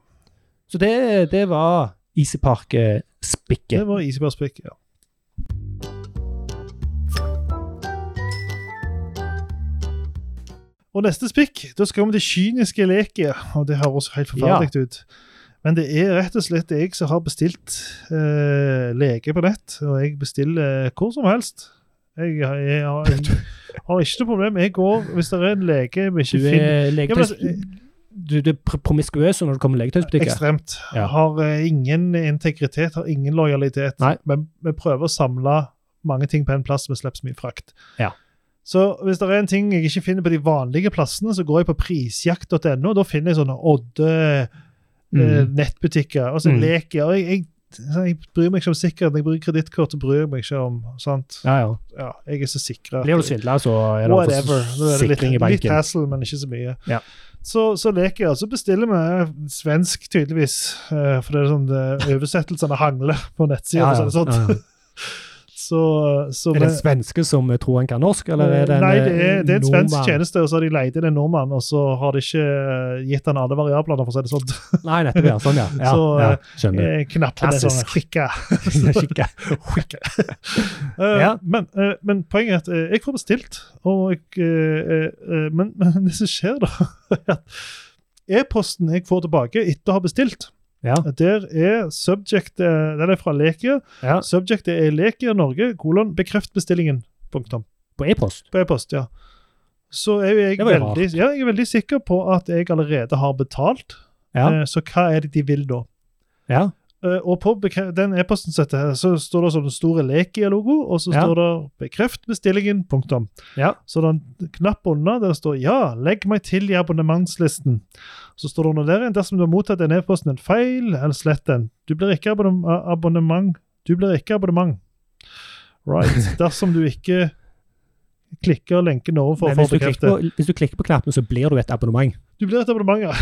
[SPEAKER 1] Så det, det var eh,
[SPEAKER 2] Det
[SPEAKER 1] Easypark-spikket.
[SPEAKER 2] var isbjørnspekk. Ja. Og neste spikk, da skal vi til kyniske leket. Og det høres helt forferdelig ut. Men det er rett og slett jeg som har bestilt eh, lege på nett. Og jeg bestiller eh, hvor som helst. Jeg, jeg, har, jeg har ikke noe problem. Jeg går, Hvis det er en lege vi
[SPEAKER 1] Du
[SPEAKER 2] ikke finner
[SPEAKER 1] er
[SPEAKER 2] Ja, men
[SPEAKER 1] legetøys...
[SPEAKER 2] altså,
[SPEAKER 1] Du, du er pr- promiskuøs når du kommer i legetøysbutikker.
[SPEAKER 2] Ekstremt.
[SPEAKER 1] Ja.
[SPEAKER 2] Har eh, ingen integritet, har ingen lojalitet.
[SPEAKER 1] Nei.
[SPEAKER 2] Men vi prøver å samle mange ting på en plass, vi slipper så mye frakt.
[SPEAKER 1] Ja.
[SPEAKER 2] Så hvis det er en ting jeg ikke finner på de vanlige plassene, så går jeg på prisjakt.no, og da finner jeg sånne Odde eh,
[SPEAKER 1] Mm.
[SPEAKER 2] nettbutikker, og så
[SPEAKER 1] Mm.
[SPEAKER 2] leker jeg. Jeg, jeg, jeg bryr meg ikke om sikkerhet, når jeg bruker kredittkort, så bryr jeg meg ikke om sant?
[SPEAKER 1] Ja, ja.
[SPEAKER 2] Ja, jeg er så sikra.
[SPEAKER 1] Blir du svindla, så er det
[SPEAKER 2] Whatever.
[SPEAKER 1] for
[SPEAKER 2] Da er det litt,
[SPEAKER 1] sikring i
[SPEAKER 2] litt
[SPEAKER 1] banken.
[SPEAKER 2] hassle, men ikke så mye.
[SPEAKER 1] Ja.
[SPEAKER 2] Så, så leker jeg, og så bestiller vi svensk, tydeligvis. eh, For det er sånn det- oversettelsene hangler på nettsida.
[SPEAKER 1] Ja,
[SPEAKER 2] og sånn-
[SPEAKER 1] ja,
[SPEAKER 2] sånt. <laughs>
[SPEAKER 1] ja, ja.
[SPEAKER 2] Så, så
[SPEAKER 1] Er det en
[SPEAKER 2] vi-
[SPEAKER 1] svenske som tror han kan norsk, eller er det en eh,
[SPEAKER 2] Nei, det er, det er en svensk
[SPEAKER 1] nordmann?
[SPEAKER 2] tjeneste, og så har de leid inn en nordmann, og så har de ikke eh, gitt han alle variablene, for å si det sånn.
[SPEAKER 1] Nei, nettopp. Ja. Sånn, ja. ja,
[SPEAKER 2] <laughs> Så,
[SPEAKER 1] ja.
[SPEAKER 2] eh,
[SPEAKER 1] Skjønner.
[SPEAKER 2] Eh, Knappene er sånn
[SPEAKER 1] Klassisk.
[SPEAKER 2] skikka. <laughs>
[SPEAKER 1] Skikke.
[SPEAKER 2] Eh,
[SPEAKER 1] Ja.
[SPEAKER 2] men, eh, men poenget er at eh, jeg får bestilt, og jeg, eh, eh, men, <laughs> men det som skjer, da er at E-posten jeg får tilbake etter å ha bestilt,
[SPEAKER 1] Ja.
[SPEAKER 2] der er subject eh, Den er fra Lekia.
[SPEAKER 1] ja.
[SPEAKER 2] Subjectet er Lekia Norge, kolon, bekreft bestillingen. Punktum.
[SPEAKER 1] På e-post.
[SPEAKER 2] På e-post, ja. Så er jo jeg,
[SPEAKER 1] Det var jo
[SPEAKER 2] veldig, ja, jeg er veldig sikker på at jeg allerede har betalt,
[SPEAKER 1] Ja.
[SPEAKER 2] eh, så hva er det de vil da?
[SPEAKER 1] ja.
[SPEAKER 2] Eh, Og på bekre- den e-posten som heter her, så står det sånn store Lekia-logo, og så
[SPEAKER 1] Ja.
[SPEAKER 2] står det 'bekreft bestillingen'. punktum.
[SPEAKER 1] Ja.
[SPEAKER 2] Så det er en knapp under der det står 'ja, legg meg til i abonnementslisten'. Så står det under der igjen 'dersom du har mottatt den e-posten en feil, eller slett den'. Du blir ikke abonnem abonnement. Du blir ikke abonnement.
[SPEAKER 1] <laughs>
[SPEAKER 2] Right. Dersom du ikke klikker lenken ovenfor for å
[SPEAKER 1] Men hvis du, klikker
[SPEAKER 2] bekrefte.
[SPEAKER 1] på, hvis du klikker på knappen, så blir du et abonnement.
[SPEAKER 2] Du blir et abonnement, ja.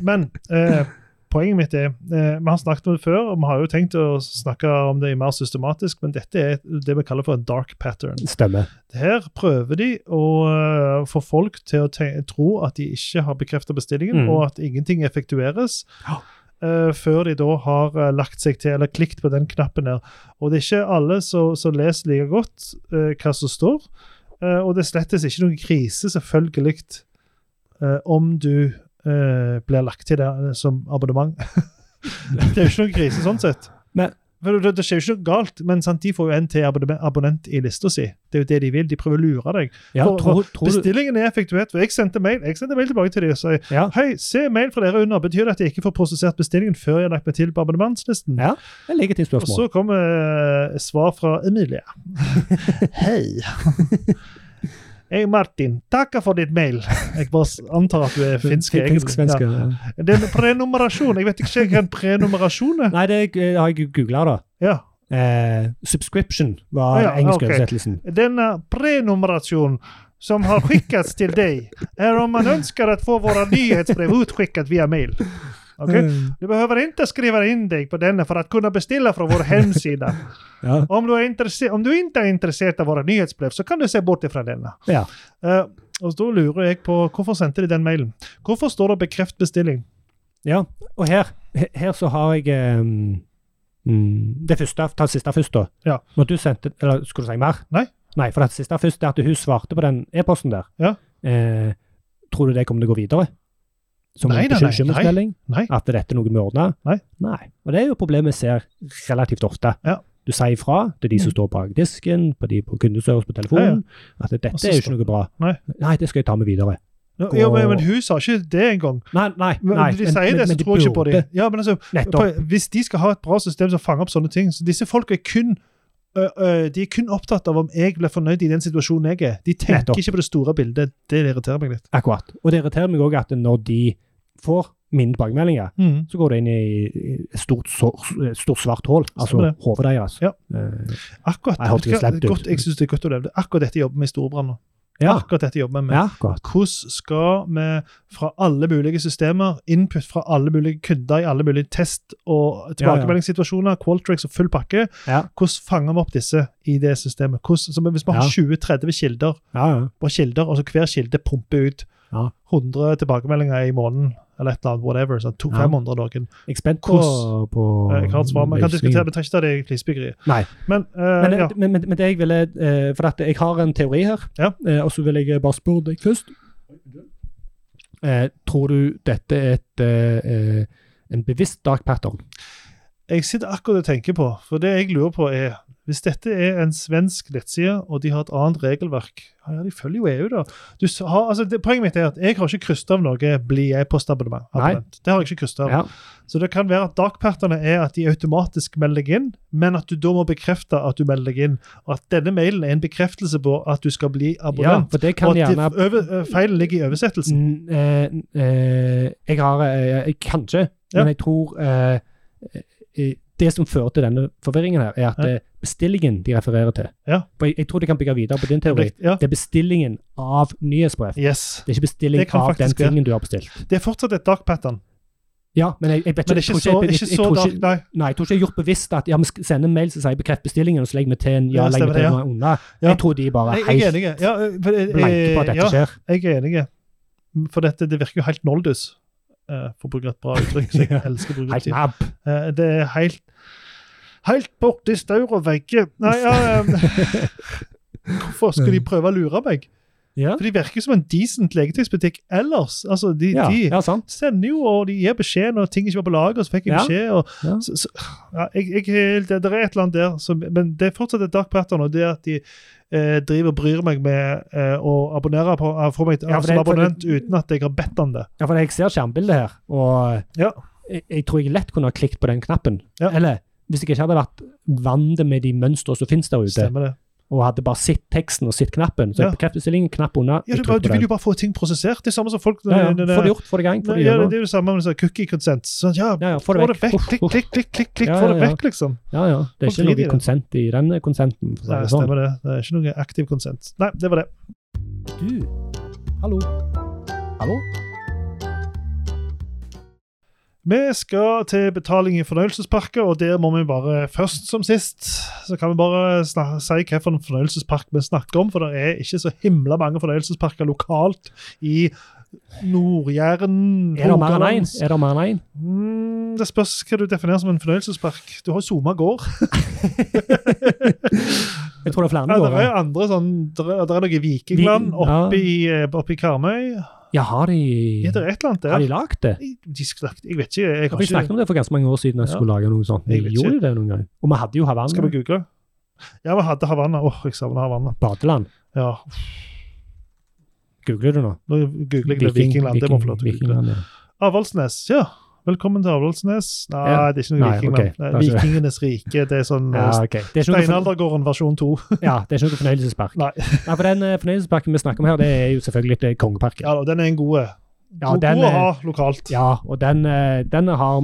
[SPEAKER 2] <laughs> Men eh, poenget mitt er eh, Vi har snakket om det før, og vi har jo tenkt å snakke om det mer systematisk, men dette er det vi kaller for en dark pattern.
[SPEAKER 1] Stemmer.
[SPEAKER 2] Her prøver de å eh, få folk til å te tro at de ikke har bekreftet bestillingen,
[SPEAKER 1] Mm.
[SPEAKER 2] og at ingenting effektueres.
[SPEAKER 1] Ja.
[SPEAKER 2] eh, før de da har eh, lagt seg til eller klikt på den knappen der. Og det er ikke alle som som leser like godt eh, hva som står. Eh, og det slettes ikke noen krise, selvfølgelig, eh, om du eh, blir lagt til det som abonnement. <laughs> det er jo ikke noen krise sånn sett.
[SPEAKER 1] Men-
[SPEAKER 2] For det, det skjer jo ikke noe galt, men sant, de får jo en til abonne- abonnent i lista si. Det er jo det de vil. De prøver å lure deg.
[SPEAKER 1] Ja,
[SPEAKER 2] For-
[SPEAKER 1] tror, tror du
[SPEAKER 2] Bestillingen er effektuert. for Jeg sendte mail jeg sendte mail tilbake til dem og sa
[SPEAKER 1] ja.
[SPEAKER 2] hei, se mail fra dere under. Betyr det at jeg ikke får prosessert bestillingen før jeg har lagt meg til på abonnementslisten?
[SPEAKER 1] Ja. Det er et legitimt
[SPEAKER 2] Og
[SPEAKER 1] spørsmål.
[SPEAKER 2] så kom eh, svar fra
[SPEAKER 1] <laughs>
[SPEAKER 2] Emilie. Hei. Jeg, Martin, takker for ditt mail. Jeg bare s- antar at du er finsk. jeg-
[SPEAKER 1] Finsk-svensk. Ja.
[SPEAKER 2] Ja. Det er en prenumerasjon. Jeg vet ikke hva en prenumerasjon er.
[SPEAKER 1] Nei, det eh, har jeg googla, da.
[SPEAKER 2] Ja.
[SPEAKER 1] Eh, subscription var
[SPEAKER 2] Ah, ja,
[SPEAKER 1] den engelske
[SPEAKER 2] ok.
[SPEAKER 1] oversettelsen.
[SPEAKER 2] Denne prenumerasjon som har skickats til deg, er om man ønsker å få våre nyhetsbrev utskickat via mail. Ok?
[SPEAKER 1] Mm.
[SPEAKER 2] Du behøver ikke skrive inn deg på denne for å kunne bestille fra vår hemsida.
[SPEAKER 1] Ja.
[SPEAKER 2] Om du, er interesse- om du ikke er interessert av våre nyhetsbrev, så kan du se bort fra denne.
[SPEAKER 1] Ja.
[SPEAKER 2] Eh, og da lurer jeg på, Hvorfor sendte de den mailen? Hvorfor står det 'bekreft bestilling'?
[SPEAKER 1] ja. Og her, he- her så har jeg eh, mm, Det første, ta det siste først, da.
[SPEAKER 2] Ja.
[SPEAKER 1] Når du sendte Eller skulle du si mer?
[SPEAKER 2] Nei.
[SPEAKER 1] Nei, for det siste først er at hun svarte på den e-posten der.
[SPEAKER 2] Ja.
[SPEAKER 1] Eh, tror du det kommer til å gå videre? Som
[SPEAKER 2] Nei,
[SPEAKER 1] en
[SPEAKER 2] nei, nei,
[SPEAKER 1] bekymringsmelding?
[SPEAKER 2] nei.
[SPEAKER 1] At dette er noe vi ordner?
[SPEAKER 2] Nei.
[SPEAKER 1] Og det er jo et problem vi ser relativt ofte.
[SPEAKER 2] Ja. Mm.
[SPEAKER 1] Du sier ifra til de som står bak disken, på de på kundeservice på telefonen, at
[SPEAKER 2] Og
[SPEAKER 1] dette
[SPEAKER 2] så
[SPEAKER 1] er jo ikke noe bra.
[SPEAKER 2] Nei.
[SPEAKER 1] det skal jeg ta med videre.
[SPEAKER 2] Nå- Ja, men, men hun sa ikke det engang.
[SPEAKER 1] Nei, nei,
[SPEAKER 2] Men
[SPEAKER 1] nei.
[SPEAKER 2] De sier det, så tror jeg ikke på
[SPEAKER 1] burde
[SPEAKER 2] dem. Ja, men altså,
[SPEAKER 1] Nettopp.
[SPEAKER 2] på- hvis de skal ha et bra system som fanger opp sånne ting så Disse folka er kun ø, ø, de er kun opptatt av om jeg blir fornøyd i den situasjonen jeg er. De tenker
[SPEAKER 1] Nettopp.
[SPEAKER 2] ikke på det store bildet. Det irriterer meg litt.
[SPEAKER 1] Akkurat. Og det irriterer meg òg at når de får mine tilbakemeldinger, så går det inn i et stort, sår- et stort svart hål, altså
[SPEAKER 2] det.
[SPEAKER 1] hodet deres.
[SPEAKER 2] Ja.
[SPEAKER 1] Eh,
[SPEAKER 2] Akkurat,
[SPEAKER 1] I hope
[SPEAKER 2] vet
[SPEAKER 1] you
[SPEAKER 2] du hva?
[SPEAKER 1] slept, dude.
[SPEAKER 2] godt, jeg synes det er godt å leve det. Akkurat dette jobber vi i Storebrand nå.
[SPEAKER 1] Ja.
[SPEAKER 2] Akkurat dette jobber vi med.
[SPEAKER 1] Ja, godt.
[SPEAKER 2] Hvordan skal vi fra alle mulige systemer, input fra alle mulige kunder i alle mulige test- og
[SPEAKER 1] Ja, ja.
[SPEAKER 2] tilbakemeldingssituasjoner, Qualtrics og full pakke,
[SPEAKER 1] Ja.
[SPEAKER 2] hvordan fanger vi opp disse i det systemet? Hvordan, så hvis vi har
[SPEAKER 1] Ja.
[SPEAKER 2] 20-30 kilder,
[SPEAKER 1] Ja, ja.
[SPEAKER 2] bare kilder, altså hver kilde pumper ut
[SPEAKER 1] Ja.
[SPEAKER 2] 100 tilbakemeldinger i måneden, eller et eller annet, whatever, sånn, to-
[SPEAKER 1] Ja.
[SPEAKER 2] 500 noen.
[SPEAKER 1] Jeg er spent på,
[SPEAKER 2] Hvordan-
[SPEAKER 1] på
[SPEAKER 2] Eh, Jeg har et svar, men jeg kan
[SPEAKER 1] løsningen.
[SPEAKER 2] diskutere, vi trenger ikke ta det i flisbyggeriet.
[SPEAKER 1] Nei.
[SPEAKER 2] Men, eh,
[SPEAKER 1] Men,
[SPEAKER 2] ja.
[SPEAKER 1] det- men, men, men det jeg ville eh, For at jeg har en teori her,
[SPEAKER 2] Ja.
[SPEAKER 1] eh, og så vil jeg bare spørre deg først. Eh, tror du dette er et, eh, eh, en bevisst dark pattern?
[SPEAKER 2] Jeg sitter akkurat og tenker på, for det jeg lurer på er Hvis dette er en svensk nettside, og de har et annet regelverk Ja, ja, de følger jo EU, da. Du s- har, altså, det, poenget mitt er at jeg har ikke krysset av noe 'blir jeg postabonnement'.
[SPEAKER 1] Nei.
[SPEAKER 2] abonnent. Det har jeg ikke krysset av.
[SPEAKER 1] Ja.
[SPEAKER 2] Så det kan være at darkpatterne er at de automatisk melder deg inn, men at du da må bekrefte at du melder deg inn. Og at denne mailen er en bekreftelse på at du skal bli
[SPEAKER 1] ja,
[SPEAKER 2] abonnent.
[SPEAKER 1] for det
[SPEAKER 2] og
[SPEAKER 1] kan
[SPEAKER 2] at de-
[SPEAKER 1] gjerne
[SPEAKER 2] over, eh, feilen ligger i oversettelsen.
[SPEAKER 1] N- eh, n- eh, Jeg har eh, jeg- Kanskje,
[SPEAKER 2] Ja.
[SPEAKER 1] men jeg tror eh, eh, det som fører til denne forvirringen, her, er at
[SPEAKER 2] Ja.
[SPEAKER 1] det er bestillingen de refererer til.
[SPEAKER 2] Ja.
[SPEAKER 1] For jeg, jeg tror de kan bygge videre på din teori.
[SPEAKER 2] Ja.
[SPEAKER 1] Det er bestillingen av nyhetsbrev.
[SPEAKER 2] Yes.
[SPEAKER 1] Det er ikke bestilling
[SPEAKER 2] Det kan
[SPEAKER 1] av den
[SPEAKER 2] faktisk være.
[SPEAKER 1] tingen du har bestilt.
[SPEAKER 2] Det er fortsatt et dark pattern,
[SPEAKER 1] Ja, men jeg, jeg vet
[SPEAKER 2] men det er
[SPEAKER 1] jeg
[SPEAKER 2] ikke
[SPEAKER 1] tror
[SPEAKER 2] så,
[SPEAKER 1] jeg- jeg-
[SPEAKER 2] ikke
[SPEAKER 1] jeg
[SPEAKER 2] så
[SPEAKER 1] tror
[SPEAKER 2] dark.
[SPEAKER 1] ikke-
[SPEAKER 2] Nei.
[SPEAKER 1] Nei, jeg tror ikke jeg har gjort bevisst at ja, vi sk- sender en mail som sier 'bekreft bestillingen', og så legger vi til en ja,
[SPEAKER 2] Ja,
[SPEAKER 1] legger vi
[SPEAKER 2] stemmer
[SPEAKER 1] til
[SPEAKER 2] det,
[SPEAKER 1] noe unna.
[SPEAKER 2] Ja.
[SPEAKER 1] Jeg tror de bare
[SPEAKER 2] Jeg, jeg er
[SPEAKER 1] helt
[SPEAKER 2] enig. Ja, eh, for, eh,
[SPEAKER 1] blanke på at dette
[SPEAKER 2] ja,
[SPEAKER 1] skjer.
[SPEAKER 2] jeg er enig. For dette, det virker jo helt noldus, eh, for å bruke et bra uttrykk.
[SPEAKER 1] <laughs>
[SPEAKER 2] Så jeg elsker å bruke
[SPEAKER 1] Helt
[SPEAKER 2] det.
[SPEAKER 1] nab.
[SPEAKER 2] Eh, Det er helt Helt borti staur og vegge. Nei, ja eh,
[SPEAKER 1] <laughs>
[SPEAKER 2] Hvorfor skal de prøve å lure meg?
[SPEAKER 1] Ja.
[SPEAKER 2] For de virker som en decent legetøysbutikk ellers. Altså, de,
[SPEAKER 1] Ja,
[SPEAKER 2] de
[SPEAKER 1] ja, sant.
[SPEAKER 2] sender jo, og de gir beskjed når ting ikke var på lager. Så fikk jeg
[SPEAKER 1] Ja.
[SPEAKER 2] beskjed. Og,
[SPEAKER 1] Ja.
[SPEAKER 2] Så, så, ja, jeg, jeg, det, det er et eller annet der, som, men det er fortsatt et dark pattern. Og det at de eh, driver og bryr meg med eh, å abonnere på, eh, få meg
[SPEAKER 1] Ja, for det-
[SPEAKER 2] som
[SPEAKER 1] for det-
[SPEAKER 2] abonnent uten at jeg har bedt om det.
[SPEAKER 1] Ja, for jeg ser skjermbildet her, og
[SPEAKER 2] Ja.
[SPEAKER 1] jeg, jeg tror jeg lett kunne ha klikket på den knappen.
[SPEAKER 2] Ja.
[SPEAKER 1] Eller hvis jeg ikke hadde vært vant med de mønstrene som finnes der ute,
[SPEAKER 2] Stemmer det.
[SPEAKER 1] og hadde bare sett teksten og sett knappen, så
[SPEAKER 2] Ja.
[SPEAKER 1] jeg bekreft bestillingen, knapp unna,
[SPEAKER 2] Ja,
[SPEAKER 1] jeg
[SPEAKER 2] du, bare,
[SPEAKER 1] trykker
[SPEAKER 2] du
[SPEAKER 1] på
[SPEAKER 2] vil
[SPEAKER 1] den.
[SPEAKER 2] jo bare få ting prosessert. Det er samme som folk
[SPEAKER 1] Ja, ja.
[SPEAKER 2] det- det-
[SPEAKER 1] Få det gjort, få det i gang, få
[SPEAKER 2] Nei,
[SPEAKER 1] det
[SPEAKER 2] ja,
[SPEAKER 1] gjennom.
[SPEAKER 2] det er jo det samme med sånn cookie consent. Sånn, ja,
[SPEAKER 1] Ja, ja, få det
[SPEAKER 2] få det
[SPEAKER 1] vekk.
[SPEAKER 2] vekk.
[SPEAKER 1] Uff,
[SPEAKER 2] Klikk,
[SPEAKER 1] uff.
[SPEAKER 2] klikk, klikk, klikk, klikk,
[SPEAKER 1] Ja,
[SPEAKER 2] få
[SPEAKER 1] ja,
[SPEAKER 2] det
[SPEAKER 1] ja.
[SPEAKER 2] vekk, liksom.
[SPEAKER 1] Ja, ja. Det er
[SPEAKER 2] Hvorfor
[SPEAKER 1] ikke
[SPEAKER 2] gir de
[SPEAKER 1] noe
[SPEAKER 2] det?
[SPEAKER 1] konsent i den konsenten. For å si
[SPEAKER 2] Nei,
[SPEAKER 1] det sånn.
[SPEAKER 2] stemmer det. Det er ikke noe aktiv konsent. Nei, det var det.
[SPEAKER 1] Du, hallo. Hallo?
[SPEAKER 2] Vi skal til betaling i fornøyelsesparker, og der må vi bare først som sist så kan vi bare sna- si hvilken fornøyelsespark vi snakker om, for det er ikke så himla mange fornøyelsesparker lokalt i Nord-Jæren.
[SPEAKER 1] Er det mer enn én?
[SPEAKER 2] Rogaland.
[SPEAKER 1] Er det mer enn én?
[SPEAKER 2] Mm, det spørs hva du definerer som en fornøyelsespark. Du har Soma gård.
[SPEAKER 1] Jeg tror det er flere
[SPEAKER 2] Ja,
[SPEAKER 1] enn
[SPEAKER 2] det er
[SPEAKER 1] våre.
[SPEAKER 2] jo andre sånn Det er, der er noe Vikingland
[SPEAKER 1] Vi-
[SPEAKER 2] oppe, i, eh, oppe i Karmøy.
[SPEAKER 1] Ja, har
[SPEAKER 2] Er det
[SPEAKER 1] de,
[SPEAKER 2] et eller annet der?
[SPEAKER 1] har de lagd det?
[SPEAKER 2] Jeg, de skulle- jeg vet ikke. Jeg har
[SPEAKER 1] Vi snakket
[SPEAKER 2] ikke
[SPEAKER 1] om det for ganske mange år siden, at jeg
[SPEAKER 2] Ja.
[SPEAKER 1] skulle lage noe sånt. Vi
[SPEAKER 2] Jeg vet
[SPEAKER 1] gjorde det noen gang. Og vi hadde jo
[SPEAKER 2] Skal vi
[SPEAKER 1] Havanna.
[SPEAKER 2] google? Ja, vi hadde Havanna. Åh, jeg savner Havanna.
[SPEAKER 1] Badeland.
[SPEAKER 2] Ja,
[SPEAKER 1] Googler du nå?
[SPEAKER 2] nå googler jeg det Vikingland. Det må jeg få lov til å google.
[SPEAKER 1] Vikingland, ja.
[SPEAKER 2] Avaldsnes, ja. Velkommen til Avaldsnes. Nei,
[SPEAKER 1] Ja.
[SPEAKER 2] det er ikke noe
[SPEAKER 1] Nei,
[SPEAKER 2] Vikingland.
[SPEAKER 1] ok.
[SPEAKER 2] Nei,
[SPEAKER 1] Da ser jeg.
[SPEAKER 2] Vikingenes rike. Det er sånn
[SPEAKER 1] <laughs> Ja,
[SPEAKER 2] eh,
[SPEAKER 1] ok. Det er ikke noe for-
[SPEAKER 2] Steinaldergården versjon 2.
[SPEAKER 1] ja, det er ikke noe fornøyelsespark.
[SPEAKER 2] Nei.
[SPEAKER 1] Nei, for den eh, fornøyelsesparken vi snakker om her, det er jo selvfølgelig eh, Kongeparken.
[SPEAKER 2] Ja, og den er en god eh,
[SPEAKER 1] Ja,
[SPEAKER 2] god-
[SPEAKER 1] den
[SPEAKER 2] god å
[SPEAKER 1] er-
[SPEAKER 2] ha lokalt.
[SPEAKER 1] Ja, og den, eh, den, har,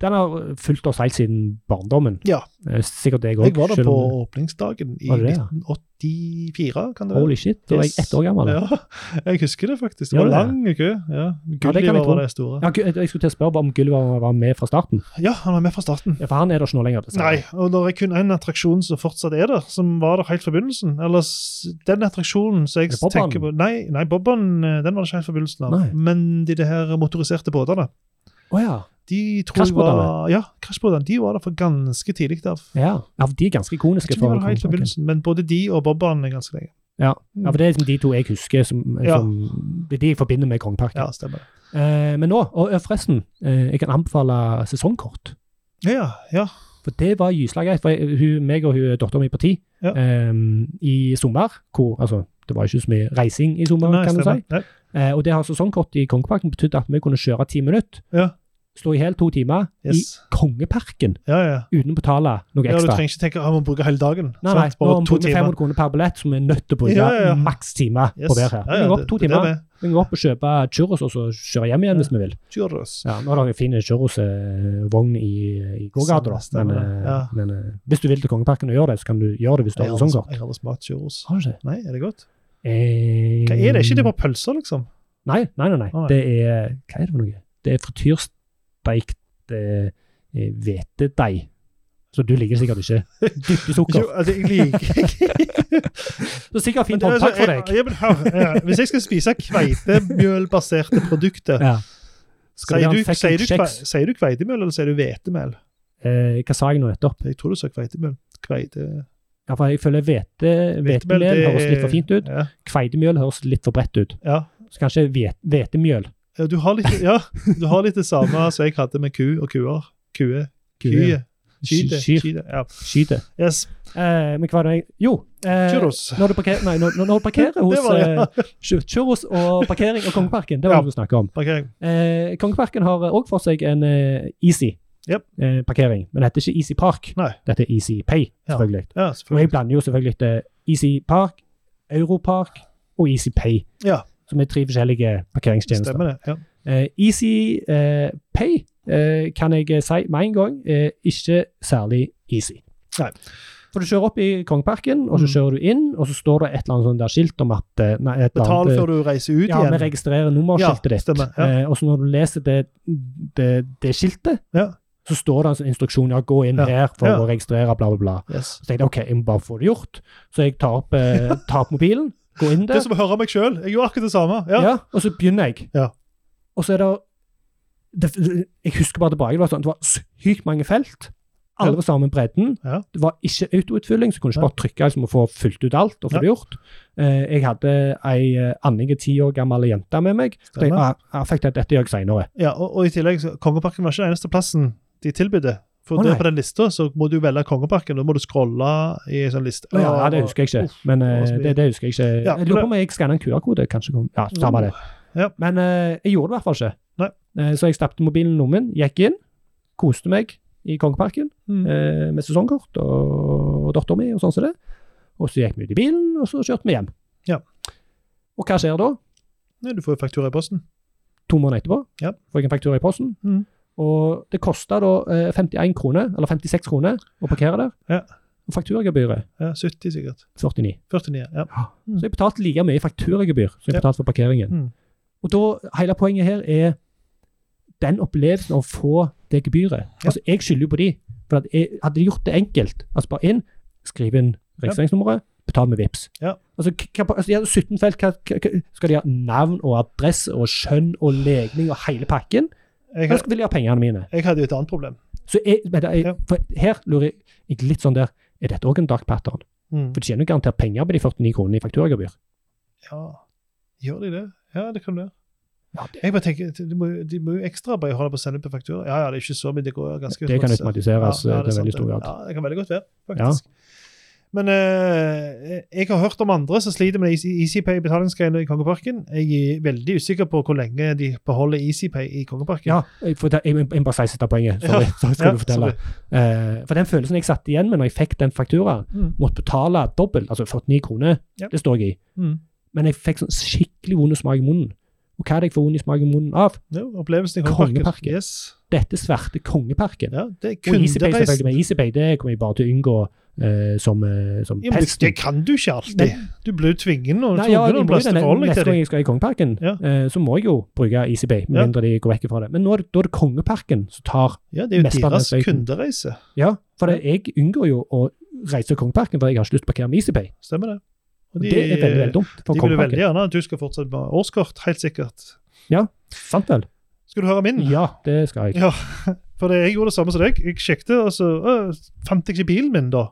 [SPEAKER 1] den har fulgt oss helt siden barndommen.
[SPEAKER 2] Ja.
[SPEAKER 1] Eh, Sikkert deg òg.
[SPEAKER 2] Jeg var der på åpningsdagen i
[SPEAKER 1] Var det det, ja?
[SPEAKER 2] 1984, kan det være.
[SPEAKER 1] Holy shit, da var jeg
[SPEAKER 2] Yes.
[SPEAKER 1] ett år gammel. Ja.
[SPEAKER 2] Ja, jeg husker det faktisk. Det
[SPEAKER 1] Ja,
[SPEAKER 2] var
[SPEAKER 1] det er.
[SPEAKER 2] lang kø. Ja,
[SPEAKER 1] kan jeg
[SPEAKER 2] Gulliver
[SPEAKER 1] tro.
[SPEAKER 2] var det store.
[SPEAKER 1] Gu- jeg skulle til å spørre bare om Gulliver var med fra starten.
[SPEAKER 2] Ja, han var med fra starten.
[SPEAKER 1] Ja, For han er det ikke nå lenger.
[SPEAKER 2] Nei,
[SPEAKER 1] dessverre.
[SPEAKER 2] og det er kun én attraksjon som fortsatt er der, som var der helt fra begynnelsen. Ellers, den attraksjonen som jeg
[SPEAKER 1] Er det Bob-banen?
[SPEAKER 2] tenker på Nei, nei Bobban eh, den var det ikke helt fra begynnelsen av.
[SPEAKER 1] Nei.
[SPEAKER 2] Men de, de her motoriserte båtene
[SPEAKER 1] Å ja.
[SPEAKER 2] de tror jeg var,
[SPEAKER 1] Krasjbåtene?
[SPEAKER 2] ja, krasjbåtene de var der for ganske tidlig. Der.
[SPEAKER 1] ja. Ja, for De er ganske
[SPEAKER 2] Jeg
[SPEAKER 1] ikoniske.
[SPEAKER 2] tror de var der helt fra
[SPEAKER 1] Kongeparken.
[SPEAKER 2] begynnelsen, men både de og Bobban er ganske lenge.
[SPEAKER 1] ja, for Det er liksom de to jeg husker som, eh,
[SPEAKER 2] Ja.
[SPEAKER 1] som Det er de jeg forbinder med Kongeparken.
[SPEAKER 2] Ja, stemmer det.
[SPEAKER 1] Eh, men nå, og eh, forresten, eh, jeg kan anbefale sesongkort.
[SPEAKER 2] Ja, ja.
[SPEAKER 1] For det var gyselig greit. For jeg, hun, meg og hun, dattera mi på ti
[SPEAKER 2] Ja.
[SPEAKER 1] eh, i sommer hvor, altså, Det var jo ikke så mye reising i sommer,
[SPEAKER 2] Nei,
[SPEAKER 1] kan du si.
[SPEAKER 2] stemmer. Nei.
[SPEAKER 1] Eh, og det har sesongkort i Kongeparken betydd at vi kunne kjøre ti minutter.
[SPEAKER 2] Ja.
[SPEAKER 1] Stå i hel to timer
[SPEAKER 2] Yes.
[SPEAKER 1] i Kongeparken
[SPEAKER 2] Ja, ja.
[SPEAKER 1] uten å betale noe
[SPEAKER 2] Ja, du
[SPEAKER 1] ekstra.
[SPEAKER 2] trenger ikke tenke at man bruker hele dagen.
[SPEAKER 1] nei, nei,
[SPEAKER 2] sant?
[SPEAKER 1] nå
[SPEAKER 2] Bare
[SPEAKER 1] har vi
[SPEAKER 2] Sånn, to
[SPEAKER 1] brukt
[SPEAKER 2] timer.
[SPEAKER 1] 500 kroner per billett, så vi er nødt til å bruke
[SPEAKER 2] Ja, ja, ja.
[SPEAKER 1] maks timer
[SPEAKER 2] Yes.
[SPEAKER 1] på hver her.
[SPEAKER 2] Ja, ja,
[SPEAKER 1] vi går opp
[SPEAKER 2] det-
[SPEAKER 1] to
[SPEAKER 2] det er
[SPEAKER 1] timer,
[SPEAKER 2] det.
[SPEAKER 1] vi går opp og kjøper churros, og så kjøre hjem igjen hvis vi vil.
[SPEAKER 2] Churros.
[SPEAKER 1] Ja, nå har dere fin churros-vogn i, eh, i gågata, da.
[SPEAKER 2] Stemmer, stemmer
[SPEAKER 1] Men,
[SPEAKER 2] det.
[SPEAKER 1] eh,
[SPEAKER 2] Ja.
[SPEAKER 1] men eh, hvis du vil til Kongeparken og gjøre det, så kan du gjøre det hvis du
[SPEAKER 2] Jeg
[SPEAKER 1] har
[SPEAKER 2] har
[SPEAKER 1] sesongkort.
[SPEAKER 2] aldri- Jeg altså. har aldri smakt churros.
[SPEAKER 1] Har du ikke?
[SPEAKER 2] Nei, er det godt? Hva er det? Er ikke det bare pølser, liksom?
[SPEAKER 1] Eh, Nei, nei, nei. nei.
[SPEAKER 2] Å, nei.
[SPEAKER 1] Det er Hva er det for noe? Det er frityrsteikt eh, eh, hvetedeig. Så du liker sikkert ikke
[SPEAKER 2] <laughs>
[SPEAKER 1] dypt i
[SPEAKER 2] Ikke,
[SPEAKER 1] sukker.
[SPEAKER 2] altså, jeg
[SPEAKER 1] <laughs>
[SPEAKER 2] liker
[SPEAKER 1] Så sikkert fint
[SPEAKER 2] Men det er
[SPEAKER 1] håndtak
[SPEAKER 2] altså-
[SPEAKER 1] for deg.
[SPEAKER 2] Ja, men hør, ja. Hvis jeg skal spise kveitemjølbaserte produkter,
[SPEAKER 1] Ja. Skal
[SPEAKER 2] sier
[SPEAKER 1] vi ha
[SPEAKER 2] du,
[SPEAKER 1] en fucking
[SPEAKER 2] sier, du kve,
[SPEAKER 1] kjeks?
[SPEAKER 2] sier du kveitemjøl, eller sier du hvetemel?
[SPEAKER 1] Eh, hva sa jeg nå nettopp?
[SPEAKER 2] Jeg tror du sa kveitemjøl. Kveite...
[SPEAKER 1] Ja, for jeg føler hvete,
[SPEAKER 2] Hvetemel,
[SPEAKER 1] hvetemel
[SPEAKER 2] det er-
[SPEAKER 1] høres litt for fint ut.
[SPEAKER 2] Ja.
[SPEAKER 1] Kveitemjøl høres litt for bredt ut.
[SPEAKER 2] ja.
[SPEAKER 1] Så kanskje hvet, hvetemjøl.
[SPEAKER 2] Ja, Du har litt, ja, du har litt det samme som jeg hadde med ku og kuer. Kue. Kye. Kyde.
[SPEAKER 1] Kyr.
[SPEAKER 2] Kyde. Ja.
[SPEAKER 1] Skyter.
[SPEAKER 2] Yes.
[SPEAKER 1] Eh, men hva var det jeg Jo. Eh,
[SPEAKER 2] Churros.
[SPEAKER 1] når du parkerer, nei, når, når du parkerer
[SPEAKER 2] <laughs>
[SPEAKER 1] hos
[SPEAKER 2] Det var det, ja.
[SPEAKER 1] eh, Churros og parkering og Kongeparken, det var
[SPEAKER 2] Ja.
[SPEAKER 1] det du snakket om.
[SPEAKER 2] Parkering.
[SPEAKER 1] Eh, Kongeparken har òg for seg en eh, Easy
[SPEAKER 2] Yep.
[SPEAKER 1] eh, parkering, men det heter ikke Easy Park.
[SPEAKER 2] Nei.
[SPEAKER 1] Dette er Easy Pay,
[SPEAKER 2] Ja.
[SPEAKER 1] selvfølgelig.
[SPEAKER 2] Ja,
[SPEAKER 1] Og jeg
[SPEAKER 2] selvfølgelig.
[SPEAKER 1] blander jo selvfølgelig til Easy Park, Europark og Easy Pay,
[SPEAKER 2] Ja.
[SPEAKER 1] som er tre forskjellige parkeringstjenester.
[SPEAKER 2] Stemmer det. Ja.
[SPEAKER 1] Eh, Easy eh, Pay eh, kan jeg si med en gang er ikke særlig easy.
[SPEAKER 2] Nei.
[SPEAKER 1] For du kjører opp i Kongeparken, og så
[SPEAKER 2] Mm.
[SPEAKER 1] kjører du inn, og så står det et eller annet sånt der skilt om at eh, nei, et eller
[SPEAKER 2] Betal
[SPEAKER 1] annet, eh,
[SPEAKER 2] før du reiser ut
[SPEAKER 1] ja, vi
[SPEAKER 2] igjen.
[SPEAKER 1] registrerer nummerskiltet
[SPEAKER 2] Ja,
[SPEAKER 1] ditt.
[SPEAKER 2] stemmer, ja.
[SPEAKER 1] Eh, og så når du leser det, det, det skiltet,
[SPEAKER 2] Ja.
[SPEAKER 1] så står det altså instruksjoner. Gå inn
[SPEAKER 2] Ja,
[SPEAKER 1] her for
[SPEAKER 2] ja.
[SPEAKER 1] å registrere, bla, bla, bla.
[SPEAKER 2] Yes.
[SPEAKER 1] Så tenkte jeg OK, jeg må bare få det gjort. Så jeg tar opp, eh,
[SPEAKER 2] <laughs>
[SPEAKER 1] tar opp mobilen, går inn
[SPEAKER 2] Det er
[SPEAKER 1] der,
[SPEAKER 2] som å høre meg sjøl. Jeg gjorde akkurat det samme. Ja.
[SPEAKER 1] ja, og så begynner jeg.
[SPEAKER 2] Ja.
[SPEAKER 1] Og så er det, det Jeg husker bare tilbake. Det var, sånn, det var sykt mange felt. Alle
[SPEAKER 2] Ja.
[SPEAKER 1] var sammen bredden.
[SPEAKER 2] Ja.
[SPEAKER 1] Det var ikke autoutfylling, så kunne du ikke
[SPEAKER 2] Ja.
[SPEAKER 1] bare trykke liksom, og få fylt ut alt. og få
[SPEAKER 2] Ja.
[SPEAKER 1] det gjort. Eh, jeg hadde ei eh, anninge ti år gammel jente med meg. Så jeg,
[SPEAKER 2] Stemmer.
[SPEAKER 1] ah, jeg fikk det, dette gjør jeg seinere.
[SPEAKER 2] Ja, og, og i tillegg, så- Kongeparken var ikke den eneste plassen de tilbydde. For
[SPEAKER 1] Å,
[SPEAKER 2] der
[SPEAKER 1] nei.
[SPEAKER 2] på den lista så må du velge Kongeparken. Da må du scrolle i en sånn liste.
[SPEAKER 1] Ja, ja, det husker jeg ikke. Men eh,
[SPEAKER 2] det var så mye.
[SPEAKER 1] det, det husker jeg ikke.
[SPEAKER 2] Ja,
[SPEAKER 1] jeg lurer
[SPEAKER 2] men-
[SPEAKER 1] på
[SPEAKER 2] Mm.
[SPEAKER 1] om jeg skanna en QR-kode. kanskje. kom- Ja, samme det.
[SPEAKER 2] Ja.
[SPEAKER 1] Men eh, jeg gjorde det i hvert fall ikke.
[SPEAKER 2] Nei.
[SPEAKER 1] Eh, så jeg stappet mobilen i lommen, gikk inn, koste meg i Kongeparken.
[SPEAKER 2] Mm.
[SPEAKER 1] eh, med sesongkort og dattera mi og sånn som det. Og så gikk vi ut i bilen, og så kjørte vi hjem.
[SPEAKER 2] Ja.
[SPEAKER 1] Og hva skjer da?
[SPEAKER 2] Nei, du får jo faktura i posten.
[SPEAKER 1] To måneder etterpå
[SPEAKER 2] Ja.
[SPEAKER 1] får jeg en faktura i posten.
[SPEAKER 2] Mhm.
[SPEAKER 1] Og det kosta da eh, 51 kroner, eller 56 kroner, å parkere der.
[SPEAKER 2] Ja.
[SPEAKER 1] Og fakturagebyret
[SPEAKER 2] Ja, 70 sikkert.
[SPEAKER 1] 49.
[SPEAKER 2] 49. ja. Mhm.
[SPEAKER 1] Så jeg betalte like mye i fakturagebyr som jeg
[SPEAKER 2] Ja.
[SPEAKER 1] betalte for parkeringen.
[SPEAKER 2] Mhm.
[SPEAKER 1] Og da, hele poenget her er den opplevelsen av å få det gebyret.
[SPEAKER 2] Ja.
[SPEAKER 1] Altså, jeg skylder jo på de. For at jeg, hadde de gjort det enkelt, altså bare inn, skriv inn registreringsnummeret, betal med VIPs.
[SPEAKER 2] Ja.
[SPEAKER 1] Altså, k- hva, altså, de hadde 17 felt, hva, hva, hva- skal de ha navn og adresse og skjønn og legning og hele pakken?
[SPEAKER 2] Jeg,
[SPEAKER 1] Eller skal- vil de ha pengene mine?
[SPEAKER 2] jeg hadde jo et annet problem.
[SPEAKER 1] Så jeg, men det er-
[SPEAKER 2] Ja.
[SPEAKER 1] for her lurer jeg- jeg litt sånn der, er dette også en dark pattern?
[SPEAKER 2] Mm.
[SPEAKER 1] For de tjener jo garantert penger på de 49 kronene i fakturagebyr.
[SPEAKER 2] Ja, gjør de det? Ja, det kan du gjøre.
[SPEAKER 1] Ja, det,
[SPEAKER 2] Jeg bare tenker, De må, jo- de må jo ekstraarbeide holde på å sende på faktura. Ja, ja, det er ikke så mye, det går ganske
[SPEAKER 1] det kan
[SPEAKER 2] automatisk.
[SPEAKER 1] automatiseres eh,
[SPEAKER 2] det er
[SPEAKER 1] til
[SPEAKER 2] sant
[SPEAKER 1] veldig
[SPEAKER 2] det.
[SPEAKER 1] stor grad.
[SPEAKER 2] Ja, det kan veldig godt være, faktisk. Men eh, jeg har hørt om andre som sliter med Easy- EasyPay-betalingsgreiene i Kongeparken. Jeg er veldig usikker på hvor lenge de beholder EasyPay i Kongeparken.
[SPEAKER 1] Ja, for det, jeg, jeg, jeg må bare si dette poenget. Sorry, så skal du fortelle. Eh, for den følelsen jeg satt igjen med når jeg fikk den fakturaen,
[SPEAKER 2] Mm.
[SPEAKER 1] måtte betale dobbelt, altså 49 kroner,
[SPEAKER 2] Ja.
[SPEAKER 1] det står jeg i,
[SPEAKER 2] Mm.
[SPEAKER 1] men jeg fikk sånn skikkelig vond smak i munnen. Og hva er det jeg får vond i smak i munnen av?
[SPEAKER 2] Ja, opplevelsen i Kongeparken.
[SPEAKER 1] Kongeparken.
[SPEAKER 2] Yes.
[SPEAKER 1] Dette svarte kongeparken.
[SPEAKER 2] Ja, det er
[SPEAKER 1] Og Easypay selvfølgelig,
[SPEAKER 2] kundereisen.
[SPEAKER 1] men Easypay det kommer jeg bare til å unngå eh, som, eh, som
[SPEAKER 2] Ja, men det-
[SPEAKER 1] pesten.
[SPEAKER 2] det kan du ikke alltid. Du blir jo tvingen og
[SPEAKER 1] Nei, ja,
[SPEAKER 2] tvungen
[SPEAKER 1] jeg
[SPEAKER 2] noen
[SPEAKER 1] må jo
[SPEAKER 2] plasser
[SPEAKER 1] det.
[SPEAKER 2] til å forholde deg
[SPEAKER 1] Neste
[SPEAKER 2] til
[SPEAKER 1] gang
[SPEAKER 2] det.
[SPEAKER 1] jeg skal i Kongeparken,
[SPEAKER 2] Ja.
[SPEAKER 1] eh, så må jeg jo bruke Easypay, med
[SPEAKER 2] Ja.
[SPEAKER 1] mindre de går vekk fra det. Men nå er det, da er det Kongeparken som tar
[SPEAKER 2] Ja, det er
[SPEAKER 1] Mest
[SPEAKER 2] jo
[SPEAKER 1] av
[SPEAKER 2] deres
[SPEAKER 1] den støyten.
[SPEAKER 2] kundereise.
[SPEAKER 1] Ja, for det, jeg unngår jo å reise til Kongeparken, for jeg har ikke lyst til å parkere med Easypay.
[SPEAKER 2] Stemmer det. Og
[SPEAKER 1] Det er veldig, veldig dumt. for
[SPEAKER 2] de vil jo veldig
[SPEAKER 1] Kongeparken.
[SPEAKER 2] gjerne at du skal fortsette med årskort, helt sikkert.
[SPEAKER 1] Sant vel?
[SPEAKER 2] Mm. Skal du høre min?
[SPEAKER 1] Ja, det skal jeg.
[SPEAKER 2] Ja, <laughs> for det- jeg gjorde det samme som deg. Jeg sjekket, og så øh, fant jeg ikke bilen min, da.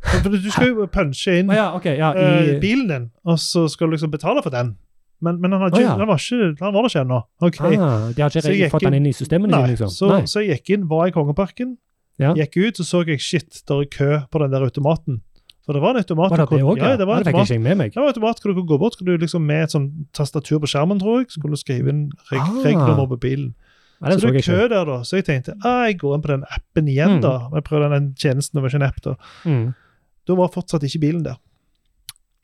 [SPEAKER 2] For for du skal jo punche inn
[SPEAKER 1] Å ja, ok. Ja, i,
[SPEAKER 2] øh, bilen din, og så skal du liksom betale for den. Men, men han, hadde
[SPEAKER 1] Å
[SPEAKER 2] ikke,
[SPEAKER 1] ja.
[SPEAKER 2] han, var ikke, han var der ikke ennå. Ok.
[SPEAKER 1] ah, de har ikke
[SPEAKER 2] Så jeg
[SPEAKER 1] redd- fått
[SPEAKER 2] gikk
[SPEAKER 1] den inn i systemene
[SPEAKER 2] Nei,
[SPEAKER 1] sine, liksom?
[SPEAKER 2] så,
[SPEAKER 1] Nei.
[SPEAKER 2] så jeg gikk inn, var i Kongeparken,
[SPEAKER 1] Ja.
[SPEAKER 2] gikk ut, så så jeg shit, der er kø på den der automaten. For det var en automat.
[SPEAKER 1] Var det
[SPEAKER 2] du kunne-
[SPEAKER 1] det òg?
[SPEAKER 2] Ja, det var en
[SPEAKER 1] det fikk
[SPEAKER 2] automat.
[SPEAKER 1] jeg ikke med meg.
[SPEAKER 2] Det var en automat hvor du kunne gå bort, skulle du liksom med et sånn tastatur på skjermen, tror jeg, så kunne du skrive inn reg
[SPEAKER 1] Ah.
[SPEAKER 2] regnummer på bilen.
[SPEAKER 1] Nei, den
[SPEAKER 2] så
[SPEAKER 1] så
[SPEAKER 2] det er
[SPEAKER 1] jeg
[SPEAKER 2] kø
[SPEAKER 1] ikke.
[SPEAKER 2] der, da. Så jeg tenkte ah, jeg går inn på den appen igjen,
[SPEAKER 1] Mm.
[SPEAKER 2] da. Jeg prøver den tjenesten, det var ikke en app, da.
[SPEAKER 1] Mm.
[SPEAKER 2] Da var fortsatt ikke bilen der.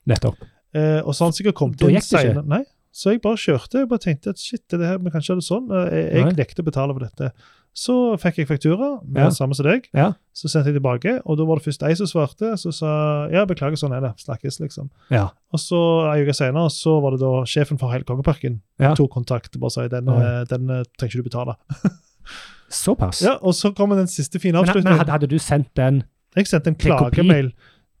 [SPEAKER 1] Nettopp.
[SPEAKER 2] Eh, og så han sikkert kom
[SPEAKER 1] Da
[SPEAKER 2] til
[SPEAKER 1] gikk det ikke?
[SPEAKER 2] Nei. Så jeg bare kjørte. Jeg bare tenkte at shit, er det her, vi kan ikke ha det sånn. Eh, Jeg,
[SPEAKER 1] Nei.
[SPEAKER 2] jeg nekter å betale for dette. Så fikk jeg faktura, vi var
[SPEAKER 1] Ja.
[SPEAKER 2] samme som deg.
[SPEAKER 1] Ja.
[SPEAKER 2] Så sendte jeg tilbake, og da var det først ei som svarte. Så sa ja, beklager, sånn er det. Snakkes, liksom.
[SPEAKER 1] Ja.
[SPEAKER 2] Og så ei uke senere så var det da sjefen for hele Kongeparken
[SPEAKER 1] Ja.
[SPEAKER 2] tok kontakt og bare sa den,
[SPEAKER 1] Ja.
[SPEAKER 2] eh, den eh, trenger ikke du betale.
[SPEAKER 1] Såpass.
[SPEAKER 2] Ja, Og så kommer den siste fine
[SPEAKER 1] men, men
[SPEAKER 2] avslutningen.
[SPEAKER 1] hadde, hadde du sendt den
[SPEAKER 2] Jeg sendte en
[SPEAKER 1] til kopi
[SPEAKER 2] klagemail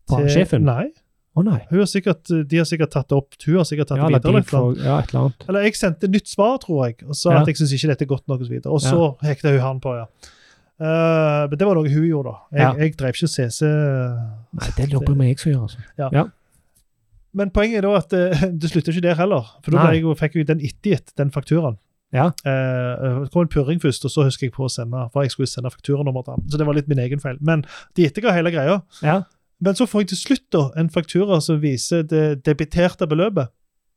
[SPEAKER 1] fra sjefen?
[SPEAKER 2] Nei,
[SPEAKER 1] Å nei.
[SPEAKER 2] hun har sikkert, de har sikkert tatt det opp. Hun har sikkert tatt
[SPEAKER 1] Ja,
[SPEAKER 2] det videre. eller
[SPEAKER 1] eller de
[SPEAKER 2] et eller annet.
[SPEAKER 1] får, ja, et eller annet.
[SPEAKER 2] Eller jeg sendte nytt svar, tror jeg, og sa
[SPEAKER 1] Ja.
[SPEAKER 2] at jeg syns ikke dette er godt nok. Og så, videre. og så hekta hun han på, ja. Eh, men det var noe hun gjorde, da. Jeg,
[SPEAKER 1] Ja.
[SPEAKER 2] jeg drev ikke CC.
[SPEAKER 1] Nei, det jobber vi jeg som gjør, altså.
[SPEAKER 2] Men poenget er da at eh, <laughs> det slutter ikke der heller. For da
[SPEAKER 1] Nei.
[SPEAKER 2] ble jeg, jo- fikk jeg jo den ettergitt, den fakturaen.
[SPEAKER 1] Ja.
[SPEAKER 2] Eh, det kom en purring først, og så husker jeg på å sende for jeg skulle sende fakturanummer til ham. Så det var litt min egen feil. Men de etterga hele greia.
[SPEAKER 1] Ja.
[SPEAKER 2] Men så får jeg til slutt da en faktura som viser det debiterte beløpet.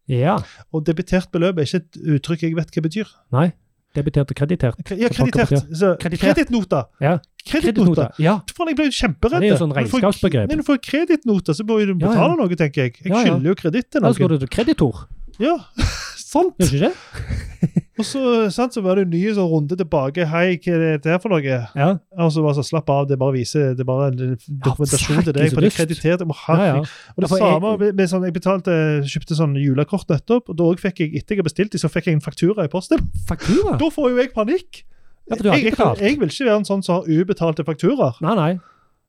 [SPEAKER 1] ja.
[SPEAKER 2] Og debitert beløp er ikke et uttrykk jeg vet hva betyr.
[SPEAKER 1] Nei. Debitert og kreditert.
[SPEAKER 2] Kre- Ja,
[SPEAKER 1] Hva faen
[SPEAKER 2] kreditert. Så,
[SPEAKER 1] Kreditert.
[SPEAKER 2] kredittnota.
[SPEAKER 1] Ja.
[SPEAKER 2] Kredittnota.
[SPEAKER 1] Ja.
[SPEAKER 2] Faen, jeg ble jo kjemperedd.
[SPEAKER 1] Det er jo sånn
[SPEAKER 2] Når du får-
[SPEAKER 1] regnskapsbegrep.
[SPEAKER 2] Nei, Når du får kredittnota, så må jo du
[SPEAKER 1] Ja,
[SPEAKER 2] betale
[SPEAKER 1] ja.
[SPEAKER 2] noe, tenker jeg. Jeg
[SPEAKER 1] Ja, ja.
[SPEAKER 2] skylder jo kreditt til
[SPEAKER 1] Da skal
[SPEAKER 2] noen.
[SPEAKER 1] du til kreditor,
[SPEAKER 2] Ja, <laughs> sant.
[SPEAKER 1] gjør du ikke det?
[SPEAKER 2] Og så, sant, så var det en ny sånn runde tilbake. Hei, hva er det her for noe?
[SPEAKER 1] Ja.
[SPEAKER 2] Og så bare så slapp av, det bare viser det er bare en dokumentasjon til deg.
[SPEAKER 1] så
[SPEAKER 2] For det er
[SPEAKER 1] lyst.
[SPEAKER 2] kreditert. Å,
[SPEAKER 1] Ja,
[SPEAKER 2] herregud.
[SPEAKER 1] ja.
[SPEAKER 2] Og det
[SPEAKER 1] Ja, for jeg-
[SPEAKER 2] samme med, med sånn, Jeg betalte, kjøpte sånn julekort nettopp, og da også fikk jeg etter jeg bestilte, så fikk jeg en faktura i posten.
[SPEAKER 1] Faktura?
[SPEAKER 2] Da får jo jeg panikk!
[SPEAKER 1] Ah. Ja, for du har
[SPEAKER 2] jeg,
[SPEAKER 1] ikke
[SPEAKER 2] jeg,
[SPEAKER 1] betalt.
[SPEAKER 2] jeg vil ikke være en sånn som har ubetalte fakturaer.
[SPEAKER 1] Nei, nei.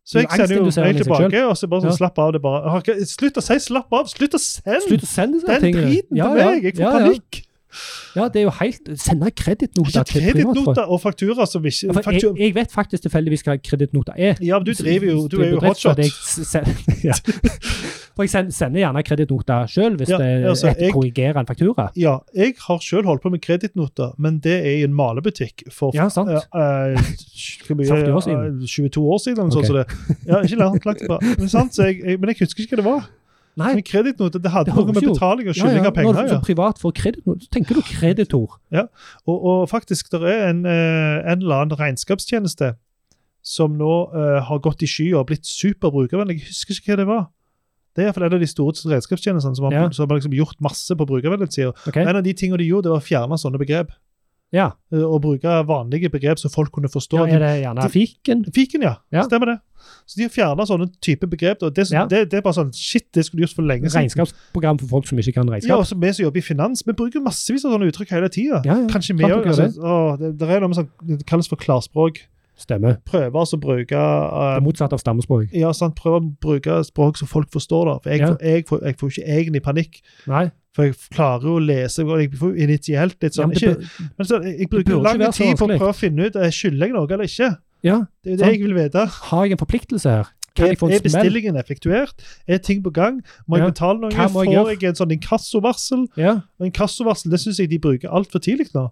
[SPEAKER 2] Så jeg
[SPEAKER 1] Du er
[SPEAKER 2] sender jo
[SPEAKER 1] angstinnduserende
[SPEAKER 2] mail
[SPEAKER 1] i seg selv.
[SPEAKER 2] tilbake, og så bare sånn,
[SPEAKER 1] Ja.
[SPEAKER 2] slapp av. det bare. Jeg har ikke- Slutt å si 'slapp av'! Slutt å sende
[SPEAKER 1] Slutt å sende sånne
[SPEAKER 2] den
[SPEAKER 1] ting.
[SPEAKER 2] driten
[SPEAKER 1] ja,
[SPEAKER 2] til
[SPEAKER 1] ja,
[SPEAKER 2] meg! Jeg får
[SPEAKER 1] ja,
[SPEAKER 2] panikk!
[SPEAKER 1] Ja. ja, det er jo helt Sende kredittnoter
[SPEAKER 2] Ikke kredittnoter og fakturaer som ikke
[SPEAKER 1] Ja, for jeg,
[SPEAKER 2] faktur...
[SPEAKER 1] jeg vet faktisk tilfeldigvis hva kredittnoter er.
[SPEAKER 2] Ja, men du driver jo Du er jo
[SPEAKER 1] bedrift, så
[SPEAKER 2] hotshot.
[SPEAKER 1] det jeg sen- <laughs> ja. For jeg send- sender gjerne kredittnoter sjøl hvis
[SPEAKER 2] Ja,
[SPEAKER 1] det
[SPEAKER 2] altså,
[SPEAKER 1] et-
[SPEAKER 2] jeg-
[SPEAKER 1] korrigerer en faktura.
[SPEAKER 2] Ja, jeg har sjøl holdt på med kredittnoter, men det er i en malebutikk for
[SPEAKER 1] Ja, sant.
[SPEAKER 2] Ja, eh, hvor mye,
[SPEAKER 1] 40 år siden.
[SPEAKER 2] eh, 22 år siden, eller noe
[SPEAKER 1] Ok.
[SPEAKER 2] sånt. som det. Ja, ikke langt, langt tilbake. Men, sant, så jeg, jeg, men jeg husker ikke hva det var.
[SPEAKER 1] Nei,
[SPEAKER 2] Men kredittnoter, det hadde
[SPEAKER 1] Det
[SPEAKER 2] noe
[SPEAKER 1] høres
[SPEAKER 2] med
[SPEAKER 1] jo-
[SPEAKER 2] betaling og
[SPEAKER 1] ja, ja.
[SPEAKER 2] skylding av
[SPEAKER 1] Når
[SPEAKER 2] penger
[SPEAKER 1] du
[SPEAKER 2] ja.
[SPEAKER 1] som privat får kredittnoter, så tenker du kreditor.
[SPEAKER 2] Og, og faktisk, det er en, eh, en eller annen regnskapstjeneste som nå eh, har gått i skya og blitt superbrukervennlig. Jeg husker ikke hva det var. Det er iallfall en av de store regnskapstjenestene som har,
[SPEAKER 1] Ja.
[SPEAKER 2] som har liksom gjort masse på brukervennlighetssida.
[SPEAKER 1] ok?
[SPEAKER 2] En av de tingene de gjorde, det var å fjerne sånne begrep.
[SPEAKER 1] Ja.
[SPEAKER 2] eh, Og bruke vanlige begrep som folk kunne
[SPEAKER 1] Da
[SPEAKER 2] forstå.
[SPEAKER 1] er det gjerne fiken.
[SPEAKER 2] Fiken, ja.
[SPEAKER 1] Ja.
[SPEAKER 2] Stemmer det. Så de har fjerna sånne type begrep. Og det,
[SPEAKER 1] Ja.
[SPEAKER 2] det, det er bare sånn Shit, det skulle du gjort for lenge siden.
[SPEAKER 1] Regnskapsprogram for folk som ikke kan
[SPEAKER 2] Ja,
[SPEAKER 1] regnskap.
[SPEAKER 2] også Vi som jobber i finans, vi bruker massevis av sånne uttrykk hele tida.
[SPEAKER 1] Ja, ja.
[SPEAKER 2] Kanskje vi
[SPEAKER 1] Sant dere
[SPEAKER 2] òg.
[SPEAKER 1] gjør
[SPEAKER 2] Altså,
[SPEAKER 1] det.
[SPEAKER 2] å, det, det er noe med sånn, det kalles for klarspråk.
[SPEAKER 1] Stemmer.
[SPEAKER 2] Prøve altså å bruke
[SPEAKER 1] Det
[SPEAKER 2] eh,
[SPEAKER 1] motsatte av stammespråk.
[SPEAKER 2] ja, sant, prøve å bruke språk som folk forstår. da. For jeg,
[SPEAKER 1] Ja.
[SPEAKER 2] får, jeg, får, jeg får ikke egentlig panikk,
[SPEAKER 1] Nei.
[SPEAKER 2] for jeg klarer jo å lese. og Jeg får jo initielt litt
[SPEAKER 1] Ja,
[SPEAKER 2] sånn
[SPEAKER 1] men det,
[SPEAKER 2] ikke,
[SPEAKER 1] bør-
[SPEAKER 2] men så, Jeg jeg
[SPEAKER 1] burde
[SPEAKER 2] bruker
[SPEAKER 1] ikke
[SPEAKER 2] lang
[SPEAKER 1] være så
[SPEAKER 2] tid på å
[SPEAKER 1] vanskelig.
[SPEAKER 2] prøve å finne ut eh, skylder jeg noe eller ikke.
[SPEAKER 1] ja.
[SPEAKER 2] Det er jo det
[SPEAKER 1] Sant.
[SPEAKER 2] jeg vil vite.
[SPEAKER 1] Har jeg en forpliktelse her? Kan
[SPEAKER 2] Er,
[SPEAKER 1] jeg få en
[SPEAKER 2] er
[SPEAKER 1] smell?
[SPEAKER 2] bestillingen effektuert? Er ting på gang? Må jeg
[SPEAKER 1] Ja.
[SPEAKER 2] betale noe?
[SPEAKER 1] Hva må jeg
[SPEAKER 2] Får
[SPEAKER 1] gjøre?
[SPEAKER 2] jeg en sånn inkassovarsel?
[SPEAKER 1] Ja.
[SPEAKER 2] Og Inkassovarsel det syns jeg de bruker altfor tidlig nå.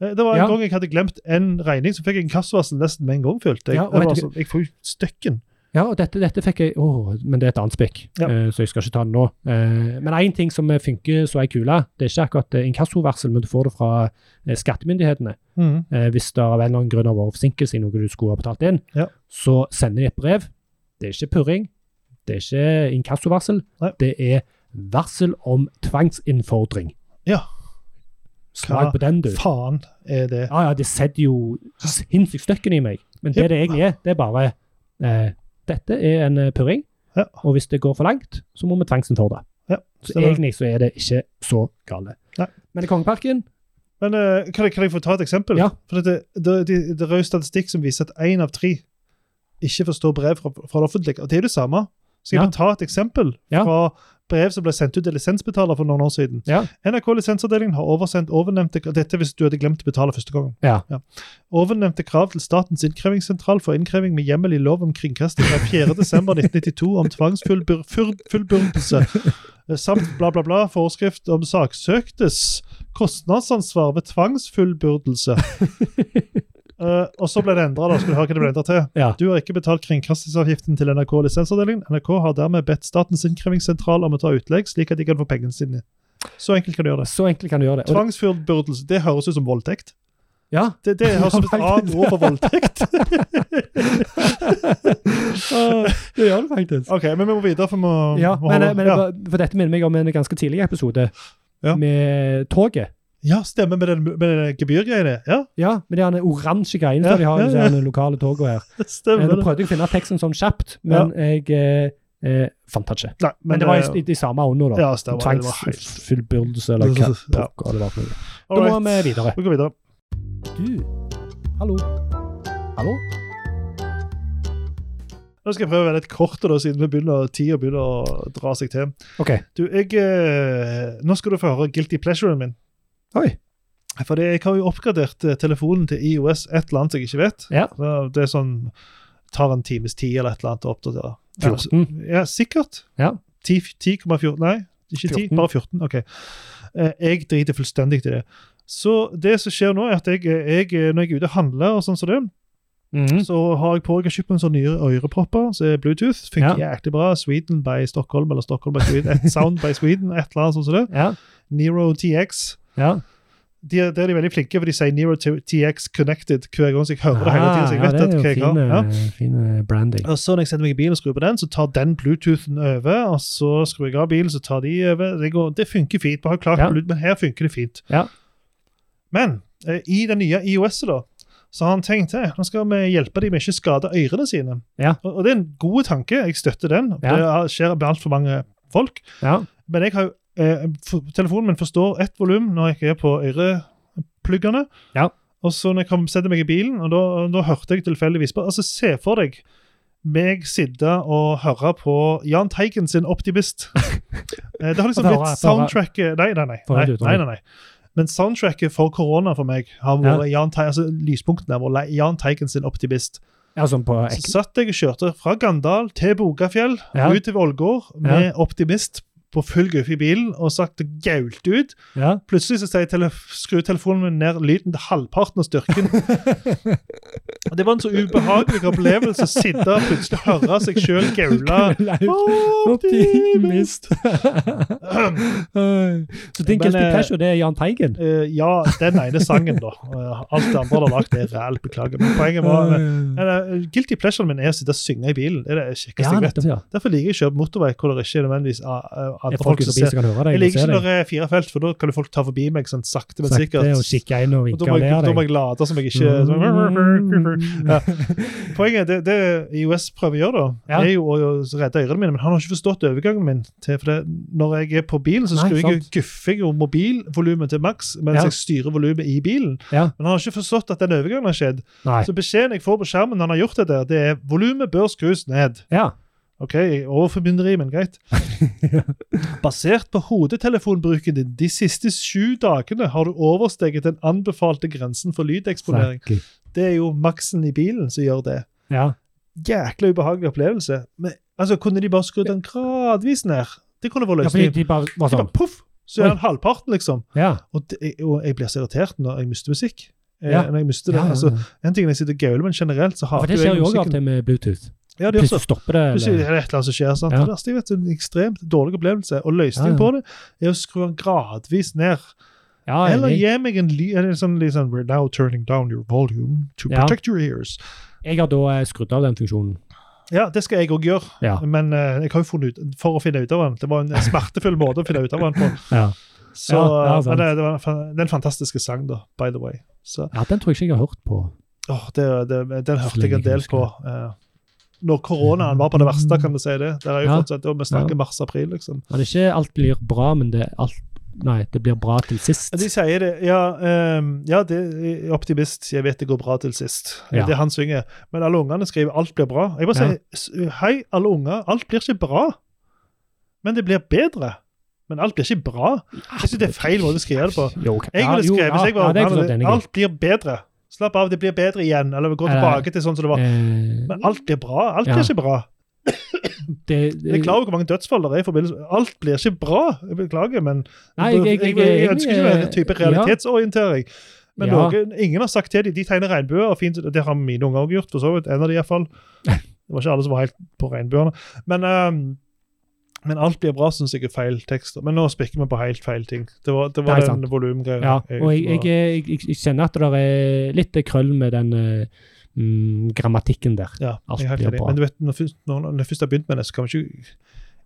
[SPEAKER 2] Eh, Det var en
[SPEAKER 1] Ja.
[SPEAKER 2] gang jeg hadde glemt en regning, så fikk jeg inkassovarsel nesten med en gang. følte jeg.
[SPEAKER 1] Ja, og
[SPEAKER 2] det var
[SPEAKER 1] vet du
[SPEAKER 2] sånn, jeg får jo støkken.
[SPEAKER 1] Ja, og dette, dette fikk jeg åh, Men det er et annet spikk,
[SPEAKER 2] Ja.
[SPEAKER 1] eh, så jeg skal ikke ta det nå. Eh, men én ting som eh, funker så ei kule, det er ikke akkurat eh, inkassovarsel, men du får det fra eh, skattemyndighetene. Eh, hvis det av en eller annen grunn har vært forsinkelse i noe du skulle ha betalt inn,
[SPEAKER 2] Ja.
[SPEAKER 1] så sender de et brev. Det er ikke purring, det er ikke inkassovarsel.
[SPEAKER 2] Nei.
[SPEAKER 1] Det er varsel om tvangsinnfordring.
[SPEAKER 2] Ja.
[SPEAKER 1] Slag
[SPEAKER 2] Hva
[SPEAKER 1] på den, du.
[SPEAKER 2] Faen er det.
[SPEAKER 1] Ja, ja, det setter jo sinnssykt støkken i meg. Men det det egentlig er, det er bare eh, Dette er en eh, purring,
[SPEAKER 2] Ja.
[SPEAKER 1] og hvis det går for langt, så må vi tvangsen for det.
[SPEAKER 2] Ja,
[SPEAKER 1] så
[SPEAKER 2] stemmer.
[SPEAKER 1] egentlig så er det ikke så gale.
[SPEAKER 2] Nei.
[SPEAKER 1] Men i Kongeparken
[SPEAKER 2] Men eh, kan, jeg, kan jeg få ta et eksempel?
[SPEAKER 1] Ja.
[SPEAKER 2] For dette, det, det, det er jo statistikk som viser at én av tre ikke forstår brev fra, fra det offentlige. Og det er jo det samme. Så jeg
[SPEAKER 1] Ja.
[SPEAKER 2] vil ta et eksempel
[SPEAKER 1] Ja.
[SPEAKER 2] fra brev som ble sendt ut til lisensbetaler for noen år siden.
[SPEAKER 1] Ja.
[SPEAKER 2] NRK lisensavdelingen har oversendt ovennevnte dette hvis du hadde glemt å betale første gangen.
[SPEAKER 1] Ja.
[SPEAKER 2] Ovennevnte krav til Statens innkrevingssentral for innkreving med hjemmel i lov om kringkasting av 4.12.1992 om tvangsfullbyrdelse eh, samt bla, bla, bla forskrift om saksøktes kostnadsansvar ved
[SPEAKER 1] <laughs>
[SPEAKER 2] tvangsfullbyrdelse. Eh, og så ble det endra, da. Skal du høre hva det ble endra til?
[SPEAKER 1] Ja.
[SPEAKER 2] Du har ikke betalt kringkastingsavgiften til NRK lisensavdelingen. NRK har dermed bedt Statens innkrevingssentral om å ta utlegg, slik at de kan få pengene sine. Så enkelt kan du gjøre det.
[SPEAKER 1] Så enkelt kan du gjøre det. Og det
[SPEAKER 2] Tvangsfullbyrdelse, det høres ut som voldtekt.
[SPEAKER 1] ja.
[SPEAKER 2] Det, det høres ut som et annet ord for voldtekt.
[SPEAKER 1] det gjør det faktisk.
[SPEAKER 2] <laughs> Ok, men vi må videre, for vi må,
[SPEAKER 1] <laughs> Ja,
[SPEAKER 2] må
[SPEAKER 1] men,
[SPEAKER 2] holde-
[SPEAKER 1] men,
[SPEAKER 2] ja.
[SPEAKER 1] For dette minner meg om en ganske tidlig episode
[SPEAKER 2] Ja.
[SPEAKER 1] med toget.
[SPEAKER 2] Ja, stemmer med den, med den gebyrgreiene. Ja,
[SPEAKER 1] Ja, med de her oransje greiene som
[SPEAKER 2] Ja,
[SPEAKER 1] de har i
[SPEAKER 2] ja,
[SPEAKER 1] disse
[SPEAKER 2] ja.
[SPEAKER 1] her lokale togene her. Eh,
[SPEAKER 2] stemmer
[SPEAKER 1] Nå
[SPEAKER 2] det.
[SPEAKER 1] prøvde jeg å finne teksten sånn kjapt, men jeg eh, eh, fant den ikke.
[SPEAKER 2] Nei, eh,
[SPEAKER 1] Men, det var i, i, i samme ånda, da.
[SPEAKER 2] Ja, stemmer. det. Det var helt...
[SPEAKER 1] Tvangsfullbyrdelse eller hva
[SPEAKER 2] Ja.
[SPEAKER 1] pokker det var. for noe. Da må vi
[SPEAKER 2] Alright.
[SPEAKER 1] videre.
[SPEAKER 2] Vi går videre.
[SPEAKER 1] Du, hallo. Hallo?
[SPEAKER 2] Nå skal jeg prøve å være litt kort, da, siden vi begynner, tida begynner å dra seg til.
[SPEAKER 1] OK.
[SPEAKER 2] Du, jeg, eh, Nå skal du få høre guilty pleasuren min.
[SPEAKER 1] Oi.
[SPEAKER 2] Fordi jeg har jo oppgradert eh, telefonen til IOS et eller annet jeg ikke vet.
[SPEAKER 1] Ja.
[SPEAKER 2] Så Det er sånn Tar en times tid eller et eller annet å oppdatere.
[SPEAKER 1] 14.
[SPEAKER 2] Ja, sikkert.
[SPEAKER 1] Ja.
[SPEAKER 2] 10 10,14 Nei, ikke 10,
[SPEAKER 1] 14.
[SPEAKER 2] bare 14. OK. Eh, Jeg driter fullstendig i det. Så det som skjer nå, er at jeg, jeg når jeg er ute og handler, og sånn som det,
[SPEAKER 1] Mhm.
[SPEAKER 2] så har jeg på jeg har kjøpt meg en sånn nye ørepropper som er Bluetooth. Funker jæklig bra. Sweden by Stockholm eller Stockholm by Sweden. Et sound by Sweden, et eller annet sånt som det.
[SPEAKER 1] Ja.
[SPEAKER 2] Nero TX.
[SPEAKER 1] ja.
[SPEAKER 2] de, er- der er de veldig flinke, for de sier Nero T- TX Connected hver gang så jeg hører det hele tiden. Så jeg
[SPEAKER 1] Ah,
[SPEAKER 2] vet
[SPEAKER 1] ja, det
[SPEAKER 2] at hva
[SPEAKER 1] er
[SPEAKER 2] jeg
[SPEAKER 1] jo
[SPEAKER 2] har.
[SPEAKER 1] fine,
[SPEAKER 2] Ja.
[SPEAKER 1] fine eh, branding.
[SPEAKER 2] Og så Når jeg setter meg i bilen og skrur på den, så tar den Bluetoothen over. og Så skrur jeg av bilen, så tar de over. Det, går, det funker fint. bare klart,
[SPEAKER 1] Ja.
[SPEAKER 2] Bluetooth, Men her funker det fint.
[SPEAKER 1] Ja.
[SPEAKER 2] Men eh, i det nye IOS-et, da, så har han tenkt at nå skal vi hjelpe dem med ikke å skade ørene sine.
[SPEAKER 1] Ja.
[SPEAKER 2] Og, og det er en god tanke. Jeg støtter den.
[SPEAKER 1] Ja.
[SPEAKER 2] Det er- skjer med altfor mange folk.
[SPEAKER 1] Ja.
[SPEAKER 2] Men jeg har jo, eh, for, telefonen min forstår ett volum når jeg er på ørepluggene.
[SPEAKER 1] Ja.
[SPEAKER 2] Og så når jeg kom, setter meg i bilen, og da, da hørte jeg tilfeldigvis på Altså, se for deg meg sitte og høre på Jahn Teigen sin
[SPEAKER 1] <laughs>
[SPEAKER 2] 'Optimist'. Eh, det har liksom
[SPEAKER 1] Få høre,
[SPEAKER 2] blitt
[SPEAKER 1] få høre.
[SPEAKER 2] soundtracket nei nei nei,
[SPEAKER 1] Få
[SPEAKER 2] nei,
[SPEAKER 1] høre det ut,
[SPEAKER 2] nei, nei, nei. Men soundtracket for korona for meg har vært Jahn Teigen, altså lyspunktene har vært Jahn Teigen sin 'Optimist'.
[SPEAKER 1] ja, sånn på
[SPEAKER 2] Så satt jeg og kjørte fra Gandal til Bogafjell,
[SPEAKER 1] Ja.
[SPEAKER 2] ut til Ålgård, med optimist på full guffe i bilen, og sagt det gaulte ut.
[SPEAKER 1] Ja.
[SPEAKER 2] Plutselig så sier tele skrur telefonen min ned lyden til halvparten av styrken.
[SPEAKER 1] <laughs>
[SPEAKER 2] Og det var en så ubehagelig opplevelse å sitte og plutselig høre seg sjøl
[SPEAKER 1] <laughs>
[SPEAKER 2] gaule. Optimist!
[SPEAKER 1] Optimist. Så
[SPEAKER 2] Men,
[SPEAKER 1] din guilty
[SPEAKER 2] eh,
[SPEAKER 1] pleasure, det er Jahn
[SPEAKER 2] <clears throat>
[SPEAKER 1] Teigen?
[SPEAKER 2] Eh, ja, den ene sangen, da. Eh, alt det andre han har lagd, er reelt. Beklager. Men poenget var eh, eller, Guilty pleasuren min er å sitte og synge i bilen. Det er det kjekkeste
[SPEAKER 1] Ja,
[SPEAKER 2] jeg vet.
[SPEAKER 1] nettopp, ja.
[SPEAKER 2] Derfor liker jeg ikke å kjøre på motorvei hvor det ikke er nødvendigvis ah, ah,
[SPEAKER 1] Er
[SPEAKER 2] andre
[SPEAKER 1] folk
[SPEAKER 2] folk
[SPEAKER 1] ute
[SPEAKER 2] som
[SPEAKER 1] forbi
[SPEAKER 2] ser.
[SPEAKER 1] som kan høre deg?
[SPEAKER 2] Jeg
[SPEAKER 1] og
[SPEAKER 2] liker
[SPEAKER 1] se
[SPEAKER 2] ikke
[SPEAKER 1] deg?
[SPEAKER 2] når det er fire felt, for da kan jo folk ta forbi meg sånn sakte, men
[SPEAKER 1] Sakte
[SPEAKER 2] sikkert.
[SPEAKER 1] og kikke inn og
[SPEAKER 2] Og da
[SPEAKER 1] vinke
[SPEAKER 2] må
[SPEAKER 1] og le
[SPEAKER 2] jeg,
[SPEAKER 1] av
[SPEAKER 2] da må
[SPEAKER 1] deg. Mm.
[SPEAKER 2] jeg late som jeg <laughs> ikke sånn- Ja. <laughs> Poenget er det, det IOS prøver å gjøre, da,
[SPEAKER 1] Ja.
[SPEAKER 2] er jo å redde ørene mine. Men han har ikke forstått overgangen min. Til, for det, når jeg er på bilen, så
[SPEAKER 1] Nei,
[SPEAKER 2] skrur jeg
[SPEAKER 1] sant.
[SPEAKER 2] guffer jeg jo mobilvolumet til maks mens
[SPEAKER 1] Ja.
[SPEAKER 2] jeg styrer volumet i bilen.
[SPEAKER 1] Ja.
[SPEAKER 2] Men han har ikke forstått at den overgangen har skjedd.
[SPEAKER 1] Nei.
[SPEAKER 2] Så beskjeden jeg får på skjermen når han har gjort det der, det er volumet bør skrus ned.
[SPEAKER 1] Ja.
[SPEAKER 2] Ok, overformynderi, men greit. Basert på hodetelefonbruken din de siste sju dagene har du oversteget den anbefalte grensen for lydeksponering.
[SPEAKER 1] Snakker.
[SPEAKER 2] Det er jo maksen i bilen som gjør det.
[SPEAKER 1] Ja.
[SPEAKER 2] Jækla ubehagelig opplevelse. Men altså, kunne de bare skrudd den gradvis ned? Det kunne vært
[SPEAKER 1] ja, fordi
[SPEAKER 2] løsningen.
[SPEAKER 1] de bare var
[SPEAKER 2] Det
[SPEAKER 1] sånn.
[SPEAKER 2] var poff, så
[SPEAKER 1] Oi.
[SPEAKER 2] er den halvparten, liksom.
[SPEAKER 1] Ja.
[SPEAKER 2] Og, det, og jeg blir så irritert når jeg mister musikk. Eh,
[SPEAKER 1] Ja.
[SPEAKER 2] Når jeg mister det.
[SPEAKER 1] Ja, ja,
[SPEAKER 2] Altså,
[SPEAKER 1] ja.
[SPEAKER 2] en ting er når jeg sitter og gauler, men generelt så
[SPEAKER 1] For
[SPEAKER 2] hater
[SPEAKER 1] det skjer
[SPEAKER 2] jeg
[SPEAKER 1] jo òg av og
[SPEAKER 2] musikken.
[SPEAKER 1] til med Bluetooth.
[SPEAKER 2] Ja, det gjør så.
[SPEAKER 1] Plutselig stopper det.
[SPEAKER 2] Plutselig
[SPEAKER 1] Eller?
[SPEAKER 2] er det et eller annet som skjer. sant?
[SPEAKER 1] Ja.
[SPEAKER 2] Det verste jeg vet, en ekstremt dårlig opplevelse. Og løsningen
[SPEAKER 1] Ja, ja.
[SPEAKER 2] på det er å skru den gradvis ned.
[SPEAKER 1] Ja,
[SPEAKER 2] Eller
[SPEAKER 1] Ah, jeg,
[SPEAKER 2] gi meg en ly eller sånn, litt sånn, We're now turning down your volume to
[SPEAKER 1] Ja.
[SPEAKER 2] protect your ears.
[SPEAKER 1] jeg har da eh, skrudd av den funksjonen.
[SPEAKER 2] Ja, det skal jeg òg gjøre,
[SPEAKER 1] Ja.
[SPEAKER 2] men eh, jeg har jo funnet ut for å finne ut av den. Det var en smertefull måte å finne ut av den på.
[SPEAKER 1] <laughs> Ja.
[SPEAKER 2] Så,
[SPEAKER 1] Ja, ja,
[SPEAKER 2] men
[SPEAKER 1] sant.
[SPEAKER 2] det, det var en fa- det er en fantastisk sang, da, by the way. Så,
[SPEAKER 1] ja, den tror jeg ikke jeg har hørt på.
[SPEAKER 2] åh, det, det, den
[SPEAKER 1] Så
[SPEAKER 2] hørte jeg
[SPEAKER 1] lenge
[SPEAKER 2] en
[SPEAKER 1] jeg
[SPEAKER 2] del på.
[SPEAKER 1] husker
[SPEAKER 2] eh, når koronaen var på det verste, kan du si det. Der er jo
[SPEAKER 1] Ja.
[SPEAKER 2] fortsatt, og Vi snakker mars-april, liksom.
[SPEAKER 1] Men det er ikke alt blir bra, men det er alt Nei, det blir bra til sist.
[SPEAKER 2] Ja, De sier det. Ja, ehm, ja det er optimist. Jeg vet det går bra til sist.
[SPEAKER 1] Ja.
[SPEAKER 2] Det han synger. Men alle ungene skriver 'alt blir bra'. Jeg bare
[SPEAKER 1] Ja.
[SPEAKER 2] sier s- hei, alle unger. Alt blir ikke bra, men det blir bedre. Men alt blir ikke bra. Jeg synes det er feil måte å skrive det på.
[SPEAKER 1] Jo, ok.
[SPEAKER 2] Jeg
[SPEAKER 1] Ja,
[SPEAKER 2] ville
[SPEAKER 1] jo,
[SPEAKER 2] skrevet hvis jeg
[SPEAKER 1] ja,
[SPEAKER 2] var
[SPEAKER 1] det er jeg for så
[SPEAKER 2] ungene,
[SPEAKER 1] vidt enig i.
[SPEAKER 2] Alt blir bedre. Slapp av, det blir bedre igjen. Eller vi går
[SPEAKER 1] Eller-
[SPEAKER 2] tilbake til sånn som det var.
[SPEAKER 1] Eh,
[SPEAKER 2] Men alt blir bra. Alt
[SPEAKER 1] Ja.
[SPEAKER 2] blir ikke bra.
[SPEAKER 1] det,
[SPEAKER 2] Jeg er klar over hvor mange dødsfall det er i forbindelse med Alt blir ikke bra. Jeg beklager, men
[SPEAKER 1] Nei, jeg- jeg- jeg- jeg-
[SPEAKER 2] ønsker ikke være en type
[SPEAKER 1] ja.
[SPEAKER 2] realitetsorientering. Men
[SPEAKER 1] Ja.
[SPEAKER 2] noen, ingen har sagt til dem de tegner regnbuer. og fint, Det har mine unger også gjort, for så vidt. En av de iallfall. Det var ikke alle som var helt på regnbuene. Men, ehm, men alt blir bra, syns jeg er feil tekst. Men nå spikker vi på helt feil ting. Det var, det var
[SPEAKER 1] Nei, sant.
[SPEAKER 2] den volumgreia.
[SPEAKER 1] ja, og jeg, jeg, jeg, jeg, jeg kjenner at det er litt krøll med den eh, mm, grammatikken der.
[SPEAKER 2] ja,
[SPEAKER 1] alt
[SPEAKER 2] jeg er helt
[SPEAKER 1] blir
[SPEAKER 2] enig.
[SPEAKER 1] bra.
[SPEAKER 2] Men du vet, når, først- når, når jeg først har begynt med det, så kan vi ikke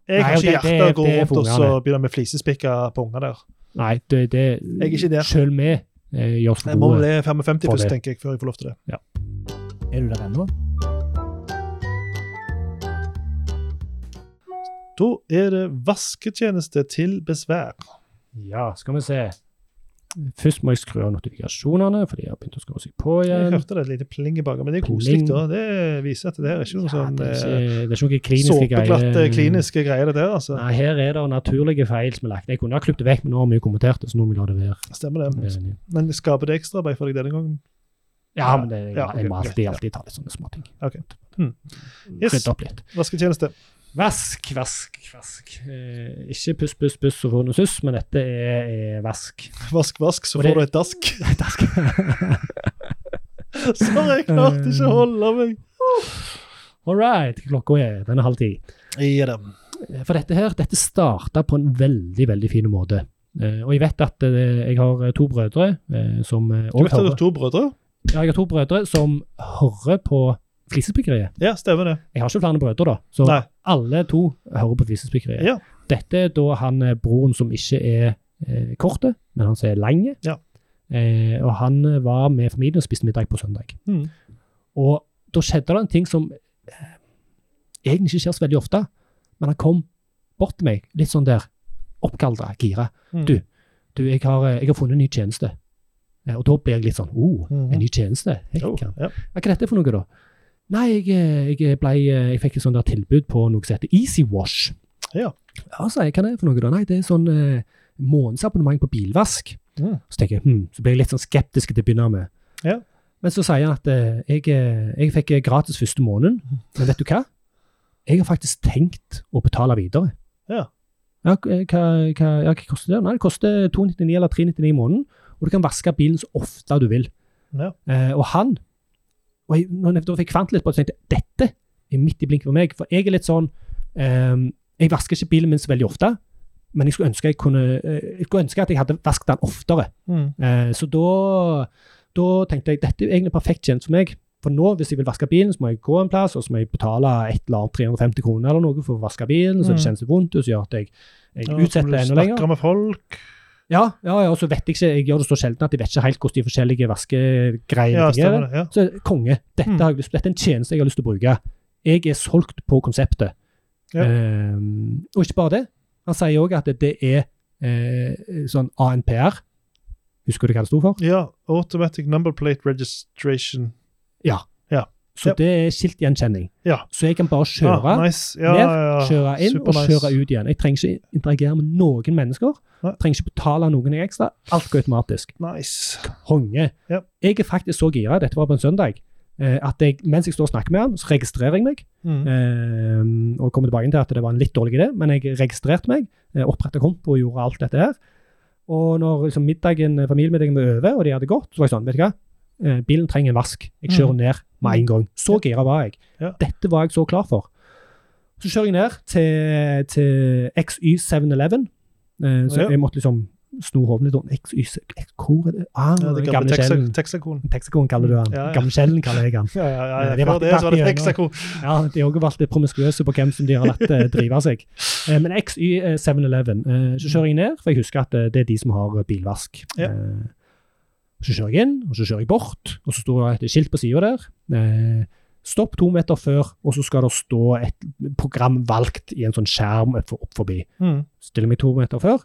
[SPEAKER 2] Jeg
[SPEAKER 1] Nei,
[SPEAKER 2] har
[SPEAKER 1] og
[SPEAKER 2] ikke
[SPEAKER 1] det- det-
[SPEAKER 2] hjerte til å gå
[SPEAKER 1] det er
[SPEAKER 2] rundt
[SPEAKER 1] for
[SPEAKER 2] og så
[SPEAKER 1] ungene.
[SPEAKER 2] begynne med flisespikker på unger der.
[SPEAKER 1] Nei, det, det
[SPEAKER 2] Jeg er ikke der.
[SPEAKER 1] Selv vi eh, gjør oss
[SPEAKER 2] Jeg
[SPEAKER 1] for
[SPEAKER 2] må
[SPEAKER 1] gode.
[SPEAKER 2] bli 55
[SPEAKER 1] For
[SPEAKER 2] først,
[SPEAKER 1] det.
[SPEAKER 2] tenker jeg, før jeg får lov til det.
[SPEAKER 4] Er du der ennå?
[SPEAKER 2] Da er det vasketjeneste til besvær.
[SPEAKER 1] Ja, skal vi se. Først må jeg skru av notifikasjonene, for de har begynt å skru seg på
[SPEAKER 2] Jeg
[SPEAKER 1] igjen.
[SPEAKER 2] hørte det et lite pling i bakgrunnen, men det er koselig.
[SPEAKER 1] Pling.
[SPEAKER 2] da. Det viser at det her er ikke noe
[SPEAKER 1] Ja,
[SPEAKER 2] sånn
[SPEAKER 1] det, er
[SPEAKER 2] eh,
[SPEAKER 1] ikke, det er ikke noen kliniske
[SPEAKER 2] såpeklatte kliniske greier, det der. altså.
[SPEAKER 1] Nei, her er det naturlige feil som er lagt. Jeg kunne ha klippet det vekk, men nå har vi jo kommentert det, så nå må vi la det være.
[SPEAKER 2] Stemmer det.
[SPEAKER 1] være.
[SPEAKER 2] Men skaper det ekstraarbeid for deg denne gangen?
[SPEAKER 1] Ja, men det,
[SPEAKER 2] Ja, ok,
[SPEAKER 1] jeg må alltid,
[SPEAKER 2] greit, ja.
[SPEAKER 1] alltid ta litt sånne småting.
[SPEAKER 2] Ok. Hmm. Yes.
[SPEAKER 1] Rydde opp litt.
[SPEAKER 2] Vasketjeneste.
[SPEAKER 1] Vask, vask, vask. Eh, ikke puss, puss, puss og få noe suss, men dette er, er vask.
[SPEAKER 2] Vask, vask, så
[SPEAKER 1] Og det-
[SPEAKER 2] får du et
[SPEAKER 1] <laughs>
[SPEAKER 2] dask. <laughs> Sorry, jeg klarte ikke å
[SPEAKER 1] Eh.
[SPEAKER 2] holde meg.
[SPEAKER 1] All right, klokka er den er halv ti.
[SPEAKER 2] Ja da.
[SPEAKER 1] Eh, For dette her, dette starta på en veldig, veldig fin måte. Eh, og jeg vet at eh, jeg har eh, to brødre eh, som eh,
[SPEAKER 2] Du
[SPEAKER 1] også
[SPEAKER 2] vet at du har
[SPEAKER 1] hører
[SPEAKER 2] to brødre?
[SPEAKER 1] Ja, jeg har to brødre som hører på Flisespikkeriet.
[SPEAKER 2] Ja, stemmer det.
[SPEAKER 1] Jeg har ikke flere brødre, da, så
[SPEAKER 2] Nei.
[SPEAKER 1] alle to hører på Flisespikkeriet.
[SPEAKER 2] Ja.
[SPEAKER 1] Dette er da han eh, broren som ikke er eh, korte, men han som er lange.
[SPEAKER 2] Ja.
[SPEAKER 1] Eh, og han eh, var med familien og spiste middag på søndag.
[SPEAKER 2] Mhm.
[SPEAKER 1] Og da skjedde det en ting som eh, egentlig ikke skjer så veldig ofte, men han kom bort til meg, litt sånn der oppkaldra, gira.
[SPEAKER 2] Mhm.
[SPEAKER 1] Du. Du, jeg har, eh, jeg har funnet en ny tjeneste. Eh, og da blir jeg litt sånn oh,
[SPEAKER 2] Mhm.
[SPEAKER 1] en ny tjeneste?
[SPEAKER 2] Jo,
[SPEAKER 1] Hekkan.
[SPEAKER 2] ja.
[SPEAKER 1] Hva er dette for noe, da? Nei, jeg, eh, jeg, ble, eh, jeg fikk et sånt der tilbud på noe som heter Easy Wash.
[SPEAKER 2] Ja.
[SPEAKER 1] Ja, sa jeg, hva er det for noe, da? Nei, det er sånn eh, månedsabonnement på bilvask.
[SPEAKER 2] Mm.
[SPEAKER 1] Så tenker jeg, hm, så ble jeg litt sånn skeptisk til å begynne med.
[SPEAKER 2] Ja.
[SPEAKER 1] Men så sier han at eh, jeg, eh, jeg fikk eh, gratis første måneden, men vet du hva? Jeg har faktisk tenkt å betale videre.
[SPEAKER 2] Ja.
[SPEAKER 1] Ja, k- eh, hva, hva, ja, hva koster det? Nei, det koster 299 eller 399 i måneden, og du kan vaske bilen så ofte du vil.
[SPEAKER 2] Ja.
[SPEAKER 1] Eh, og han, og jeg, når jeg da fikk kvant litt på det, så tenkte jeg, dette er midt i blinken for meg, for jeg er litt sånn, ehm, jeg vasker ikke bilen min så veldig ofte, men jeg skulle ønske, jeg kunne, eh, jeg skulle ønske at jeg hadde vasket den oftere.
[SPEAKER 2] Mhm.
[SPEAKER 1] Eh, så da, da tenkte jeg dette er jo egentlig perfekt tjeneste for meg. For nå, hvis jeg vil vaske bilen, så må jeg gå en plass, og så må jeg betale et eller annet 350 kroner eller noe for å vaske bilen, så
[SPEAKER 2] Mm.
[SPEAKER 1] det kjennes vondt, og så gjør at jeg, jeg
[SPEAKER 2] Ja,
[SPEAKER 1] utsetter det enda lenger.
[SPEAKER 2] Snakker med folk.
[SPEAKER 1] Ja, ja, ja, og så vet jeg ikke, jeg gjør det så sjelden at jeg vet ikke helt hvordan de forskjellige vaskegreiene
[SPEAKER 2] Ja,
[SPEAKER 1] fungerer.
[SPEAKER 2] stemmer det. Ja.
[SPEAKER 1] Så konge, dette,
[SPEAKER 2] Mm.
[SPEAKER 1] har jeg lyst, dette er en tjeneste jeg har lyst til å bruke. Jeg er solgt på konseptet.
[SPEAKER 2] Ja.
[SPEAKER 1] Ehm, og ikke bare det. Han sier òg at det er eh, sånn ANPR. Husker du hva det sto for?
[SPEAKER 2] ja. Automatic number plate registration.
[SPEAKER 1] Så
[SPEAKER 2] Ja.
[SPEAKER 1] det er skiltgjenkjenning.
[SPEAKER 2] Ja.
[SPEAKER 1] Så jeg kan bare kjøre
[SPEAKER 2] Ah, nice. ja,
[SPEAKER 1] ned,
[SPEAKER 2] ja, ja.
[SPEAKER 1] kjøre inn og
[SPEAKER 2] Supernice.
[SPEAKER 1] kjøre ut igjen. Jeg trenger ikke interagere med noen mennesker.
[SPEAKER 2] Nei.
[SPEAKER 1] Trenger ikke betale noen ekstra. Alt går automatisk.
[SPEAKER 2] Nice.
[SPEAKER 1] Konge.
[SPEAKER 2] Ja.
[SPEAKER 1] Jeg er faktisk så gira, dette var på en søndag, eh, at jeg, mens jeg står og snakker med han, så registrerer jeg meg.
[SPEAKER 2] Mhm.
[SPEAKER 1] Eh, og kommer tilbake til at det var en litt dårlig idé, men jeg registrerte meg, oppretta konto og gjorde alt dette her. Og når liksom, middagen, familiemiddagen var over, og de hadde gått, så var jeg sånn, vet du hva, eh, bilen trenger en vask. Jeg kjører ned med en gang. Så gira var jeg.
[SPEAKER 2] Mm. Ja.
[SPEAKER 1] Dette var jeg så klar for. Så kjører jeg ned til, til XY711, eh, så
[SPEAKER 2] Ja.
[SPEAKER 1] jeg måtte liksom sno hodet litt om XY, hvor er det? Ah,
[SPEAKER 2] Ja, det
[SPEAKER 1] den
[SPEAKER 2] gamle
[SPEAKER 1] gamle skjellen.
[SPEAKER 2] Texaco- Texacoen.
[SPEAKER 1] Texacoen kaller du han.
[SPEAKER 2] Ja, ja.
[SPEAKER 1] Gamle skjellen kaller jeg han.
[SPEAKER 2] Ja, ja, ja, ja.
[SPEAKER 1] Det er
[SPEAKER 2] Før
[SPEAKER 1] vært-
[SPEAKER 2] det så var det
[SPEAKER 1] vært gjennom.
[SPEAKER 2] Texaco.
[SPEAKER 1] Ja, de har også vært litt promiskuøse på hvem som de har latt eh, drive seg. Eh, men XY711, eh, så kjører jeg ned, for jeg husker at eh, det er de som har eh, bilvask.
[SPEAKER 2] Ja.
[SPEAKER 1] Eh, så kjører jeg inn, og så kjører jeg bort, og så står det et skilt på sida der. Eh, stopp to meter før, og så skal det stå et program valgt i en sånn skjerm opp opp forbi.
[SPEAKER 2] Mhm.
[SPEAKER 1] Stiller meg to meter før.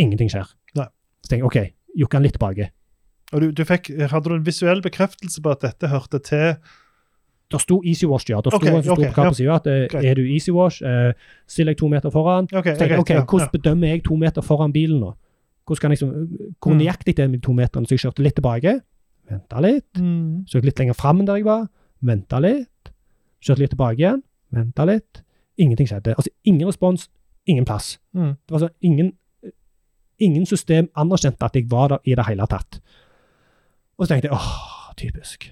[SPEAKER 1] Ingenting skjer.
[SPEAKER 2] Nei.
[SPEAKER 1] Så tenker jeg OK, jukker han litt tilbake.
[SPEAKER 2] Og du, du fikk, Hadde du en visuell bekreftelse på at dette hørte til
[SPEAKER 1] Det sto Easy Wash, ja. Det sto
[SPEAKER 2] Ok,
[SPEAKER 1] en
[SPEAKER 2] ok,
[SPEAKER 1] som sto på
[SPEAKER 2] ja.
[SPEAKER 1] hva på sida at eh,
[SPEAKER 2] Greit.
[SPEAKER 1] er du Easy Wash, eh, still deg to meter foran.
[SPEAKER 2] Ok,
[SPEAKER 1] Så
[SPEAKER 2] greit,
[SPEAKER 1] tenker jeg, ok,
[SPEAKER 2] ja,
[SPEAKER 1] Hvordan
[SPEAKER 2] ja.
[SPEAKER 1] bedømmer jeg to meter foran bilen nå? Hvordan kan jeg, liksom- hvor
[SPEAKER 2] Mm.
[SPEAKER 1] nøyaktig er de to meterne? Så jeg kjørte litt tilbake, venta litt,
[SPEAKER 2] Mhm.
[SPEAKER 1] kjørte litt lenger fram enn der jeg var, venta litt, kjørte litt tilbake igjen, venta litt. Ingenting skjedde. Altså ingen respons, ingen plass.
[SPEAKER 2] Mm.
[SPEAKER 1] Det var sånn ingen, ingen system anerkjente at jeg var der i det hele tatt. Og så tenkte jeg åh, typisk.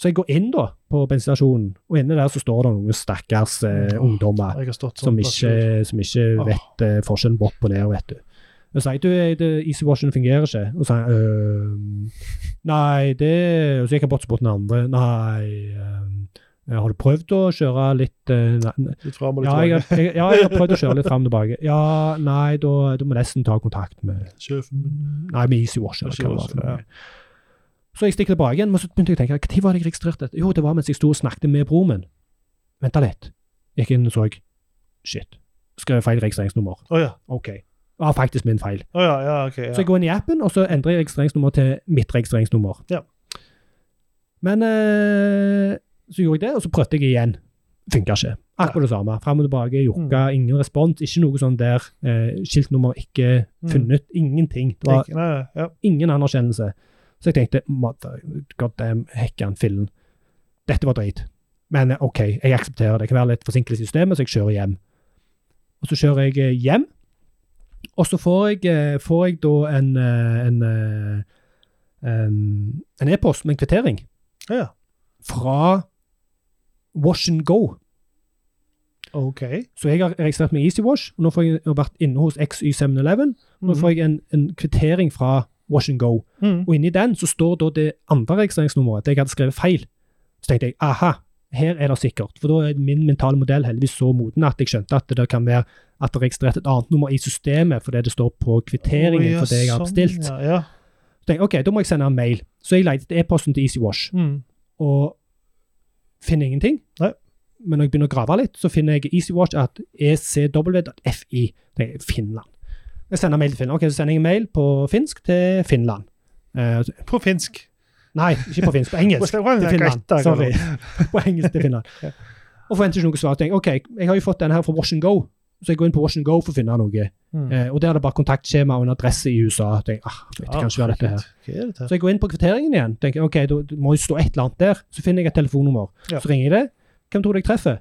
[SPEAKER 1] Så jeg går inn da på bensinstasjonen, og inne der så står det noen stakkars eh,
[SPEAKER 2] Åh,
[SPEAKER 1] ungdommer
[SPEAKER 2] Jeg har stått
[SPEAKER 1] som
[SPEAKER 2] sånn plass Ah. før.
[SPEAKER 1] ikke, som ikke
[SPEAKER 2] Åh.
[SPEAKER 1] vet eh, forskjellen på opp og ned, vet du. Og sier du, eh, det- Easywatchen fungerer ikke. Og så sier han «Øhm, nei, det Og så gikk han bort og spurte den andre. Nei, øhm, Eh, Har du prøvd å kjøre litt eh, nei,
[SPEAKER 2] Litt fram og litt
[SPEAKER 1] ja,
[SPEAKER 2] tilbake.
[SPEAKER 1] jeg, jeg, ja, jeg har prøvd å kjøre litt fram og tilbake. Ja, nei, da du må nesten ta kontakt med
[SPEAKER 2] Sjefen min.
[SPEAKER 1] Nei, med Easy Wash. Eller, hva det var
[SPEAKER 2] Easy Wash,
[SPEAKER 1] for noe. Så jeg stikker tilbake igjen, men så begynte jeg å tenke når var det jeg registrerte dette? Jo, det var mens jeg sto og snakket med broren min. Venta litt. Gikk inn og så. Shit. Skrev feil registreringsnummer.
[SPEAKER 2] Å ja.
[SPEAKER 1] OK. Var faktisk min feil.
[SPEAKER 2] Å ja, ja, ok. Ja.
[SPEAKER 1] Så jeg går inn i appen, og så endrer jeg registreringsnummer til mitt registreringsnummer.
[SPEAKER 2] Ja.
[SPEAKER 1] Men eh, så gjorde jeg det, og så prøvde jeg igjen. Funka ikke. Akkurat det samme. Fram og tilbake, jokka,
[SPEAKER 2] Mm.
[SPEAKER 1] ingen respons. Ikke noe sånn der eh, skiltnummer ikke
[SPEAKER 2] Mm.
[SPEAKER 1] funnet. Ingenting. Det var
[SPEAKER 2] Ikke- Nei, nei, ja.
[SPEAKER 1] ingen anerkjennelse. Så jeg tenkte mother god damn, hekkan fillen. Dette var drit. Men eh, OK, jeg aksepterer det. Det kan være litt forsinkelse i systemet, så jeg kjører hjem. Og så kjører jeg eh, hjem, og så får jeg, eh, får jeg da en eh, en eh, en- en e-post med en kvittering
[SPEAKER 2] Ja.
[SPEAKER 1] fra Wash and Go.
[SPEAKER 2] OK.
[SPEAKER 1] Så jeg har registrert meg i Easy Wash, og nå får jeg jeg har vært inne hos XY711. Nå
[SPEAKER 2] Mhm.
[SPEAKER 1] får jeg en, en kvittering fra Wash and Go.
[SPEAKER 2] Mm.
[SPEAKER 1] Og inni den så står da det andre registreringsnummeret, det jeg hadde skrevet feil. Så tenkte jeg aha, her er det sikkert. For da er min mentale modell heldigvis så moden at jeg skjønte at det kan være at det er registrert et annet nummer i systemet fordi det står på kvitteringen
[SPEAKER 2] Å, ja,
[SPEAKER 1] for det jeg har
[SPEAKER 2] sånn,
[SPEAKER 1] bestilt.
[SPEAKER 2] Ja, ja.
[SPEAKER 1] Så tenkte jeg ok, da må jeg sende en mail. Så jeg lette etter e-posten til EasyWash
[SPEAKER 2] Mm.
[SPEAKER 1] og finner ingenting.
[SPEAKER 2] Nei.
[SPEAKER 1] Men når jeg begynner å grave litt, så finner jeg EasyWatch at E ECW.fi. Det er Finland. Jeg sender mail til Finland. Ok, så sender jeg en mail på finsk til Finland. Eh,
[SPEAKER 2] På finsk.
[SPEAKER 1] Nei, ikke på finsk. På engelsk
[SPEAKER 2] På
[SPEAKER 1] til Finland.
[SPEAKER 2] gaita,
[SPEAKER 1] Sorry. <laughs> På engelsk til Finland.
[SPEAKER 2] Ja.
[SPEAKER 1] Og forventer ikke noe svar. Tenk, ok, jeg har jo fått den her fra Wash and Go, så jeg går inn på Wash and Go for å finne noe.
[SPEAKER 2] Mm.
[SPEAKER 1] Eh, og der er det bare kontaktskjema og en adresse i USA. Tenk, ah, vet, det
[SPEAKER 2] Ah,
[SPEAKER 1] kan ikke være dette her.
[SPEAKER 2] shit. Hva er dette her?
[SPEAKER 1] Så jeg går inn på kvitteringen igjen. Tenker, ok, da det må jo stå et eller annet der. Så finner jeg et telefonnummer.
[SPEAKER 2] Ja.
[SPEAKER 1] Så ringer jeg det. Hvem tror du jeg treffer?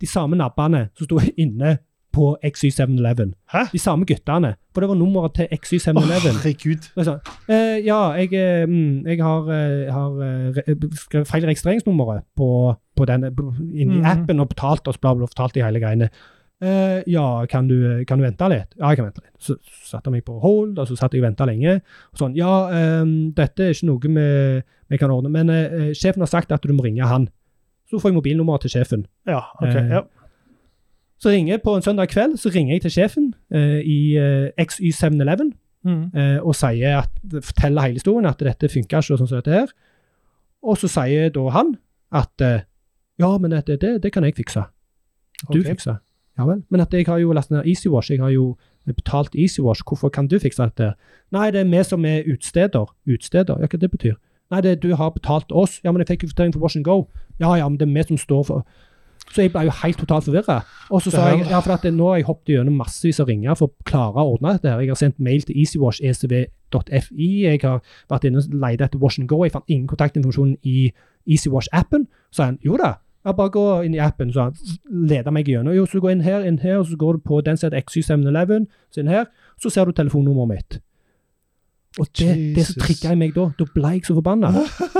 [SPEAKER 1] De samme nabbene som sto inne på XY711.
[SPEAKER 2] Hæ?
[SPEAKER 1] De samme guttene. For det var nummeret til
[SPEAKER 2] Å,
[SPEAKER 1] XY711.
[SPEAKER 2] herregud.
[SPEAKER 1] Så jeg sa, eh, ja, jeg, eh, mm, jeg har, eh, har eh, re- skrevet feil registreringsnummeret på, på denne, inni
[SPEAKER 2] Mhm.
[SPEAKER 1] appen og betalt oss, bla, bla, fortalt de hele greiene. Eh, ja, kan du, eh, kan du vente litt? Ja, jeg kan vente litt. Så satte jeg meg på hold, og så satt jeg og venta lenge. Og sånn, ja, ehm, dette er ikke noe vi, vi kan ordne, men eh, eh, sjefen har sagt at du må ringe han. Så får jeg mobilnummeret til sjefen.
[SPEAKER 2] Ja, OK.
[SPEAKER 1] Eh,
[SPEAKER 2] Ja.
[SPEAKER 1] Så ringer jeg på en søndag kveld, så ringer jeg til sjefen eh, i eh, XY711
[SPEAKER 2] Mm.
[SPEAKER 1] eh, og sier at, forteller hele historien at dette funker ikke, og sånn som dette her. Og så sier da han at eh, ja, men det, det, det kan jeg fikse. Du
[SPEAKER 2] Ok.
[SPEAKER 1] fikser. Ja vel. Men at jeg har jo lastet ned EasyWash, jeg har jo betalt EasyWash, hvorfor kan du fikse dette? her? Nei, det er vi som er utsteder. Utsteder, ja, hva det betyr? Nei, det er du har betalt oss. Ja, men jeg fikk jo fortelling for Wash and Go. Ja, ja, men det er vi som står for Så jeg ble jo helt totalt forvirra. Og så sa
[SPEAKER 2] Det her-
[SPEAKER 1] jeg ja, for at det, nå har jeg hoppet gjennom massevis av ringer for å klare å ordne dette. her. Jeg har sendt mail til easywash.ecv.fi. Jeg har vært inne og leid etter Wash and Go. Jeg fant ingen kontaktinformasjon i EasyWash-appen. Så sa han jo da, ja, bare gå inn i appen. Så han leda meg gjennom. Jo, så går jeg inn her, inn her, og så går du på den som heter XY711, så inn her, så ser du telefonnummeret mitt. Og det, det
[SPEAKER 2] Jesus.
[SPEAKER 1] som trigga i meg da, da ble jeg så forbanna.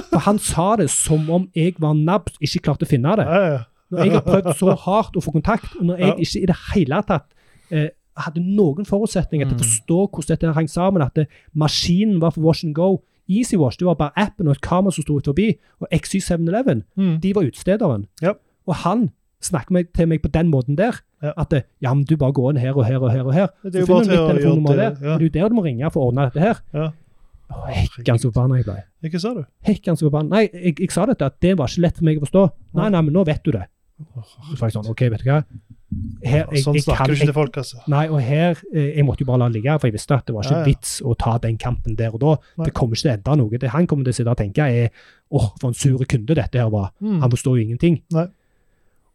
[SPEAKER 1] For han sa det som om jeg var nabb, ikke klarte å finne det.
[SPEAKER 2] Ja, ja.
[SPEAKER 1] Når jeg har prøvd så hardt å få kontakt, og når jeg
[SPEAKER 2] Ja.
[SPEAKER 1] ikke i det hele tatt eh, hadde noen forutsetninger til å
[SPEAKER 2] Mm.
[SPEAKER 1] forstå hvordan dette her hang sammen, at det, maskinen var for wash and go, EasyWash det var bare appen og et kamera som sto ut forbi, og XY711
[SPEAKER 2] Mm.
[SPEAKER 1] de var utstederen.
[SPEAKER 2] Ja.
[SPEAKER 1] Og han snakker meg, til meg på den måten der.
[SPEAKER 2] Ja.
[SPEAKER 1] At det, ja, men du bare går inn her og her og her. og her.
[SPEAKER 2] Det
[SPEAKER 1] Så
[SPEAKER 2] er jo bare
[SPEAKER 1] finner du
[SPEAKER 2] til
[SPEAKER 1] mitt
[SPEAKER 2] å
[SPEAKER 1] telefonnummer
[SPEAKER 2] gjøre
[SPEAKER 1] der.
[SPEAKER 2] det,
[SPEAKER 1] Det
[SPEAKER 2] ja.
[SPEAKER 1] er jo der du må ringe for å ordne dette her.
[SPEAKER 2] Ja.
[SPEAKER 1] Å, Hekkan så forbanna jeg ble.
[SPEAKER 2] Hva sa du?
[SPEAKER 1] Hekkan så forbanna. Nei, jeg, jeg sa dette, at det var ikke lett for meg å forstå. Nei, nei, men nå vet du det. Så var jeg sånn, ok, vet du hva. Her, jeg,
[SPEAKER 2] Sånn
[SPEAKER 1] jeg
[SPEAKER 2] snakker
[SPEAKER 1] kan,
[SPEAKER 2] du ikke
[SPEAKER 1] jeg,
[SPEAKER 2] til folk, altså.
[SPEAKER 1] nei, og her, eh, jeg måtte jo bare la det ligge, for jeg visste at det var ikke
[SPEAKER 2] Ja, ja.
[SPEAKER 1] vits å ta den kampen der og da.
[SPEAKER 2] Nei.
[SPEAKER 1] Det kommer ikke til å endre noe. Det han kommer til å sitte og tenke er, åh, for en sure kunde dette her var.
[SPEAKER 2] Mm.
[SPEAKER 1] Han forstår jo ingenting.
[SPEAKER 2] Nei.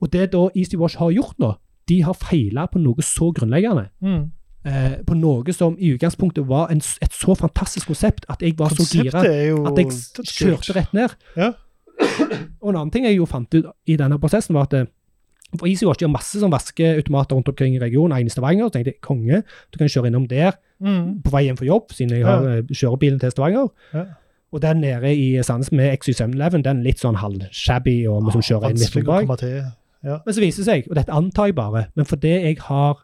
[SPEAKER 1] Og det da Easy Wash har gjort nå, de har feila på noe så grunnleggende.
[SPEAKER 2] Mm.
[SPEAKER 1] Eh, på noe som i utgangspunktet var en, s- et så fantastisk konsept at jeg var så gira
[SPEAKER 2] Konseptet er jo
[SPEAKER 1] at jeg s- kjørte rett ned.
[SPEAKER 2] Ja.
[SPEAKER 1] Og en annen ting jeg jo fant ut i denne prosessen, var at eh, for EasyWatch har masse sånn vaskeautomater rundt omkring i regionen, en i Stavanger. Så tenkte jeg konge, du kan kjøre innom der
[SPEAKER 2] Mm.
[SPEAKER 1] på vei hjem fra jobb, siden jeg har eh, kjørebilen til Stavanger.
[SPEAKER 2] Ja.
[SPEAKER 1] Og den nede i Sandnes med XY711, den er litt sånn halvshabby, og vi som kjører inn
[SPEAKER 2] Ah,
[SPEAKER 1] midt
[SPEAKER 2] Vanskelig
[SPEAKER 1] på
[SPEAKER 2] å
[SPEAKER 1] bak.
[SPEAKER 2] komme til.
[SPEAKER 1] Men så viser det seg, og dette antar jeg bare, men fordi jeg har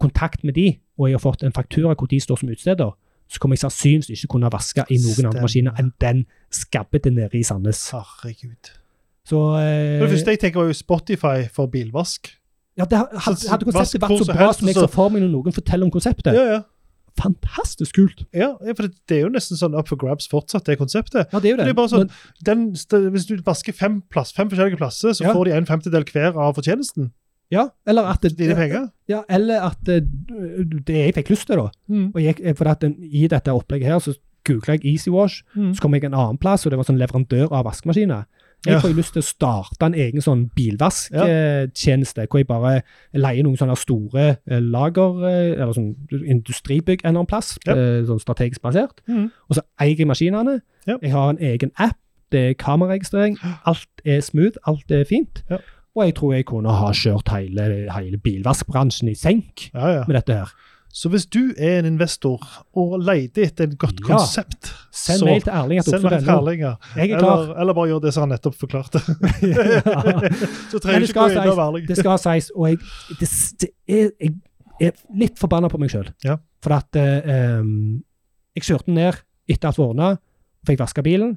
[SPEAKER 1] kontakt med de, og jeg har fått en faktura hvor de står som utsteder, så kommer jeg sannsynligvis ikke kunne vaske i noen
[SPEAKER 2] Stemmer.
[SPEAKER 1] andre maskiner enn den skabbete nede i Sandnes.
[SPEAKER 2] Herregud.
[SPEAKER 1] Så eh,
[SPEAKER 2] Det første jeg tenker, var jo Spotify for bilvask.
[SPEAKER 1] ja, det hadde,
[SPEAKER 2] Så-
[SPEAKER 1] hadde konseptet
[SPEAKER 2] vask
[SPEAKER 1] vært
[SPEAKER 2] hvor
[SPEAKER 1] så
[SPEAKER 2] som
[SPEAKER 1] bra
[SPEAKER 2] helst,
[SPEAKER 1] som jeg
[SPEAKER 2] så-
[SPEAKER 1] så for meg når noen forteller om konseptet.
[SPEAKER 2] Ja, ja.
[SPEAKER 1] Fantastisk kult!
[SPEAKER 2] ja, ja, for det, det er jo nesten sånn up for grabs fortsatt, det konseptet.
[SPEAKER 1] Ja, det er jo det.
[SPEAKER 2] Det er bare sånn,
[SPEAKER 1] Men-
[SPEAKER 2] den, st- Hvis du vasker fem, plass, fem forskjellige plasser, så
[SPEAKER 1] Ja.
[SPEAKER 2] får de en femtedel hver av fortjenesten.
[SPEAKER 1] ja, eller at
[SPEAKER 2] Dine penger.
[SPEAKER 1] Ja, eller at eh, du- det jeg fikk lyst til, da.
[SPEAKER 2] Mm.
[SPEAKER 1] Og jeg, for at den- I dette opplegget her så googla jeg Easy Wash,
[SPEAKER 2] Mm.
[SPEAKER 1] så kom jeg en annen plass, og det var sånn leverandør av vaskemaskiner. Jeg
[SPEAKER 2] Ja.
[SPEAKER 1] får jo lyst til å starte en egen sånn
[SPEAKER 2] Ja.
[SPEAKER 1] bilvasktjeneste, hvor jeg bare leier noen sånne store eh, lager, eh, eller sånn industribygg en eller annen plass,
[SPEAKER 2] Ja.
[SPEAKER 1] eh, sånn strategisk basert.
[SPEAKER 2] Mm.
[SPEAKER 1] Og så eier jeg maskinene.
[SPEAKER 2] Ja.
[SPEAKER 1] Jeg har en egen app, det er kameraregistrering. Alt er smooth, alt er fint.
[SPEAKER 2] Ja.
[SPEAKER 1] Og jeg tror jeg kunne ha kjørt hele, hele bilvaskbransjen i senk
[SPEAKER 2] Ja, ja.
[SPEAKER 1] med dette her.
[SPEAKER 2] Så hvis du er en investor og leter etter et godt
[SPEAKER 1] Ja.
[SPEAKER 2] konsept,
[SPEAKER 1] Send
[SPEAKER 2] Så,
[SPEAKER 1] mail til Erling. at
[SPEAKER 2] send meg
[SPEAKER 1] oppfordrer.no.
[SPEAKER 2] terlinger.
[SPEAKER 1] Jeg er klar.
[SPEAKER 2] Eller, eller bare gjør det som han nettopp
[SPEAKER 1] <laughs>
[SPEAKER 2] forklarte. så
[SPEAKER 1] Men
[SPEAKER 2] trenger du
[SPEAKER 1] det
[SPEAKER 2] ikke gå
[SPEAKER 1] skal altså
[SPEAKER 2] inn og være ærlig.
[SPEAKER 1] Det skal sies, og jeg, det, det er, jeg er litt forbanna på meg sjøl.
[SPEAKER 2] Ja.
[SPEAKER 1] For at eh, em, jeg kjørte den ned etter at det var ordna, fikk vaska bilen,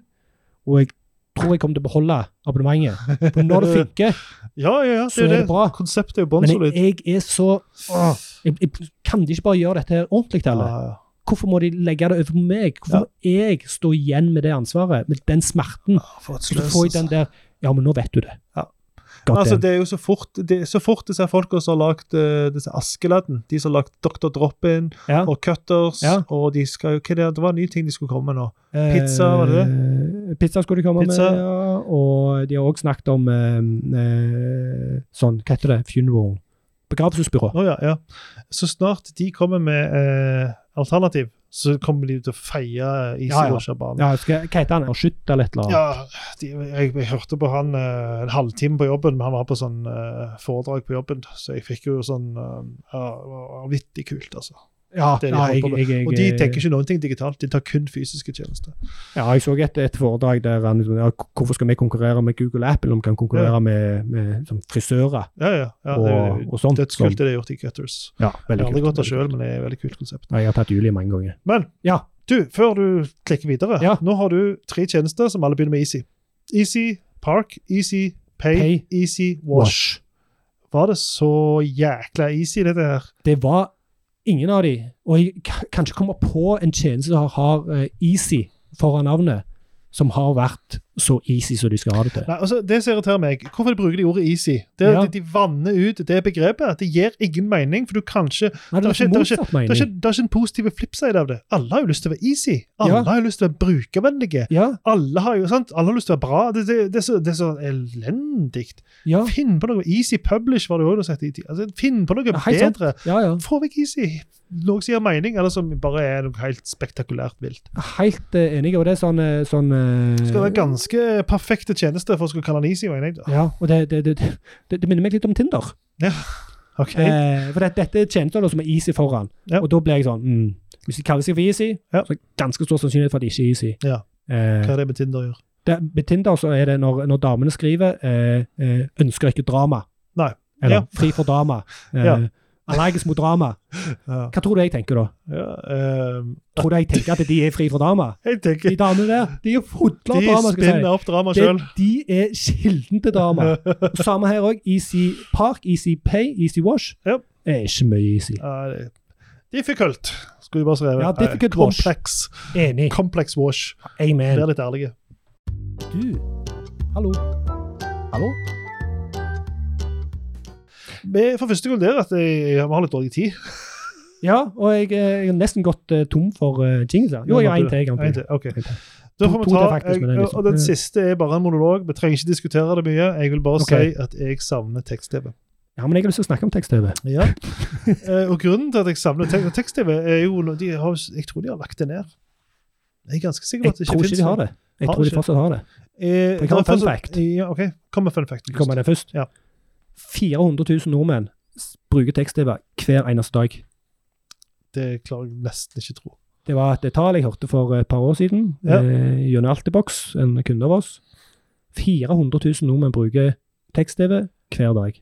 [SPEAKER 1] og jeg tror jeg kommer til å beholde abonnementet. For
[SPEAKER 2] <laughs>
[SPEAKER 1] når det funker,
[SPEAKER 2] Ja, ja, ja.
[SPEAKER 1] så
[SPEAKER 2] Det er det.
[SPEAKER 1] bra.
[SPEAKER 2] Konseptet er jo bånn
[SPEAKER 1] Men
[SPEAKER 2] solid.
[SPEAKER 1] jeg, jeg er så åh, jeg, jeg, Kan de ikke bare gjøre dette her ordentlig?
[SPEAKER 2] Ja,
[SPEAKER 1] Eller?
[SPEAKER 2] ja.
[SPEAKER 1] Hvorfor må de legge det over på meg? Hvorfor må jeg stå igjen med det ansvaret, med den smerten?
[SPEAKER 2] For et
[SPEAKER 1] Så du
[SPEAKER 2] sløs,
[SPEAKER 1] får jeg
[SPEAKER 2] altså.
[SPEAKER 1] den der Ja, men nå vet du det.
[SPEAKER 2] Ja.
[SPEAKER 1] God
[SPEAKER 2] Altså,
[SPEAKER 1] damn.
[SPEAKER 2] det er jo så fort, det, så fort disse folka som har lagd eh, disse Askeladden, de som har lagd Dr. Drop-In
[SPEAKER 1] Ja.
[SPEAKER 2] og Cutters
[SPEAKER 1] Ja.
[SPEAKER 2] og de skal jo, hva er det, det var en ny ting de skulle komme med nå. pizza, var det
[SPEAKER 1] Eh, Pizza skulle de komme
[SPEAKER 2] Pizza.
[SPEAKER 1] med, ja. Og de har også snakket om eh, eh, sånn, hva heter det, funeral Begravelsesbyrå.
[SPEAKER 2] Å ja, ja. Så snart de kommer med eh, alternativ, så kommer de til å feie Easy
[SPEAKER 1] Ja, ja.
[SPEAKER 2] Washer-banen. Ja,
[SPEAKER 1] Ja, skal, hva heter han? Skytt eller et eller annet?
[SPEAKER 2] de, jeg, jeg hørte på han eh, en halvtime på jobben, men han var på sånn eh, foredrag på jobben, så jeg fikk jo sånn eh, ja, det var Vanvittig kult, altså.
[SPEAKER 1] Ja,
[SPEAKER 2] Det er de
[SPEAKER 1] nei,
[SPEAKER 2] holdt på
[SPEAKER 1] jeg,
[SPEAKER 2] med.
[SPEAKER 1] jeg, jeg, eh,
[SPEAKER 2] Og de tenker ikke noen ting digitalt, de tar kun fysiske tjenester.
[SPEAKER 1] Ja, jeg så et, et foredrag der han liksom, ja, Hvorfor skal vi konkurrere med Google og Apple om vi kan konkurrere med, med sånn frisører
[SPEAKER 2] Ja, ja. ja det, er
[SPEAKER 1] og,
[SPEAKER 2] jo-
[SPEAKER 1] og sånt?
[SPEAKER 2] Dødskult er det gjort i Cutters.
[SPEAKER 1] Ja,
[SPEAKER 2] Jeg
[SPEAKER 1] veldig
[SPEAKER 2] har aldri
[SPEAKER 1] kult.
[SPEAKER 2] gått der
[SPEAKER 1] veldig kult.
[SPEAKER 2] sjøl, men det er et veldig kult konsept.
[SPEAKER 1] Ja, jeg har tatt Julie mange ganger.
[SPEAKER 2] Men
[SPEAKER 1] Ja.
[SPEAKER 2] du, før du klikker videre,
[SPEAKER 1] Ja.
[SPEAKER 2] nå har du tre tjenester som alle begynner med Easy. Easy Park, Easy Pay,
[SPEAKER 1] Pay.
[SPEAKER 2] Easy Wash. Var det så jækla easy, dette her?
[SPEAKER 1] Det var ingen av de. Og jeg k- kan ikke komme på en tjeneste som har eh, Easy foran navnet, som har vært så easy som de skal ha det til.
[SPEAKER 2] Nei, altså, Det som irriterer meg, hvorfor de bruker de ordet easy? Det er
[SPEAKER 1] Ja.
[SPEAKER 2] at De vanner ut det begrepet. Det gir ingen mening, for du kan ikke
[SPEAKER 1] Nei, det var
[SPEAKER 2] det er
[SPEAKER 1] ikke
[SPEAKER 2] ikke- det er
[SPEAKER 1] motsatt
[SPEAKER 2] det er,
[SPEAKER 1] mening.
[SPEAKER 2] ikke, det er ikke en positiv flipside av det. Alle har jo lyst til å være easy. Alle
[SPEAKER 1] Ja.
[SPEAKER 2] har jo lyst til å være brukervennlige.
[SPEAKER 1] Ja,
[SPEAKER 2] Alle har jo, sant? Alle har lyst til å være bra. Det, det, det, er, så, det er så elendig.
[SPEAKER 1] ja,
[SPEAKER 2] Finn på noe Easy Publish, var det jo du sa i tid. Altså, finn på noe
[SPEAKER 1] Ja, helt sant.
[SPEAKER 2] bedre.
[SPEAKER 1] ja, ja.
[SPEAKER 2] Få vekk Easy. Noe som gir mening, eller som bare er noe helt spektakulært vilt.
[SPEAKER 1] Helt eh, enig. Og det er sånn, eh, sånn eh,
[SPEAKER 2] Det skal være ganske perfekte tjenester for å skulle kalle den Easy, mener jeg. da.
[SPEAKER 1] ja, og det, det, det, det, det minner meg litt om Tinder.
[SPEAKER 2] Ok,
[SPEAKER 1] Eh, for det, dette er tjenester da, som er easy foran.
[SPEAKER 2] Ja.
[SPEAKER 1] Og da blir jeg sånn mm, Hvis de kaller seg for easy,
[SPEAKER 2] Ja.
[SPEAKER 1] så er det ganske stor sannsynlighet for at de ikke er easy.
[SPEAKER 2] Ja.
[SPEAKER 1] Eh,
[SPEAKER 2] Hva er det med Tinder gjør?
[SPEAKER 1] det, med Tinder så er det når, når damene skriver eh, eh, 'ønsker ikke drama'.
[SPEAKER 2] Nei.
[SPEAKER 1] Eller
[SPEAKER 2] Ja.
[SPEAKER 1] 'fri for drama'.
[SPEAKER 2] <laughs>
[SPEAKER 1] Eh,
[SPEAKER 2] Ja.
[SPEAKER 1] Allergisk mot drama.
[SPEAKER 2] Ja.
[SPEAKER 1] Hva tror du jeg tenker da?
[SPEAKER 2] Ja, ehm,
[SPEAKER 1] Tror du jeg tenker at de er fri for drama?
[SPEAKER 2] jeg
[SPEAKER 1] De
[SPEAKER 2] tenker
[SPEAKER 1] damene der de er
[SPEAKER 2] de
[SPEAKER 1] fodla av drama. skal jeg
[SPEAKER 2] spinner opp drama
[SPEAKER 1] si. Det,
[SPEAKER 2] sjøl.
[SPEAKER 1] de er kilden til
[SPEAKER 2] <laughs>
[SPEAKER 1] drama. Og Samme her òg. Easy Park, Easy Pay, Easy Wash.
[SPEAKER 2] Ja.
[SPEAKER 1] Det er ikke mye easy.
[SPEAKER 2] Difficult, skulle vi bare skrevet.
[SPEAKER 1] Ja, difficult
[SPEAKER 2] Eh,
[SPEAKER 1] wash.
[SPEAKER 2] Complex,
[SPEAKER 1] Enig.
[SPEAKER 2] complex wash.
[SPEAKER 1] Amen.
[SPEAKER 2] Vær litt ærlige.
[SPEAKER 4] Du, hallo. Hallo?
[SPEAKER 2] Vi- For første gang der at jeg, vi har litt dårlig tid.
[SPEAKER 1] Ja, og jeg, eh, jeg har nesten gått eh, tom for uh, jingler. Jo, jeg har én til. jeg har en
[SPEAKER 2] En
[SPEAKER 1] til.
[SPEAKER 2] til, ok.
[SPEAKER 1] En til.
[SPEAKER 2] Da
[SPEAKER 1] To-
[SPEAKER 2] får vi
[SPEAKER 1] to
[SPEAKER 2] ta,
[SPEAKER 1] til faktisk, men det er
[SPEAKER 2] jeg,
[SPEAKER 1] liksom-
[SPEAKER 2] og den
[SPEAKER 1] ja.
[SPEAKER 2] siste er bare en monolog. Vi trenger ikke diskutere det mye. Jeg vil bare
[SPEAKER 1] Ok.
[SPEAKER 2] si at jeg savner tekst-TV.
[SPEAKER 1] Ja, men jeg har lyst til å snakke om tekst-TV. <laughs>
[SPEAKER 2] Ja. Eh, og grunnen til at jeg savner tek- tekst-TV, er jo no- de har, Jeg tror de har lagt det ned. Jeg er ganske sikker på
[SPEAKER 1] Jeg
[SPEAKER 2] at det
[SPEAKER 1] tror
[SPEAKER 2] ikke
[SPEAKER 1] ikke
[SPEAKER 2] finnes. sånn.
[SPEAKER 1] de har det. Jeg
[SPEAKER 2] Har
[SPEAKER 1] tror de
[SPEAKER 2] ikke.
[SPEAKER 1] fortsatt har det.
[SPEAKER 2] Eh,
[SPEAKER 1] Jeg har en
[SPEAKER 2] det er
[SPEAKER 1] fun
[SPEAKER 2] fortsatt-
[SPEAKER 1] fact.
[SPEAKER 2] Ja, ok. Kom med fun fact.
[SPEAKER 1] Kommer med den først?
[SPEAKER 2] Ja.
[SPEAKER 1] 400 000 nordmenn s- bruker tekst-TV hver eneste dag.
[SPEAKER 2] Det klarer jeg nesten ikke å tro.
[SPEAKER 1] Det var et tall jeg hørte for et par år siden
[SPEAKER 2] Ja.
[SPEAKER 1] eh, gjennom Altibox, en kunde av oss. 400 000 nordmenn bruker tekst-TV hver dag.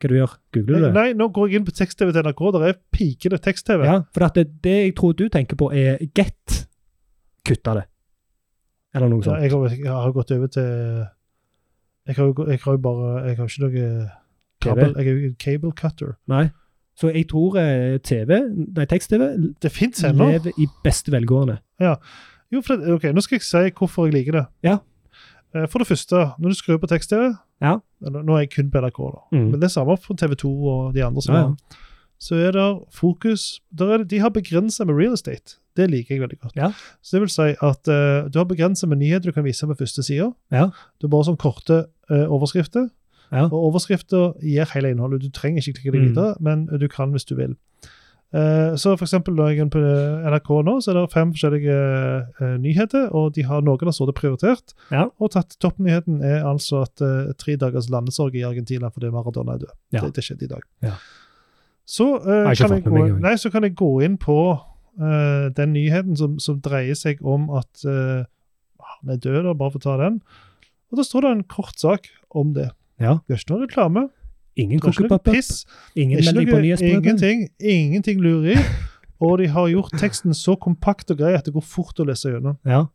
[SPEAKER 1] Hva du gjør? Googler du det?
[SPEAKER 2] Eh, Nei, nå går jeg inn på tekst-TV til NRK. Der er pikende tekst-TV.
[SPEAKER 1] Ja, for at det, det jeg tror du tenker på, er Get. Kutta det. eller noe
[SPEAKER 2] Ja,
[SPEAKER 1] sånt.
[SPEAKER 2] jeg, har, jeg har gått over til Jeg har jo gå- jeg har jo bare Jeg har ikke noe kabel, Jeg er jo en cable cutter.
[SPEAKER 1] Nei. Så jeg tror eh, TV, nei, tekst-TV
[SPEAKER 2] Det fins ennå.
[SPEAKER 1] lever i beste velgående.
[SPEAKER 2] Jo, for det, ok, Nå skal jeg si hvorfor jeg liker det.
[SPEAKER 1] Ja.
[SPEAKER 2] Eh, For det første, når du skrur på tekst-TV
[SPEAKER 1] Ja.
[SPEAKER 2] eller Nå er jeg kun på NRK, da.
[SPEAKER 1] Mm.
[SPEAKER 2] Men det er samme for TV 2 og de andre. som
[SPEAKER 1] Ja,
[SPEAKER 2] er. Så er det fokus der er det, De har begrensa med real estate. Det liker jeg veldig godt.
[SPEAKER 1] Ja.
[SPEAKER 2] Så det vil si at eh, du har begrensa med nyheter du kan vise på første sida.
[SPEAKER 1] Ja.
[SPEAKER 2] Du har bare sånn korte eh, overskrifter.
[SPEAKER 1] Ja.
[SPEAKER 2] Og overskrifter gir hele innholdet. Du trenger ikke klikke deg
[SPEAKER 1] Mm.
[SPEAKER 2] videre, men du kan hvis du vil. Eh, så for eksempel, når jeg er på NRK nå, så er det fem forskjellige eh, nyheter, og de har noen har sittet prioritert.
[SPEAKER 1] Ja.
[SPEAKER 2] Og tatt toppnyheten er altså at eh, tre dagers landesorg i Argentina fordi Maradona er død.
[SPEAKER 1] Ja.
[SPEAKER 2] Det, det skjedde i dag.
[SPEAKER 1] Ja.
[SPEAKER 2] Så, eh,
[SPEAKER 1] Har ikke
[SPEAKER 2] kan
[SPEAKER 1] fått
[SPEAKER 2] jeg
[SPEAKER 1] med
[SPEAKER 2] gå,
[SPEAKER 1] meg engang.
[SPEAKER 2] nei, så kan jeg gå inn på eh, den nyheten som, som dreier seg om at eh, han er død, da, bare for å ta den. Og da står det en kort sak om det.
[SPEAKER 1] Ja.
[SPEAKER 2] Gjør ikke noe reklame.
[SPEAKER 1] Ingen
[SPEAKER 2] Gjør ikke noe
[SPEAKER 1] kokkepapper,
[SPEAKER 2] piss.
[SPEAKER 1] ingen
[SPEAKER 2] Ikke
[SPEAKER 1] melding på
[SPEAKER 2] noe,
[SPEAKER 1] nyhetsbrevet.
[SPEAKER 2] ingenting, ingenting lurer i. Og de har gjort teksten så kompakt og grei at det går fort å lese gjennom.
[SPEAKER 1] Ja.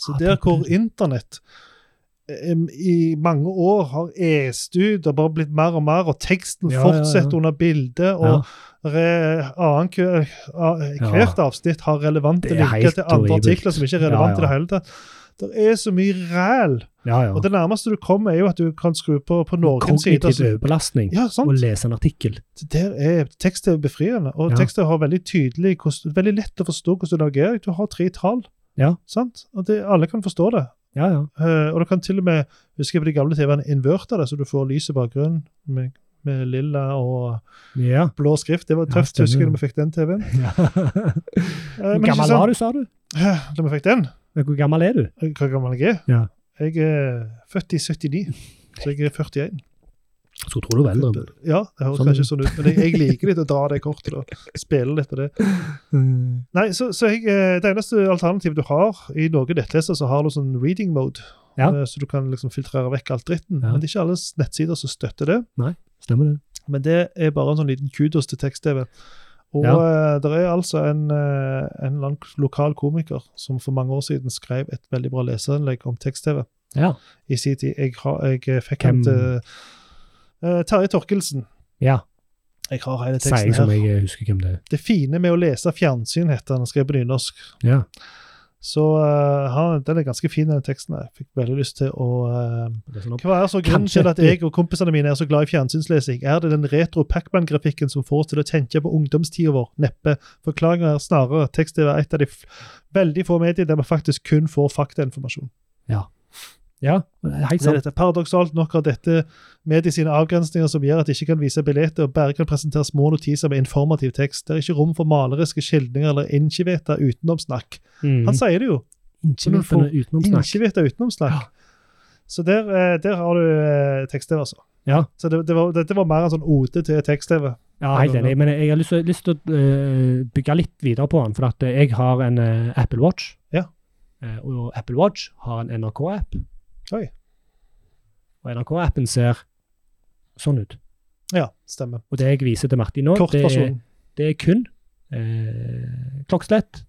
[SPEAKER 2] Så
[SPEAKER 1] Ah,
[SPEAKER 2] der
[SPEAKER 1] tenk på
[SPEAKER 2] hvor internett em, i mange år har est ut og bare blitt mer og mer, og teksten
[SPEAKER 1] Ja, ja, ja.
[SPEAKER 2] fortsetter under bildet, og re, annen, kø- a- hvert avsnitt har relevante
[SPEAKER 1] Det er
[SPEAKER 2] linker
[SPEAKER 1] helt
[SPEAKER 2] til andre
[SPEAKER 1] horribelt.
[SPEAKER 2] artikler som ikke er relevante i
[SPEAKER 1] Ja, ja.
[SPEAKER 2] det hele tatt. Det er så mye ræl.
[SPEAKER 1] Ja, ja.
[SPEAKER 2] Og det nærmeste du kommer, er jo at du kan skru på på noen sider.
[SPEAKER 1] Kognitiv
[SPEAKER 2] så-
[SPEAKER 1] overbelastning.
[SPEAKER 2] Ja, sant?
[SPEAKER 1] Å lese en artikkel.
[SPEAKER 2] Det der er tekst-TV befriende, og
[SPEAKER 1] Ja.
[SPEAKER 2] tekst-TV har veldig tydelig, hvordan- veldig lett å forstå hvordan du navigerer. Du har tre tall,
[SPEAKER 1] Ja.
[SPEAKER 2] sant? Og det, alle kan forstå det.
[SPEAKER 1] Ja, ja.
[SPEAKER 2] Eh, og du kan til og med, husker jeg på de gamle TV-ene, inverter det, så du får lys i bakgrunnen med, med lilla og
[SPEAKER 1] ja.
[SPEAKER 2] blå skrift. Det var
[SPEAKER 1] Ja,
[SPEAKER 2] tøft,
[SPEAKER 1] stemmer.
[SPEAKER 2] husker jeg da vi fikk den TV-en. Eh,
[SPEAKER 1] Hvor
[SPEAKER 2] men ikke
[SPEAKER 1] gammel
[SPEAKER 2] sant?
[SPEAKER 1] var du, sa du?
[SPEAKER 2] Da vi fikk den,
[SPEAKER 1] Hvor gammel er du?
[SPEAKER 2] eh, hvor gammel jeg er?
[SPEAKER 1] Ja.
[SPEAKER 2] Jeg er født i 79, så jeg er 41.
[SPEAKER 1] Jeg skulle tro du var eldre.
[SPEAKER 2] Ja, det høres
[SPEAKER 1] Sånn.
[SPEAKER 2] kanskje sånn ut, men jeg, jeg liker litt å dra det kortet og spille litt på det.
[SPEAKER 1] men-
[SPEAKER 2] Nei, så, så jeg, eh, Det eneste alternativet du har i noen nettleser, så har du sånn reading mode.
[SPEAKER 1] Ja.
[SPEAKER 2] Eh, Så du kan liksom filtrere vekk alt dritten.
[SPEAKER 1] Ja.
[SPEAKER 2] Men det er ikke alle s- nettsider som støtter det.
[SPEAKER 1] Stemmer det.
[SPEAKER 2] Men det er bare en sånn liten kudos til tekst-TV. Og det er altså en, eh, en lang- lokal komiker som for mange år siden skrev et veldig bra leserinnlegg om tekst-TV.
[SPEAKER 1] Ja.
[SPEAKER 2] I sin tid. Jeg, har, jeg eh, fikk
[SPEAKER 1] Hvem?
[SPEAKER 2] ham til eh, Terje Torkelsen.
[SPEAKER 1] ja.
[SPEAKER 2] Jeg har hele
[SPEAKER 1] Sier jeg
[SPEAKER 2] teksten
[SPEAKER 1] som
[SPEAKER 2] her.
[SPEAKER 1] jeg husker hvem det er.
[SPEAKER 2] Det fine med å lese fjernsyn, heter han, og skrev på nynorsk.
[SPEAKER 1] Ja.
[SPEAKER 2] Så eh, han, den er ganske fin, den teksten. her. Jeg fikk veldig lyst til å eh,
[SPEAKER 1] Det er sånn opp-
[SPEAKER 2] Hva er så grunnen
[SPEAKER 1] Kanskje
[SPEAKER 2] til at jeg og kompisene mine er så glad i fjernsynslesing? Er det den retro Pacman-grafikken som får oss til å tenke på ungdomstida vår? Neppe. Forklaringer er snarere tekst-TV er et av de f veldig få medier der vi faktisk kun får faktainformasjon.
[SPEAKER 1] Ja, det er helt
[SPEAKER 2] Det er
[SPEAKER 1] sant.
[SPEAKER 2] dette. Paradoksalt nok har dette mediet sine avgrensninger som gjør at de ikke kan vise billetter og bare kan presentere små notiser med informativ tekst. Det er ikke rom for maleriske skildringer eller innkiveta utenomsnakk.
[SPEAKER 1] Mm.
[SPEAKER 2] Han sier det jo.
[SPEAKER 1] Ikke
[SPEAKER 2] men for-
[SPEAKER 1] vite utenom snakk.
[SPEAKER 2] Ikke vite utenomsnakk. Så der, eh, der har du eh, tekst-TV, altså.
[SPEAKER 1] Ja.
[SPEAKER 2] Så det, det var, dette var mer en sånn OD til tekst-TV.
[SPEAKER 1] Ja, helt enig. Men jeg har lyst til- lyst til å eh, bygge litt videre på den. For at eh, jeg har en eh, Apple Watch.
[SPEAKER 2] Ja.
[SPEAKER 1] Eh, og Apple Watch har en NRK-app.
[SPEAKER 2] Oi.
[SPEAKER 1] Og NRK-appen ser sånn ut.
[SPEAKER 2] Ja, stemmer.
[SPEAKER 1] Og det jeg viser til Martin nå,
[SPEAKER 2] Kort
[SPEAKER 1] det er,
[SPEAKER 2] versjon.
[SPEAKER 1] det er kun eh, klokkeslett,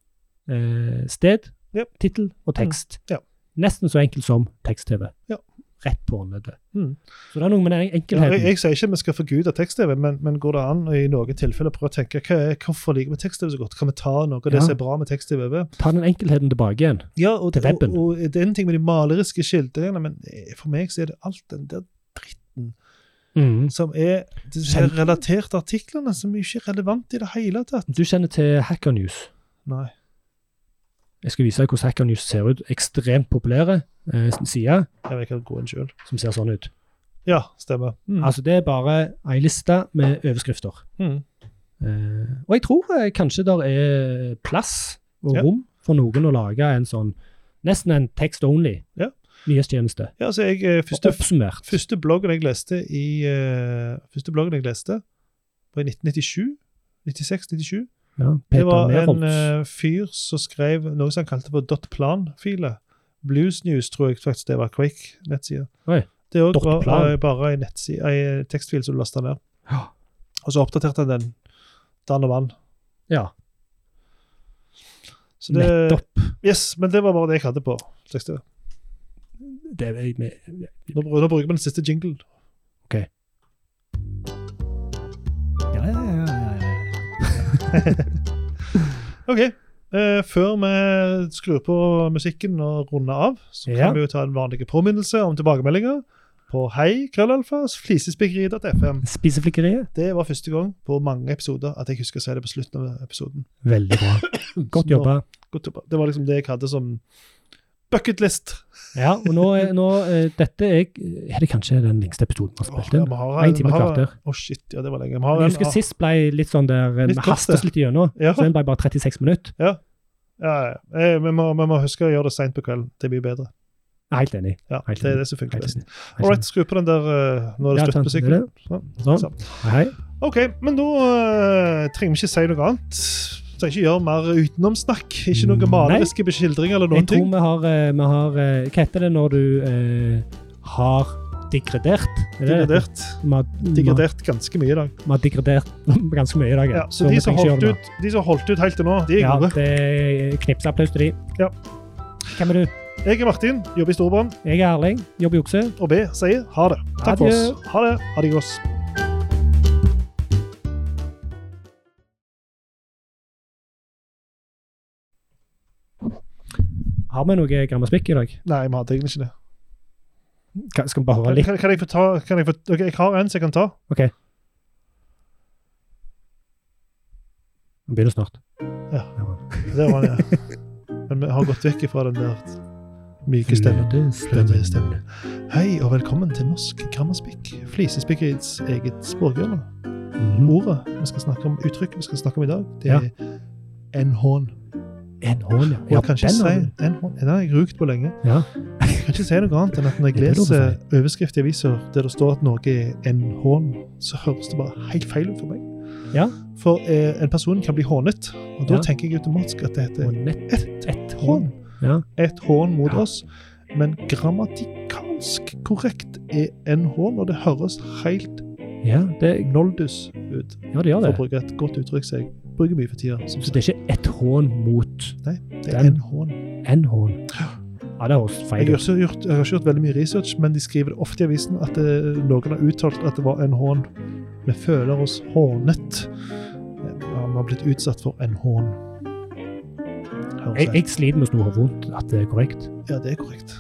[SPEAKER 1] eh, sted,
[SPEAKER 2] Yep.
[SPEAKER 1] tittel og tekst.
[SPEAKER 2] Mm. Ja.
[SPEAKER 1] Nesten så enkelt som tekst-TV.
[SPEAKER 2] Ja.
[SPEAKER 1] Rett på åndleddet.
[SPEAKER 2] Mm.
[SPEAKER 1] Så det er noe med den
[SPEAKER 2] Ja, jeg,
[SPEAKER 1] enkelheten.
[SPEAKER 2] jeg sier ikke vi skal forgude tekst-TV, men, men går det an å i noen tilfeller prøve å tenke hva er, hvorfor liker vi tekst-TV så godt? Kan vi ta noe av det
[SPEAKER 1] Ja.
[SPEAKER 2] som er bra med tekst-TV? ved?
[SPEAKER 1] Ta den enkelheten tilbake igjen.
[SPEAKER 2] Ja, og,
[SPEAKER 1] Til
[SPEAKER 2] og,
[SPEAKER 1] webben.
[SPEAKER 2] og det er en ting med de maleriske skildringene, men eh, for meg så er det alt den der dritten
[SPEAKER 1] Mm.
[SPEAKER 2] som er disse her relaterte artiklene, som er ikke er relevante i det hele tatt.
[SPEAKER 1] Du kjenner til Hacker News.
[SPEAKER 2] Nei.
[SPEAKER 1] Jeg skal vise deg hvordan Hacker News ser ut. Ekstremt populære eh, sider
[SPEAKER 2] Jeg vet ikke om gå inn sjøl.
[SPEAKER 1] som ser sånn ut.
[SPEAKER 2] Ja, stemmer. Mm.
[SPEAKER 1] Altså, det er bare ei liste med overskrifter.
[SPEAKER 2] Mm.
[SPEAKER 1] Eh, og jeg tror eh, kanskje der er plass og
[SPEAKER 2] Ja.
[SPEAKER 1] rom for noen å lage en sånn Nesten en text only
[SPEAKER 2] Ja.
[SPEAKER 1] nyhetstjeneste.
[SPEAKER 2] Ja, så jeg, eh, første,
[SPEAKER 1] Første, oppsummert.
[SPEAKER 2] Første bloggen jeg leste i eh, Første bloggen jeg leste var i 1997. 96-97.
[SPEAKER 1] ja,
[SPEAKER 2] Det
[SPEAKER 1] Peter
[SPEAKER 2] var en
[SPEAKER 1] Nerholz. <gasps>
[SPEAKER 2] eh, fyr som skrev noe som han kalte for .plan-file. Blues News tror jeg faktisk det var Quake-nettsida.
[SPEAKER 1] Oi.
[SPEAKER 2] Det òg var
[SPEAKER 1] .plan.
[SPEAKER 2] eh, bare ei nettside- ei tekstfil som du lasta ned.
[SPEAKER 1] Ja.
[SPEAKER 2] Og så oppdaterte han den. Dan og vann.
[SPEAKER 1] ja.
[SPEAKER 2] Så det,
[SPEAKER 1] Nettopp.
[SPEAKER 2] Yes, men det var bare det jeg hadde på. 60.
[SPEAKER 1] Det er jeg med.
[SPEAKER 2] Nå, bru- nå bruker vi den siste jinglen.
[SPEAKER 4] Ja, ja, ja, ja, ja.
[SPEAKER 2] OK. Eh, før vi skrur på musikken og runder av, så kan
[SPEAKER 1] Ja.
[SPEAKER 2] vi jo ta en vanlig påminnelse om tilbakemeldinger på hei, krøllalfa, flisespikkeri.fm.
[SPEAKER 1] Spiseflikkeriet.
[SPEAKER 2] Det var første gang på mange episoder at jeg husker å si det på slutten av episoden.
[SPEAKER 1] Veldig
[SPEAKER 2] <coughs>
[SPEAKER 1] bra.
[SPEAKER 2] Så
[SPEAKER 1] Godt
[SPEAKER 2] nå-
[SPEAKER 1] jobba.
[SPEAKER 2] Godt jobba. Det var liksom det jeg hadde som bucket list.
[SPEAKER 1] Ja, og nå, er- nå eh, Dette er, er det kanskje den lengste episoden vi har
[SPEAKER 2] Åh,
[SPEAKER 1] spilt inn.
[SPEAKER 2] vi har en-
[SPEAKER 1] Én time
[SPEAKER 2] vi
[SPEAKER 1] og
[SPEAKER 2] har-
[SPEAKER 1] kvarter.
[SPEAKER 2] Å, shit. Ja, det var lenge. Vi har
[SPEAKER 1] Jeg
[SPEAKER 2] en-
[SPEAKER 1] husker sist ble litt sånn der eh,
[SPEAKER 2] Litt
[SPEAKER 1] Vi hastes
[SPEAKER 2] kort,
[SPEAKER 1] litt gjennom,
[SPEAKER 2] Ja.
[SPEAKER 1] så den ble bare 36 minutter.
[SPEAKER 2] Ja, ja. Eh, Vi må, vi må huske å gjøre det seint på kvelden. Det blir bedre.
[SPEAKER 1] Jeg er helt enig.
[SPEAKER 2] Ja,
[SPEAKER 1] Helt
[SPEAKER 2] det er
[SPEAKER 1] enig.
[SPEAKER 2] det som funker
[SPEAKER 1] Helt
[SPEAKER 2] best.
[SPEAKER 1] enig. Helt
[SPEAKER 2] All right,
[SPEAKER 1] enig.
[SPEAKER 2] skru på den der eh, når det
[SPEAKER 1] Ja,
[SPEAKER 2] er slutt
[SPEAKER 1] sant,
[SPEAKER 2] på
[SPEAKER 1] det er
[SPEAKER 2] sykkelen.
[SPEAKER 1] det. Sånn. Hei.
[SPEAKER 2] OK, men da eh, trenger vi ikke si noe annet. Trenger ikke gjøre mer utenomsnakk. Ikke noe maleriske beskildringer eller
[SPEAKER 1] Mm, Jeg
[SPEAKER 2] noen
[SPEAKER 1] tror
[SPEAKER 2] ting.
[SPEAKER 1] vi har, eh, vi har eh, Hva heter det når du eh, har degradert? Er det Mm. det?
[SPEAKER 2] Digradert.
[SPEAKER 1] Vi har- vi har-
[SPEAKER 2] Digradert ganske mye i dag.
[SPEAKER 1] vi har degradert <laughs> ganske mye i dag. ja.
[SPEAKER 2] Ja, så
[SPEAKER 1] vi
[SPEAKER 2] de som,
[SPEAKER 1] trenger ikke gjøre
[SPEAKER 2] holdt
[SPEAKER 1] det nå.
[SPEAKER 2] ut, de som holdt ut helt til nå, de er
[SPEAKER 1] Ja,
[SPEAKER 2] gode.
[SPEAKER 1] det er knipsapplaus til de.
[SPEAKER 2] Ja.
[SPEAKER 1] Hvem er du?
[SPEAKER 2] Jeg er Martin, jobber i Storbrann,
[SPEAKER 1] Jeg er Erling, jobber i okse.
[SPEAKER 2] og B sier ha det. Takk for
[SPEAKER 1] Adjø.
[SPEAKER 2] oss. Ha det. Adios.
[SPEAKER 1] Har vi noe grammaspikk i dag?
[SPEAKER 2] Nei, vi hadde egentlig ikke det.
[SPEAKER 1] Ka- Skal vi bare høre
[SPEAKER 2] Kan,
[SPEAKER 1] litt?
[SPEAKER 2] kan, kan jeg få ta kan jeg, få, ok, jeg har en som jeg kan ta.
[SPEAKER 1] Vi begynner snart.
[SPEAKER 2] Det var den,
[SPEAKER 1] <laughs>
[SPEAKER 2] ja. Men vi har gått vekk fra den der myke stemmen. Fløte stemme. Hei og velkommen til Norsk Grammaspikk, Flisespikkeriets eget språkhjørne.
[SPEAKER 1] Mhm.
[SPEAKER 2] Ordet vi skal snakke om, uttrykket vi skal snakke om i dag, det er NH-en.
[SPEAKER 1] En hånd, ja.
[SPEAKER 2] Og
[SPEAKER 1] ja
[SPEAKER 2] jeg kan ikke
[SPEAKER 1] den har
[SPEAKER 2] si
[SPEAKER 1] du.
[SPEAKER 2] NH-en. Den har jeg rukt på lenge.
[SPEAKER 1] Ja.
[SPEAKER 2] Jeg kan ikke si noe annet enn at når jeg
[SPEAKER 1] Det er lov å
[SPEAKER 2] leser overskrift i aviser der det står at noe er NH-en, så høres det bare helt feil ut for meg.
[SPEAKER 1] Ja.
[SPEAKER 2] For eh, en person kan bli hånet, og da
[SPEAKER 1] Ja.
[SPEAKER 2] tenker jeg automatisk at det heter
[SPEAKER 1] Og nett
[SPEAKER 2] et
[SPEAKER 1] ett hånd.
[SPEAKER 2] hån.
[SPEAKER 1] Ja.
[SPEAKER 2] Et hån mot
[SPEAKER 1] Ja.
[SPEAKER 2] oss. Men grammatikalsk korrekt er en hån, og det høres helt
[SPEAKER 1] Ja, det,
[SPEAKER 2] noldus ut.
[SPEAKER 1] ja, det
[SPEAKER 2] For
[SPEAKER 1] gjør det.
[SPEAKER 2] å bruke et godt uttrykk som jeg bruker mye for tida. Som
[SPEAKER 1] Så det er ikke ett hånd mot
[SPEAKER 2] sagt. det er
[SPEAKER 1] den-
[SPEAKER 2] en hån.
[SPEAKER 1] en hånd. Ja, det høres
[SPEAKER 2] Jeg
[SPEAKER 1] feil
[SPEAKER 2] har,
[SPEAKER 1] ut.
[SPEAKER 2] ikke gjort, jeg har ikke gjort veldig mye research, men de skriver det ofte i avisen at eh, noen har uttalt at det var en hån. Vi føler oss hånet. Eh, Vi har blitt utsatt for en hån. Høres
[SPEAKER 1] Jeg,
[SPEAKER 2] det?
[SPEAKER 1] jeg sliter med å sno vondt at det er korrekt.
[SPEAKER 2] Ja, det er korrekt.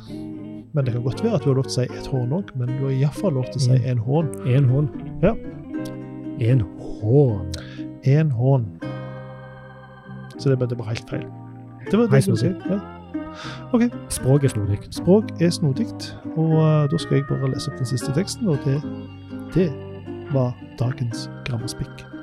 [SPEAKER 2] Men det kan godt være at du har lov til å si et hån òg, men du har iallfall lov til å si
[SPEAKER 1] Mm.
[SPEAKER 2] en hån.
[SPEAKER 1] En hånd.
[SPEAKER 2] Ja.
[SPEAKER 1] En hånd.
[SPEAKER 2] En hån. Så det ble, det var helt feil. Det var det
[SPEAKER 1] Helt
[SPEAKER 2] jeg skulle si.
[SPEAKER 1] snodig.
[SPEAKER 2] Ja.
[SPEAKER 1] Språket er snodig.
[SPEAKER 2] Språk er snodig, og eh, da skal jeg bare lese opp den siste teksten, og det, det var dagens grammaspikk.